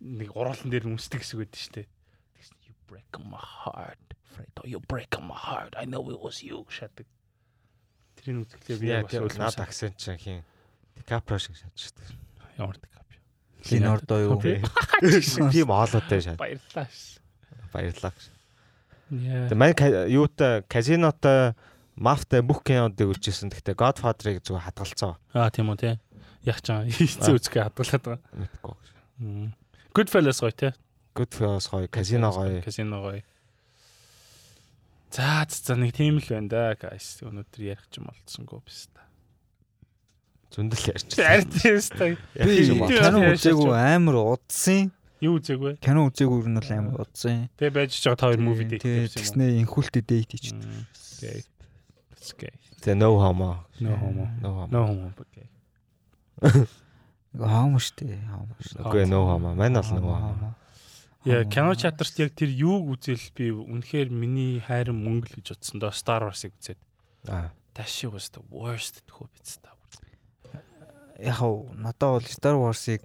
[SPEAKER 1] нэг уруулан дээр нүсдэг хэсэг байдэн штэ. Тэгсэн you break my heart. Fredo you break my heart. I know it was you шатдаг. Тэрийг үзэхлээр би
[SPEAKER 2] Яа
[SPEAKER 1] бас
[SPEAKER 2] тэр над
[SPEAKER 1] ойлгомжтой.
[SPEAKER 2] аксент чинь хин Капро шиг шатчихдаг.
[SPEAKER 1] Ямар дикап.
[SPEAKER 5] Линордо юу?
[SPEAKER 1] Тий.
[SPEAKER 2] Тийм оолоотой шат.
[SPEAKER 1] Баярлалаа. ш.
[SPEAKER 2] Баярлалаа.
[SPEAKER 1] Яа.
[SPEAKER 2] Тэгээ манай ка- юутай казинотой мафтай бүх кинодыг үзчихсэн. Гэхдээ Godfather-ыг зүгээр хадгалцсан.
[SPEAKER 1] Аа тийм үү те. Яг ч аа хийцээ үзгээ хадгалаад байгаа.
[SPEAKER 2] Мэдгүй.
[SPEAKER 1] Мм. Goodfellas гоё те.
[SPEAKER 2] Goodfellas гоё, Casino гоё.
[SPEAKER 1] Казино гоё. За за за, нэг тийм л байна да guys. Өнөөдөр ярих ч юм болцсонгүй биш та.
[SPEAKER 2] Зөндөл ярьж.
[SPEAKER 1] Ард тийс та.
[SPEAKER 2] Ярих юм
[SPEAKER 1] Би-
[SPEAKER 2] бол.
[SPEAKER 1] Кино
[SPEAKER 5] Кино
[SPEAKER 1] үзээгүй
[SPEAKER 5] үзээгүй амар удсан.
[SPEAKER 1] Юу үзээгвэ?
[SPEAKER 5] Кино үзээгүй нь бол амар удсан.
[SPEAKER 1] Тэ байж ч байгаа та хоёр movie date гэсэн юм.
[SPEAKER 5] Тэгснэ инхүүлтэй дэйт хийж.
[SPEAKER 1] Мм, Okay. That's gay.
[SPEAKER 2] Тэ no homo.
[SPEAKER 1] No homo.
[SPEAKER 2] No homo.
[SPEAKER 1] No homo but gay.
[SPEAKER 5] Хаам штэ. Хаам штэ.
[SPEAKER 2] Үгүй no homo. Манай бол no homo.
[SPEAKER 1] Яа, кино чатарт яг тэр юуг үзэл би үнэхээр миний хайрын мөнгө л гэж утсан доо Star Wars-ыг үзээд.
[SPEAKER 2] Аа.
[SPEAKER 1] Ташиг өстө worst тхөө биз та.
[SPEAKER 5] яг уу надад бол Star Wars-ыг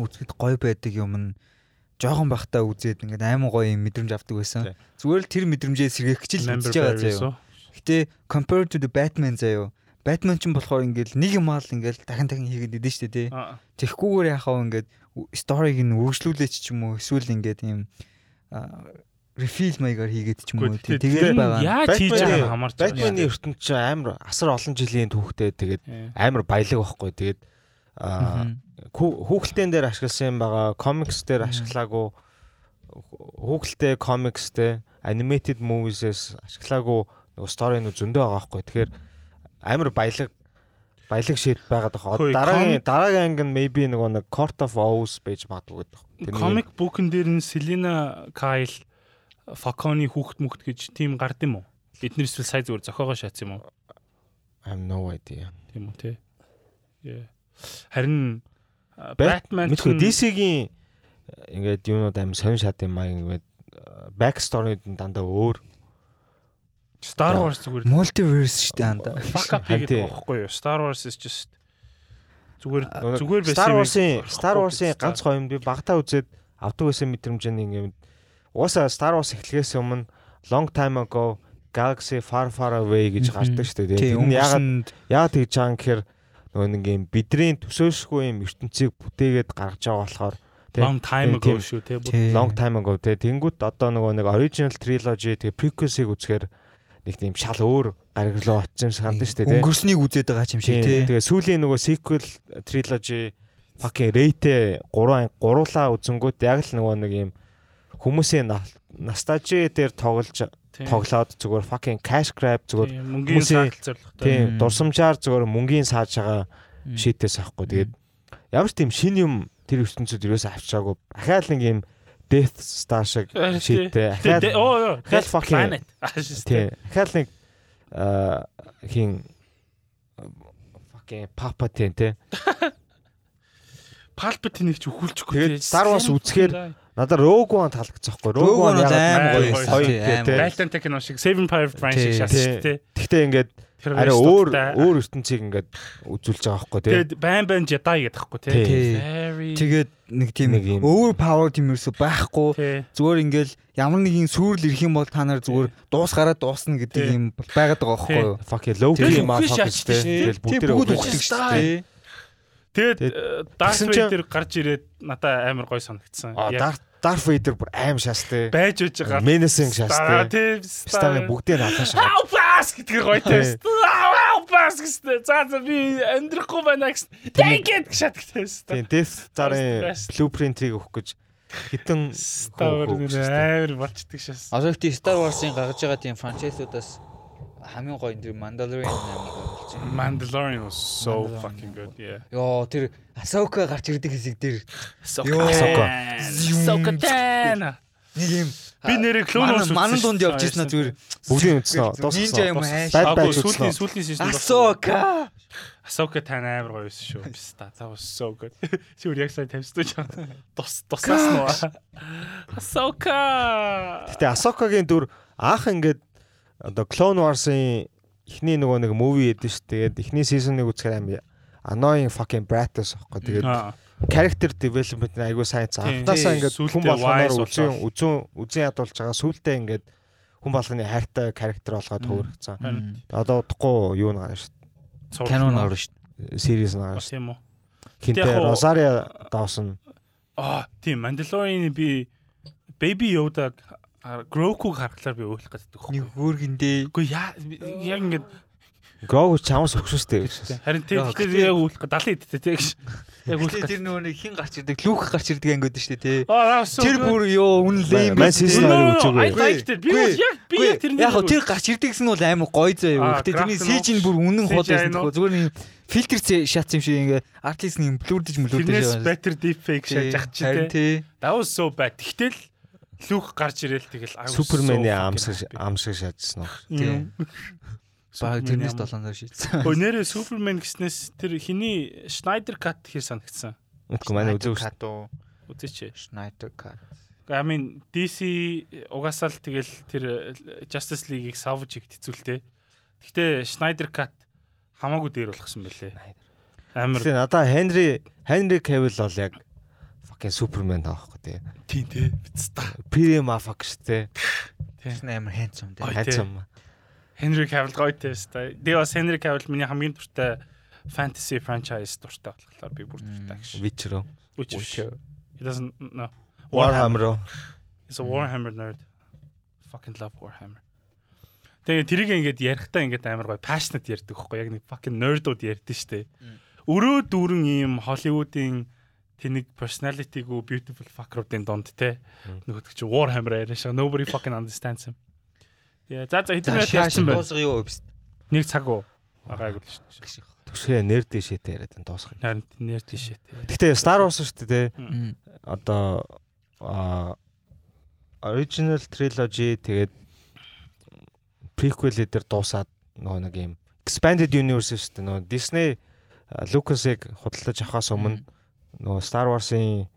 [SPEAKER 5] үзэхэд гоё байдаг юм нь жоохон бахтаа үзээд ингээд амар гоё юм мэдрэмж авдаг байсан.
[SPEAKER 2] Тий.
[SPEAKER 5] Зүгээр л тэр мэдрэмжээ сэргээх гэж л үзэж байгаа заяа. Гэтэ compared to the Batman заяа. Batman ч болохоор ингээд нэг юм аа л ингээд дахин дахин хийгээд идэв штэ тий.
[SPEAKER 1] Аа.
[SPEAKER 5] Тэгхгүйгээр яхаа ингээд ү- сториг нь үргэлжлүүлээч ч юм уу эсвэл ингээд ийм а, refill маягаар хийгээд ч юм уу тий.
[SPEAKER 1] Тэгээд
[SPEAKER 5] Тэгээд байгаа.
[SPEAKER 1] яаж хийж
[SPEAKER 2] Batman-ийн-
[SPEAKER 1] байгааг хамаарч байгаа.
[SPEAKER 2] Батманы ертөнд чи амар асар олон жилийн түүхтэй тэгээд
[SPEAKER 1] Э,
[SPEAKER 2] амар баялаг байхгүй тэгээд аа
[SPEAKER 5] Мгм.
[SPEAKER 2] хүү- хүүхэлдэйн дээр ашигласан юм байгаа, комикс дээр ашиглаагүй хүүхэлдэй комикстэй animated movies-с ашиглаагүй нөгөө сторийн нь зөндөө байгаа байхгүй. Тэгэхээр амар баялаг баялаг шийд байгаад байгаа. Одоо
[SPEAKER 1] Хөөе,
[SPEAKER 2] Дараагийн дараагийн анги нь maybe нөгөө нэг Court of Owls байж магадгүй гэдэг. Тэрний-
[SPEAKER 1] Комик бүкэн дээр нь Селина Кайл Факоны хүүхэд мөхт гэж тим гард юм уу? Бид нэр эсвэл сая зүгээр зохиогоо шатсан юм уу?
[SPEAKER 2] I have no idea.
[SPEAKER 1] Тийм үү те. Е. Харин а,
[SPEAKER 2] Бат-
[SPEAKER 1] Batman
[SPEAKER 2] Мэдгүй
[SPEAKER 1] чинь-
[SPEAKER 2] DC-гийн ингээд юунууд амар сонир шат юм аа ингээд э, backstory-д нь дандаа өөр.
[SPEAKER 1] Star Wars зүгээр
[SPEAKER 5] Multiverse штэ анда.
[SPEAKER 1] fuck up хийгээд
[SPEAKER 2] Хантий.
[SPEAKER 1] байгаа байхгүй юу? Star Wars is just зүгээр
[SPEAKER 2] Нөгөө
[SPEAKER 1] зүгээр байсан
[SPEAKER 2] Star
[SPEAKER 1] юм
[SPEAKER 2] Wars-ийн
[SPEAKER 1] яг-
[SPEAKER 2] Star Wars-ийн ганц гоё юм би багтаа үзээд авдаг байсан мэдрэмж нь ингээд уусаа Star Wars эхлэхээс өмнө long time ago Galaxy Far Far Away гэж
[SPEAKER 5] Мгм.
[SPEAKER 2] гардаг шүү дээ.
[SPEAKER 5] Тий,
[SPEAKER 2] Тэр нь ягаад
[SPEAKER 5] өнгөрсөнд
[SPEAKER 2] яагаад тэгж байгаа юм гэхээр нөгөө нэг юм бидрийн төсөөлшгүй юм ертөнцийг бүтээгээд гаргаж байгаа болохоор тий.
[SPEAKER 1] long time ago
[SPEAKER 2] Тийм.
[SPEAKER 1] шүү те. бүр-
[SPEAKER 5] тий.
[SPEAKER 2] long time ago те тэнгууд одоо нөгөө нэг original trilogy тэгээ prequel-ийг үзэхээр нэг тийм шал өөр гаргалуу очсон юм шиг хандсан шүү дээ
[SPEAKER 5] Өнгөрснийг үзээд байгаа ч юм шиг
[SPEAKER 2] те
[SPEAKER 5] тий.
[SPEAKER 2] тэгээ сүүлийн нөгөө sequel trilogy fucking rate 3 гуруулаа үзэнгүүт яг л нөгөө нэг юм хүмүүсийн нас- настажи дээр тоглож
[SPEAKER 1] Тийм.
[SPEAKER 2] тоглоод зүгээр fucking cash grab зүгээр
[SPEAKER 1] Тийм, мөнгөний
[SPEAKER 2] хүмүүсийн-
[SPEAKER 1] саатал зорлоготой.
[SPEAKER 2] тийм
[SPEAKER 5] Мм.
[SPEAKER 2] дурсамжаар зүгээр мөнгөний сааж байгаа
[SPEAKER 5] Мм.
[SPEAKER 2] шийдээс авахгүй тэгээд ямар ч тийм шин юм тэр ертөнцид юу ч авчаагүй дахиад нэг юм Death Star шиг
[SPEAKER 1] Аа, тий. Тэ,
[SPEAKER 2] шийдтэй дахиад
[SPEAKER 1] тэ, оо, оо,
[SPEAKER 2] Хэл
[SPEAKER 1] Death
[SPEAKER 2] fucking-
[SPEAKER 1] Planet. Аа, шист,
[SPEAKER 2] тий дахиад нэг аа, хин аа, fucking Papa Ten тий
[SPEAKER 1] Palpatine-ийг ч өхүүлчихгүй.
[SPEAKER 2] Тэгээд Star Wars үзэхээр- надаа Rogue One таалагдчихгүй
[SPEAKER 5] Rogue One бол
[SPEAKER 1] амар
[SPEAKER 2] амар
[SPEAKER 1] гоё
[SPEAKER 2] гоё
[SPEAKER 1] байсан,
[SPEAKER 2] хоёр
[SPEAKER 5] тий, амар
[SPEAKER 2] тий
[SPEAKER 1] Байлдан тек кино шиг Saving Private Ryan шиг
[SPEAKER 5] Тий,
[SPEAKER 1] шаардсан тий.
[SPEAKER 2] Гэхдээ ингээд
[SPEAKER 1] Тэр
[SPEAKER 2] арай
[SPEAKER 1] Aristotle-
[SPEAKER 2] өөр өөр ертөнцийг ингээд үзүүлж байгаа байхгүй тий
[SPEAKER 1] Тэгээд байн байн Jedi гэдэг хэвгүй тий.
[SPEAKER 5] Тий.
[SPEAKER 1] Very-
[SPEAKER 5] Тэгээд нэг тийм
[SPEAKER 2] Нэг юм.
[SPEAKER 5] over power тийм ерөөсө байхгүй.
[SPEAKER 1] Тий.
[SPEAKER 5] Зүгээр ингээл ямар нэгэн сүрэл ирэх юм бол та нар зүгээр дуус гараад дуусна гэдэг
[SPEAKER 1] Тий.
[SPEAKER 5] юм бол байгаад байгаа байхгүй юу?
[SPEAKER 2] fucking Loki
[SPEAKER 1] Тэгээд
[SPEAKER 2] маа
[SPEAKER 1] үхэж
[SPEAKER 2] fucking
[SPEAKER 1] шаачдаг
[SPEAKER 2] тий
[SPEAKER 1] шээ.
[SPEAKER 2] тэгэл бүгд
[SPEAKER 5] бүгд
[SPEAKER 2] тэрэг
[SPEAKER 1] үхэж
[SPEAKER 5] үхдэг шүү
[SPEAKER 1] шээ.
[SPEAKER 5] дээ.
[SPEAKER 1] Тэгээд
[SPEAKER 2] Тэгээд
[SPEAKER 1] э, Darth
[SPEAKER 2] тэгсэн чинь-
[SPEAKER 1] Vader гарч ирээд надаа амар гой санагдсан.
[SPEAKER 2] А
[SPEAKER 1] Яг
[SPEAKER 2] Darth Darth Vader бүр аим шаастай
[SPEAKER 1] байж үж гарч
[SPEAKER 2] Menacing
[SPEAKER 1] Star-
[SPEAKER 2] шаастай
[SPEAKER 1] тий.
[SPEAKER 2] Старын бүгдээ наалаа шаа.
[SPEAKER 1] How fast гэдгээр гой тий.
[SPEAKER 2] Тий.
[SPEAKER 1] How fast гэсэн. За за би амьдрахгүй байна гэсэн. Take it шатгтай шүү дээ.
[SPEAKER 2] Тийм, Death Star-ын
[SPEAKER 1] Best.
[SPEAKER 2] blueprint-ийг өгөх гэж хитэн
[SPEAKER 1] Star
[SPEAKER 2] хөөх
[SPEAKER 1] Wars
[SPEAKER 2] шүү дээ.
[SPEAKER 1] амар болчдаг шээс.
[SPEAKER 3] Одоо ихтэй Star Wars-ийн гаргаж байгаа тийм франчайзуудаас хамгийн гоё нь тэр Mandalorian амиг болчихсон.
[SPEAKER 1] Mandalorian was so
[SPEAKER 3] Mandalorian.
[SPEAKER 1] fucking good. Yeah.
[SPEAKER 3] Йоо тэр Ahsoka гарч ирдэг хэсэг дээр
[SPEAKER 1] Soka. Soka Tana.
[SPEAKER 5] Нэг юм
[SPEAKER 1] Би нэрээ Clone Wars
[SPEAKER 5] манан
[SPEAKER 1] үзсэн
[SPEAKER 5] дунд
[SPEAKER 1] шүү.
[SPEAKER 5] явж ирсэн зүгээр
[SPEAKER 2] Бүгдийн үдсэн үү?
[SPEAKER 5] Нинджа юм хайш.
[SPEAKER 2] Бай-
[SPEAKER 1] Аагүй
[SPEAKER 2] байж үзсэн
[SPEAKER 1] сүүлийн
[SPEAKER 2] үү?
[SPEAKER 1] сүүлийн сезон.
[SPEAKER 5] Асока.
[SPEAKER 1] Асока тань амар гоё байсан шүү. Пста. That was so good. Сүүр яг сайн тавьстууч. Тус туснасан уу? Асока.
[SPEAKER 2] Гэтэ Асокагийн дүр анх ингээд одоо Clone Wars-ын эхний нөгөө нэг movie ядэн шүү. Тэгээд эхний season-ыг үзэхээр амар annoying fucking brat-аас аахгүй. Тэгээд character development нь айгүй сайн
[SPEAKER 1] Тийм.
[SPEAKER 2] цаа. Анхнаасаа ингээд
[SPEAKER 1] Сүүлдээ
[SPEAKER 2] хүн болгоноор
[SPEAKER 1] wise
[SPEAKER 2] үзэн
[SPEAKER 1] болоод.
[SPEAKER 2] үзэн үзэн ядуулж байгаа. Сүүлдээ ингээд хүн болгоны хайртай character болгоод хөөрчихсэн. Одоо удахгүй юу нэг шүү.
[SPEAKER 5] Canon орно шүү.
[SPEAKER 2] Series нэг шүү.
[SPEAKER 1] Тийм үү?
[SPEAKER 2] Хинтээ
[SPEAKER 1] яг уу-
[SPEAKER 2] Rosaria Dawson
[SPEAKER 1] Аа, тийм Mandalorian-ы би Baby Yoda-г Grogu-г харахаар би өөлөх гэдэг.
[SPEAKER 5] Нэг хөөргөндөө
[SPEAKER 1] Үгүй яа би- яг ингээд
[SPEAKER 2] Грог чамаас өгсөстэй гэж.
[SPEAKER 1] Харин тийм гэхдээ яг үлэх 70 идтэй тийм гэж. Яг
[SPEAKER 3] Гэхдээ
[SPEAKER 1] үлэх.
[SPEAKER 3] тэр нөгөө нэг хин гарч ирдэг, лүүх гарч ирдэг ангиуд шүү дээ, тий.
[SPEAKER 1] Аа, that's so
[SPEAKER 3] Тэр
[SPEAKER 1] good.
[SPEAKER 3] бүр ёо үн лэм.
[SPEAKER 2] Man City-ийн
[SPEAKER 1] No, no, no,
[SPEAKER 2] үзээгүй.
[SPEAKER 1] I liked it. Би бол яг би яг тэр
[SPEAKER 3] яг хөө тэр гарч ирдэг гэсэн нь бол амар гоё зөө юу.
[SPEAKER 1] Аа,
[SPEAKER 3] Гэтэ тэрний
[SPEAKER 1] Grafton уу?
[SPEAKER 3] сэж нь бүр үнэн хол
[SPEAKER 1] CGI
[SPEAKER 3] байсан
[SPEAKER 1] нь уу?
[SPEAKER 3] гэхгүй зүгээр нэг фильтр зэ- шат юм шиг ингээ артлист нь имплүрдэж мөлөөдөө
[SPEAKER 1] Тэрнээс better deepfake шаж ах чи те.
[SPEAKER 3] тий.
[SPEAKER 1] That was so bad. Тэгтэл Люк гарч ирээл тэгэл I was so
[SPEAKER 2] Суперменний
[SPEAKER 1] fucking
[SPEAKER 2] амс
[SPEAKER 1] happy.
[SPEAKER 2] амс шаажсан уу?
[SPEAKER 1] Тийм.
[SPEAKER 3] Баг
[SPEAKER 1] Суперменний
[SPEAKER 3] тэрнээс
[SPEAKER 1] ам-
[SPEAKER 3] долооноор шийдсэн.
[SPEAKER 1] Өө нэрэ Супермен гэснээс тэр хиний Schneider cut хэр санагдсан.
[SPEAKER 2] Мэдгүй манай үзээгүй.
[SPEAKER 3] Кату,
[SPEAKER 1] Үзээч.
[SPEAKER 3] Schneider Cut.
[SPEAKER 1] I mean DC угаасаа л тэгэл тэр э, Justice League-ийг Savage хэд хэцүүлтэй. Гэхдээ Schneider cut хамаагүй дээр болгсон байлээ. Амар
[SPEAKER 2] Тэгээ надаа Хенри Хенри Кавил бол яг fucking Superman таахгүй тий.
[SPEAKER 1] тийм тий. Бицта.
[SPEAKER 2] Prim afak штэ.
[SPEAKER 3] Тэр нь амар хэнц юм
[SPEAKER 1] Ой,
[SPEAKER 3] дээ.
[SPEAKER 1] тий.
[SPEAKER 2] Хайцам.
[SPEAKER 1] Henry Cavill гоё тесттэй. Би бас Henry Cavill миний хамгийн дуртай fantasy franchise дуртай болохоор би бүр дуртай гэж.
[SPEAKER 2] Witcher.
[SPEAKER 1] Which is- It doesn't no.
[SPEAKER 2] Warhammer.
[SPEAKER 1] It's a Warhammer nerd. Fucking love Warhammer. Тэгээ тэрийг ингээд ярихтаа ингээд амар гоё passionate ярьдаг хөхгүй яг нэг fucking nerdуд ярьдэн штэ. Өрөө дүүрэн ийм Hollywood-ийн тэнэг personality-гүү beautiful fucker-уудын донд те. Нөгөөд чи Warhammer яриа шиг nobody fucking understands him. Яа, за за хэдэн минут ярьсан бэ?
[SPEAKER 3] дуусгая юу вэ?
[SPEAKER 1] Нэг цаг уу. Агаагүй л шүү.
[SPEAKER 2] Түшээ нэр дэшээ тий яриад энэ дуусах.
[SPEAKER 1] Харин нэр тийшээ те.
[SPEAKER 2] Гэтэ Star Wars штэ тий.
[SPEAKER 3] Мм.
[SPEAKER 2] Одоо а original trilogy тэгээд prequel дээр дуусаад нөгөө нэг юм expanded universe штэ нөгөө Disney а, Lucas-ыг худалдаж авахаас өмнө нөгөө Star Wars-ийн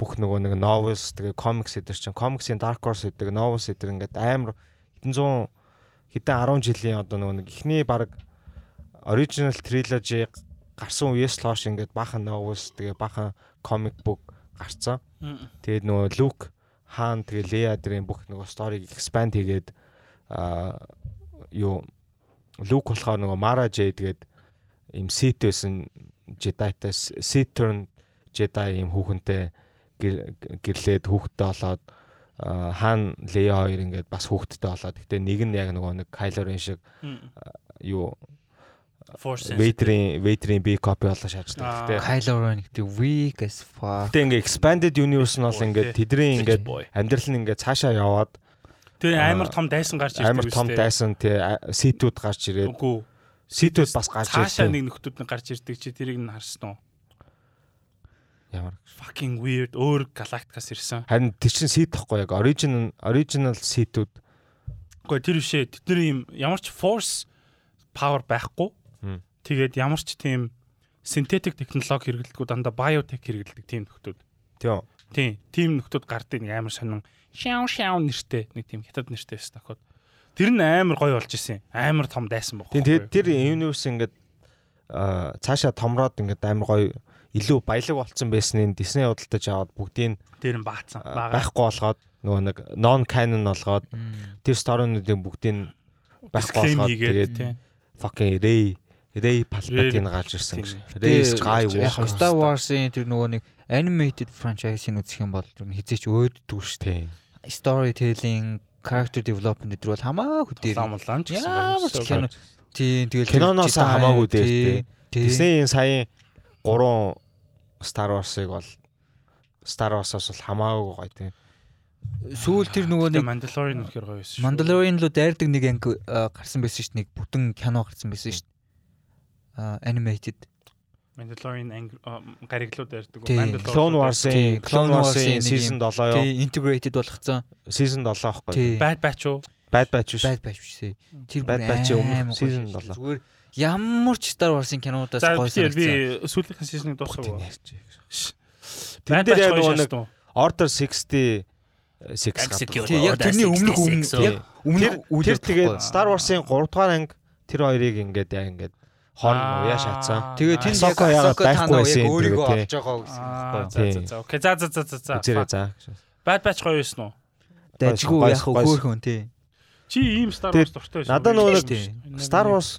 [SPEAKER 2] бүх нөгөө нэг novels тэгээ comics эдэр чинь comics-ийн Dark Horse эдэг novels эдэр ингээд амар 100 хэдэн 10 жилийн одоо нөгөө нэг ихний баг original trilogy гарсан үеэс л хойш ингээд бахан novels тэгээ бахан comic book гарцсан. Тэгээд нөгөө Luke, Han тэгээ Leia дэрийн бүх нөгөө story-г expand хийгээд аа юу Luke болохоор нөгөө Mara Jade тэгээд им Sith байсан Jedi-тай Sith turn Jedi им хүүхэнтэй гэр- гэрлээд хүүхдтэй болоод аа, Han Leia хоёр ингээд бас хүүхдтэй болоод гэтээ нэг нь яг нөгөө нэг Kylo Ren шиг юу
[SPEAKER 1] Force
[SPEAKER 2] Vader-ийн Vader-ийн B copy болоо шаарддаг. Гэтээ
[SPEAKER 3] Kylo Ren гэдэг weak as fuck.
[SPEAKER 2] Гэтэ ингээ expanded universe нь бол
[SPEAKER 1] Boy,
[SPEAKER 2] ингээ
[SPEAKER 1] тий.
[SPEAKER 2] тэдний ингээ
[SPEAKER 1] boy.
[SPEAKER 2] амьдрал нь ингээ цаашаа яваад
[SPEAKER 1] Тэр
[SPEAKER 2] Аа,
[SPEAKER 1] амар том дайсан гарч ирдэг.
[SPEAKER 2] амар том дайсан тий ситүүд гарч ирээд
[SPEAKER 1] Үгүй.
[SPEAKER 2] ситүүд бас гарч
[SPEAKER 1] Цаашаа
[SPEAKER 2] ирсэн.
[SPEAKER 1] нэг нөхдүүд нь гарч ирдэг чи тэрийг нь харсан уу?
[SPEAKER 2] Ямар
[SPEAKER 1] Fucking weird өөр галактикаас ирсэн.
[SPEAKER 2] харин тий чин сит тохгүй яг original original ситүүд
[SPEAKER 1] Үгүй тэр бишээ. Тэд нэр юм ямар ч force power байхгүй.
[SPEAKER 2] Мм.
[SPEAKER 1] Тэгээд ямар ч тийм синтетик технологи хэрэглэдэггүй дандаа biotech хэрэглэдэг тийм нөхдүүд.
[SPEAKER 2] тий юу?
[SPEAKER 1] Тийм, тийм нөхдүүд гардаг нэг амар сонин шяу шяу нэртэй нэг тийм хятад нэртэй байсан тохиод. Тэр нь амар гоё болж исэн. Амар том дайсан байхгүй.
[SPEAKER 2] тий тэгээд тэр universe ингээ аа, цаашаа томроод ингээ амар гоё илүү баялаг болцсон байсныг Disney худалдаж аваад бүгдийг
[SPEAKER 1] тэр нь баацсан.
[SPEAKER 2] аа,
[SPEAKER 1] Бага.
[SPEAKER 2] байхгүй болгоод нөгөө нэг non canon болгоод тэр story-нуудыг бүгдийг байхгүй
[SPEAKER 1] Disclaim
[SPEAKER 2] болгоод
[SPEAKER 1] хийгээд,
[SPEAKER 2] тэгээд
[SPEAKER 1] тий.
[SPEAKER 2] fucking Ray Ray Palpatine
[SPEAKER 1] Ray-
[SPEAKER 2] гарч ирсэн
[SPEAKER 1] тийм.
[SPEAKER 2] гэж. Ray
[SPEAKER 3] Тэгээд яг
[SPEAKER 2] Skywalker.
[SPEAKER 3] Star Wars-ийн тэр нөгөө нэг animated franchise-ийг үзэх юм бол тэр нь хизээч өөддөг шүү
[SPEAKER 2] Тийм.
[SPEAKER 3] дээ. Storytelling, character development дээр бол хамаагүй дээр.
[SPEAKER 1] Ламлан ч гэсэн
[SPEAKER 3] Ямар ч кино. Тийм тэгэл
[SPEAKER 2] Киноноос хамаагүй дээр тий.
[SPEAKER 3] Дисней
[SPEAKER 2] Disney-ийн саяын 3 Star Wars-ыг бол Star Wars-аас бол хамаагүй гоё тийм.
[SPEAKER 3] сүүл тэр нөгөө
[SPEAKER 1] нэг
[SPEAKER 3] нэг
[SPEAKER 1] Mandalorian үнэхээр гоё байсан. шүү.
[SPEAKER 3] Mandalorian руу дайрдаг нэг анги а, гарсан байсан шүү дээ. Нэг бүтэн кино гарсан байсан шүү дээ. А, Animated.
[SPEAKER 1] Mandalorian анги- а, гариглууд ярьдаг.
[SPEAKER 3] Тийм.
[SPEAKER 2] Clone
[SPEAKER 3] Тийм,
[SPEAKER 2] Wars-ийн
[SPEAKER 3] Clone
[SPEAKER 2] Clone Wars-ийн
[SPEAKER 3] Wars-ийн
[SPEAKER 2] season 7 юу?
[SPEAKER 3] Тий integrated болгоцсон.
[SPEAKER 2] Season 7 аахгүй.
[SPEAKER 3] Тий.
[SPEAKER 1] Bad Batch уу?
[SPEAKER 2] Bad Batch биш.
[SPEAKER 3] Bad Batch шүү. Тэр
[SPEAKER 2] Bad
[SPEAKER 3] бүр
[SPEAKER 2] Batch-ийн өмнөх
[SPEAKER 3] аймаг гоё
[SPEAKER 2] season
[SPEAKER 3] шүү дээ.
[SPEAKER 2] болоо.
[SPEAKER 3] Зүгээр ямар ч Star Wars-ийн кинодоос
[SPEAKER 1] За
[SPEAKER 3] гоё
[SPEAKER 1] тийм
[SPEAKER 3] санагдсан.
[SPEAKER 1] би сүүлийнхэн season-ыг дуусгав.
[SPEAKER 2] Тэн дээр яг нөгөө нэг
[SPEAKER 1] нэг
[SPEAKER 2] Order 66 гардаг.
[SPEAKER 3] Тий яг тэрний өмнөх өмнө яг
[SPEAKER 2] Тэр
[SPEAKER 3] өмнөх
[SPEAKER 2] тэр
[SPEAKER 3] үлэр
[SPEAKER 2] тэгээд Star Wars-ийн 3 дугаар анги тэр хоёрыг ингээд яа ингээд хорн уяа шатсан.
[SPEAKER 3] тэгээд тэр
[SPEAKER 2] Ahsoka яагаад байхгүй байсан юм
[SPEAKER 3] өөрийгөө
[SPEAKER 2] бэ, тий?
[SPEAKER 3] олж
[SPEAKER 1] Аа,
[SPEAKER 3] байгаа гэсэн.
[SPEAKER 1] за
[SPEAKER 2] Тий.
[SPEAKER 1] за за. Окей. За за за за за.
[SPEAKER 2] Үзээрэй
[SPEAKER 1] Fuck.
[SPEAKER 2] заа.
[SPEAKER 1] Bad Batch гоё байсан уу?
[SPEAKER 3] Дажгүй
[SPEAKER 2] Гойс,
[SPEAKER 3] яг
[SPEAKER 2] гойс.
[SPEAKER 3] хөөхөн тий.
[SPEAKER 1] Чи ийм Star
[SPEAKER 2] Тэр-
[SPEAKER 1] Wars дуртай байсан.
[SPEAKER 2] Надад
[SPEAKER 1] уу?
[SPEAKER 2] нөгөө
[SPEAKER 3] Тий.
[SPEAKER 2] нэг Star Wars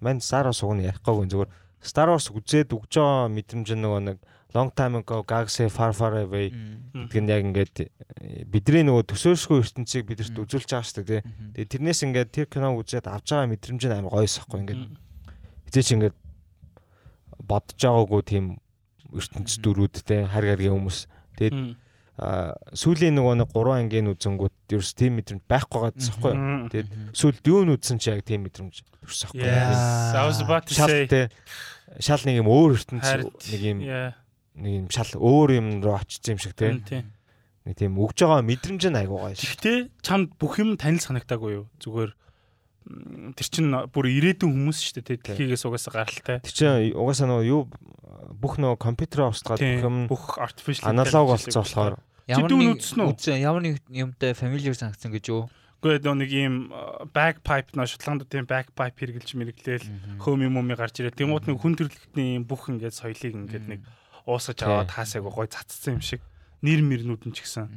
[SPEAKER 2] мань Star Wars уг нь ярихгүй зүгээр Star Wars үзээд өгч байгаа мэдрэмж нь нөгөө нэг Long Time Ago, Galaxy Far Far Away
[SPEAKER 3] Мм.
[SPEAKER 2] гэдэг нь яг ингээд э, бидний нөгөө төсөөлшгүй ертөнцийг бидэрт үзүүлж байгаа шүү дээ. тий.
[SPEAKER 3] Мгм.
[SPEAKER 2] Тэгээ тэрнээс ингээд тэр киног үзээд авч байгаа мэдрэмж нь амар гоёс ахгүй ингээд хизээч ингээд бодож байгаагүй тийм ертөнцид дүрүүд те харь гаргийн хүмүүс тэгээд аа, сүүлийн нөгөө нэг 3 ангийн үзэнгүүд ерөөс тийм мэдрэмж байхгүй гадсан хгүй юу? тэгээд сүүлд юу нь үзсэн чи яг тийм мэдрэмж төрсөн хгүй юу?
[SPEAKER 1] Yes, I was about to
[SPEAKER 2] шал
[SPEAKER 1] say.
[SPEAKER 2] те шал нэг юм өөр ертөнцид
[SPEAKER 1] Харин,
[SPEAKER 2] нэг юм
[SPEAKER 1] Yeah.
[SPEAKER 2] нэг юм шал өөр юм руу очсон юм шиг те
[SPEAKER 1] мм, Тийм.
[SPEAKER 2] нэг тийм өгж байгаа мэдрэмж нь айгуу гоё шүү
[SPEAKER 1] Гэхдээ чамд бүх юм танил санагтаагүй юу? Зүгээр м, тэр чин бүр ирээдүйн хүмүүс шүү дээ.
[SPEAKER 2] Тийм.
[SPEAKER 1] тэ, Дэлхийгээс угаасаа гаралтай.
[SPEAKER 2] тэр чинь угаасаа нөгөө юу бүх нөгөө компьютероо устгаад бүх юм
[SPEAKER 1] Тийм. Бүх artificial
[SPEAKER 2] аналог
[SPEAKER 1] intelligence
[SPEAKER 2] болцсон болохоор
[SPEAKER 1] Чи дүүн үзсэн үү?
[SPEAKER 3] үзсэн ямар нэг юмтай familiar санагдсан гэж юу?
[SPEAKER 1] Гэхдээ нөгөө нэг ийм э, backpipe нөө Шотландд тийм backpipe хэрэгжилж мэрэглээл хөөм юм юм гарч ирээд тэнгууд нэг хүн төрөлхтний бүх ингээд соёлыг ингээд нэг уусгаж
[SPEAKER 2] Тийм.
[SPEAKER 1] аваад хаасайг гой цацсан юм шиг нэр мөрнүүд нь ч гэсэн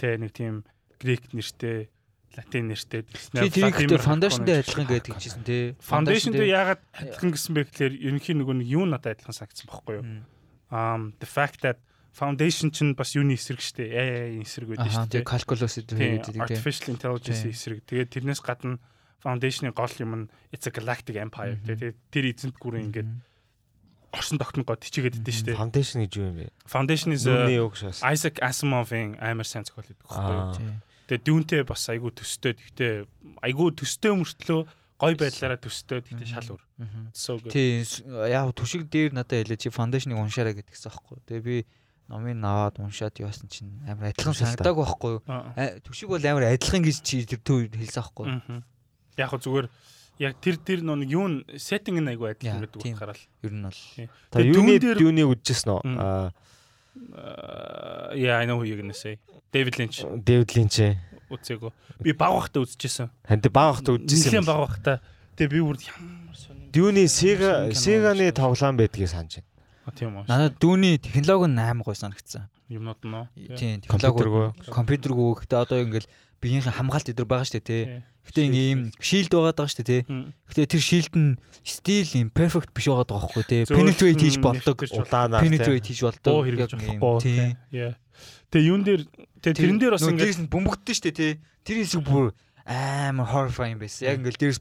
[SPEAKER 1] тэ нэг тийм грек нэртэй латин нэртэй
[SPEAKER 3] Чи тэр ихтэй foundation дээр ажиллах гэдэг чижсэн тий.
[SPEAKER 1] Foundation дээр яагаад адилхан гэсэн бэ гэхээр ерөнхийн нөгөө нэг юу надад адилхан санагдсан байхгүй юу? Um the fact that foundation чинь бас юуны эсрэг штэ. AI эсрэг байдаг
[SPEAKER 3] Аа тий
[SPEAKER 1] штэ.
[SPEAKER 3] calculus
[SPEAKER 1] Тийм,
[SPEAKER 3] гэдэг тий.
[SPEAKER 1] artificial intelligence
[SPEAKER 3] Тийм.
[SPEAKER 1] эсрэг. Тэгээд тэрнээс гадна foundation-ы гол юм нь it's a galactic empire. Тэгээд тэр эзэнт гүрэн ингээд орсон тогтнол гоо тичигээд идэв штэ.
[SPEAKER 2] фаундейшн гэж юу юм бэ
[SPEAKER 1] Foundation is э,
[SPEAKER 2] Нүний
[SPEAKER 1] a-
[SPEAKER 2] үг шээс
[SPEAKER 1] Isaac Asimov-ийн амар сайн зохиол гэдэг байхгүй юу?
[SPEAKER 2] Аа.
[SPEAKER 3] Тий.
[SPEAKER 1] Тэгээд дүүнтэй бас айгүй төстэй. Гэхдээ айгүй төстэй мөртлөө гой байдлаараа төстэй. Гэхдээ шал өөр.
[SPEAKER 3] Мгм.
[SPEAKER 1] So good.
[SPEAKER 3] Тий с- яа түшиг дээр надад хэлээ чи foundation-ыг уншаарай гэдгсэн аахгүй. Тэгээ би номыг наваад уншаад яасан чинь амар адилхан
[SPEAKER 2] Уншаал та.
[SPEAKER 3] санагдааг байхгүй юу?
[SPEAKER 1] Аа.
[SPEAKER 3] А, Түшиг бол амар адилхан гэж чи тэр төв хэлсэн аахгүй. юу?
[SPEAKER 1] Мгм. Яг хөө зүгээр яг тэр тэр нөө нэг юун setting нь айгүй
[SPEAKER 3] Яа,
[SPEAKER 1] адилхан гэдэг
[SPEAKER 3] тийм.
[SPEAKER 1] утгаараа л.
[SPEAKER 3] Ер нь бол.
[SPEAKER 2] та
[SPEAKER 1] Тэгээд
[SPEAKER 2] юуны
[SPEAKER 1] дүүн дээр
[SPEAKER 2] юуны үдчихсэн
[SPEAKER 1] Мм.
[SPEAKER 2] нь аа
[SPEAKER 1] Аа, Э, yeah I know who you're going to say. David Lynch
[SPEAKER 2] Дэвид Линч
[SPEAKER 1] үзээгөө. Би баг бахта үзчихсэн.
[SPEAKER 2] ханд баг хахт
[SPEAKER 1] Нилийн
[SPEAKER 2] үдчихсэн юм
[SPEAKER 1] баг бахта. Тэгээ би бүр ямар сонир.
[SPEAKER 2] Дүүний Сега
[SPEAKER 1] Сонин кино
[SPEAKER 2] Сеганы
[SPEAKER 1] үзсэн.
[SPEAKER 2] тоглоом байдгийг санаж байна.
[SPEAKER 1] А, Тийм үү.
[SPEAKER 3] Надад дүүний технологи нь аим гой санагдсан.
[SPEAKER 1] Юмнууд нь. уу?
[SPEAKER 3] Тийм
[SPEAKER 2] Компьютергөө.
[SPEAKER 3] технологи компьютергөө гэхдээ одоо ингээл биеийнхээ хамгаалт дээр байгаа штэ тий.
[SPEAKER 1] Тийм.
[SPEAKER 3] Гэтэ ингээм шилд байгаад байгаа шүү дээ тий.
[SPEAKER 1] Мм.
[SPEAKER 3] Гэтэ тэр шилд нь стил imperfect биш байгаад байгаа байхгүй тий.
[SPEAKER 1] Зөөлөн
[SPEAKER 3] Penetrate хийж болдог.
[SPEAKER 1] нэвтэрч
[SPEAKER 2] Улаанаар тий.
[SPEAKER 3] Penetrate хийж болдог.
[SPEAKER 1] Буу хэрэгж болохгүй.
[SPEAKER 3] Тий.
[SPEAKER 1] Yeah. Тэгээ юун дээр тэгээ тэрэн дээр бас ингээд
[SPEAKER 3] дээрс нь бөмбөгдөн шүү дээ тий. Тэр хэсэг бүр амар horrifying байсан. Яг ингээл дээрс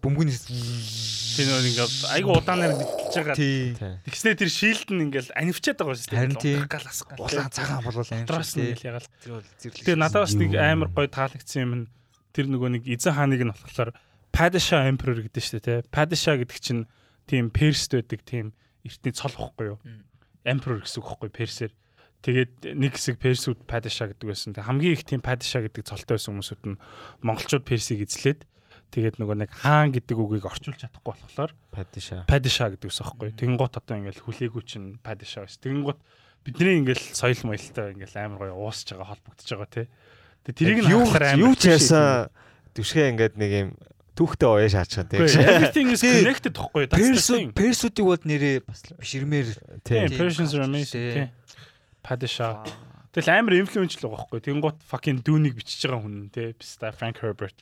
[SPEAKER 3] бөмбөгнээс
[SPEAKER 1] тэр нөө ингээд айгүй удаанаар мэдчихэж байгаа.
[SPEAKER 3] тий.
[SPEAKER 2] Тий.
[SPEAKER 1] Тэгснээр тэр шилд нь ингээд анивчаад байгаа шүү дээ.
[SPEAKER 3] Харин тийм.
[SPEAKER 1] Унтах гал асах гал.
[SPEAKER 3] Улаан цагаан болвол аим
[SPEAKER 1] Дотроос нь
[SPEAKER 3] шүү
[SPEAKER 1] ингээл ягаал.
[SPEAKER 3] Тэр бол зэрлэг.
[SPEAKER 1] Тэгээ надад бас нэг амар гоё таалагдсан юм нь тэр нөгөө нэг эзэн хааныг нь болохоор Падиша Emperor гэдэг нь шүү дээ тий. Падиша гэдэг чинь тийм перст байдаг тийм эртний цол واخгүй юу? Emperor гэсэн үг واخгүй персээр. Тэгээд нэг хэсэг персүүд падиша гэдэг байсан. Тэг хамгийн их тийм падиша гэдэг цолтой байсан хүмүүсүүд нь монголчууд персийг эзлээд тэгээд нөгөө нэг хаан гэдэг үгийг орчуулж чадахгүй болохоор
[SPEAKER 2] Падиша.
[SPEAKER 1] падиша гэдэг ус аахгүй. Тэнгуут одоо ингээл хүлээгүй чинь падиша биш. Тэнгуут бидний ингээл соёл маялтай ингээл амар гоё уусж байгаа холбогдож байгаа тий. Тэ тэрийг нь
[SPEAKER 2] Юу
[SPEAKER 1] харахаар амар
[SPEAKER 2] юу
[SPEAKER 1] хөшөө
[SPEAKER 2] ч яасан түшгэ ингээд нэг юм түүхтэй ууя шаачсан
[SPEAKER 1] идэв. Үгүй,
[SPEAKER 2] тий.
[SPEAKER 1] Everything is
[SPEAKER 3] Тий.
[SPEAKER 1] connected тохгүй.
[SPEAKER 3] Персүүд персүүдийг бол нэрээ бас бишрмээр
[SPEAKER 2] Тий.
[SPEAKER 3] Тийм.
[SPEAKER 1] Persians are
[SPEAKER 3] Тий.
[SPEAKER 1] amazing. тий. Падиша. Тэгэл амар инфлюенс л байгаа байхгүй. Тэнгуут fucking дүүнийг бичиж байгаа хүн тий. Биста Frank Herbert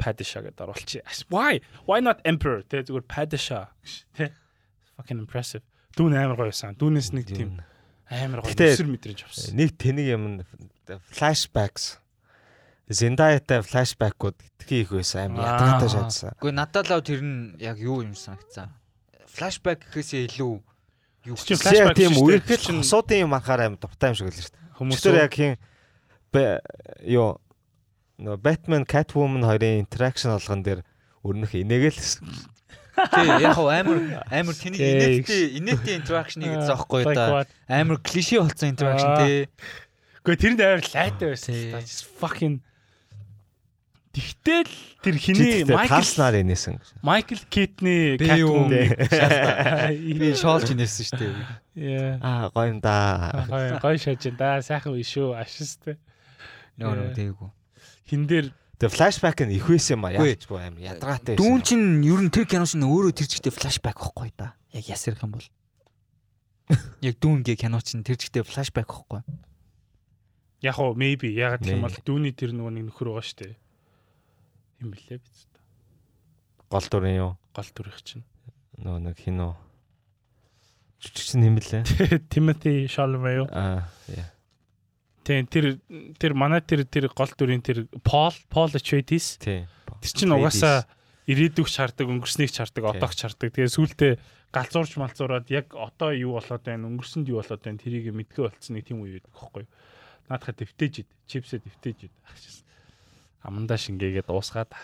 [SPEAKER 1] падиша гэдэг оруулчих. Why? Why not emperor? Тэ зүгээр падиша гэж тий. Fucking impressive. Дүүн амар гоё байсан. Дүүнээс нэг тийм амар гоё
[SPEAKER 2] Гэтэ-
[SPEAKER 1] өсөр мэдрэмж авсан.
[SPEAKER 2] Нэг тэнэг юм нь flashbacks. Зендаятай flashback-ууд итгэх их байсан. Амар
[SPEAKER 1] Аа.
[SPEAKER 2] ятгатай шаачсан.
[SPEAKER 3] Гэхдээ надад л тэр нь яг юу юм санагцсан. Флашбек гэхээсээ илүү юу
[SPEAKER 1] Чи
[SPEAKER 3] гэсэн.
[SPEAKER 1] flashback
[SPEAKER 2] Flashback тийм
[SPEAKER 1] шүү дээ. Тэр
[SPEAKER 2] үерхэл
[SPEAKER 1] чинь-
[SPEAKER 2] хосуудын юм анхаар амар дуртай юм шиг л шүү дээ. Өчтөр яг хин бэ- юу нөө Batman Catwoman хоёрын interaction алган дээр өрнөх инээгээл
[SPEAKER 3] Тий, яг хав амар амар тэний
[SPEAKER 1] Тий.
[SPEAKER 3] инээдтэй инээдтэй интеракшн
[SPEAKER 1] Аа,
[SPEAKER 3] гэсэн аахгүй
[SPEAKER 1] like
[SPEAKER 3] да.
[SPEAKER 1] what?
[SPEAKER 3] Амар клишэ болсон интеракшн
[SPEAKER 1] Аа.
[SPEAKER 3] тий.
[SPEAKER 1] Гэхдээ тэрэнд амар лайтай байсан.
[SPEAKER 3] Тий.
[SPEAKER 1] Та just fucking Тэгтэл тэр хиний
[SPEAKER 2] чиний
[SPEAKER 1] Майкл
[SPEAKER 2] тааснаар инээсэн.
[SPEAKER 1] Майкл Китний
[SPEAKER 3] Би юу
[SPEAKER 1] Catwoman-ыг шалтаа.
[SPEAKER 3] Би шоолж инээсэн шүү дээ.
[SPEAKER 1] Yeah.
[SPEAKER 2] Аа гоё юм да.
[SPEAKER 1] Гой гой шаж энэ да сайхан биш шүү ашистай.
[SPEAKER 3] Нөө нөө тэйгүү.
[SPEAKER 1] Хин дээр
[SPEAKER 2] Тэгээ flashback нь их байсан юм аа
[SPEAKER 3] Үгүй.
[SPEAKER 2] яач бо амар ядгаатай
[SPEAKER 3] Дүүн чинь ер нь тэр кино шин өөрөө тэр чигтээ флашбек байхгүй да. Яг ясэрх юм бол. Яг дүүнгийн кино чинь тэр чигтээ флашбек байхгүй.
[SPEAKER 1] яг уу maybe ягаад гэх юм бол
[SPEAKER 2] Maybe.
[SPEAKER 1] дүүний тэр нөгөө нэг нөхөр байгаа штэ. Хин блэ биз дээ.
[SPEAKER 2] гол дүрэн юу?
[SPEAKER 1] Гол дүрх чинь.
[SPEAKER 2] Нөө нэг хин үү? жүжигч нь юм лээ.
[SPEAKER 1] Timothy Chalamet юу?
[SPEAKER 2] Аа. яа.
[SPEAKER 1] Тэг тэр тэр манай тэр тэр гол дүрийн тэр Paul Paul Atreides
[SPEAKER 2] Тийм.
[SPEAKER 1] тэр чинь угаасаа ирээдүг чардаг, өнгөрснийг чардаг, одоох чардаг. Тэгээ сүүлдээ галзуурч малзуураад яг одоо юу болоод байна, өнгөрсөнд юу болоод байна тэрийг мэдгүй болцсон нэг тийм үе байдаг байхгүй юу? Наадхаа дэвтээж ид, чипсээ дэвтээж ид. Амандаа шингээгээд дуусгаад.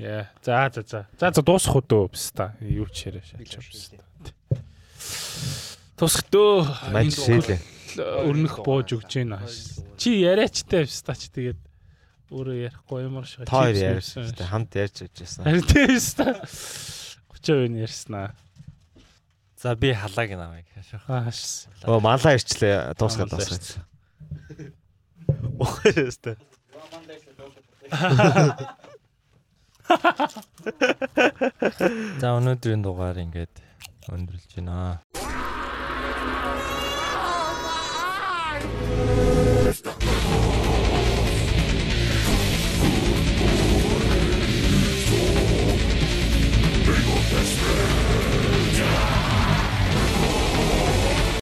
[SPEAKER 1] Яа. За за за. За за дуусах уу дөө бис та. Юу ч яриа шээ. Тусах дөө.
[SPEAKER 2] Мань шээлээ.
[SPEAKER 1] Өрнөх бууж өгч гэнэ. Чи яриачтай бис та ч тэгээд өөрөө ярихгүй юмар шиг.
[SPEAKER 2] Та хоёр
[SPEAKER 1] чипс мэрсэн.
[SPEAKER 2] ярьж байна. Хамт ярьж байжсэн.
[SPEAKER 1] Харин тийм шүү дээ. 30% нь ярьсан аа.
[SPEAKER 4] За би халааг намайг.
[SPEAKER 1] Ааш.
[SPEAKER 2] Оо малаа ирчлээ. Дуусгаад
[SPEAKER 1] Малаа
[SPEAKER 2] дуусгаад.
[SPEAKER 4] Охоёстой. За өнөөдрийн дугаар ингээд өндөрлж байна.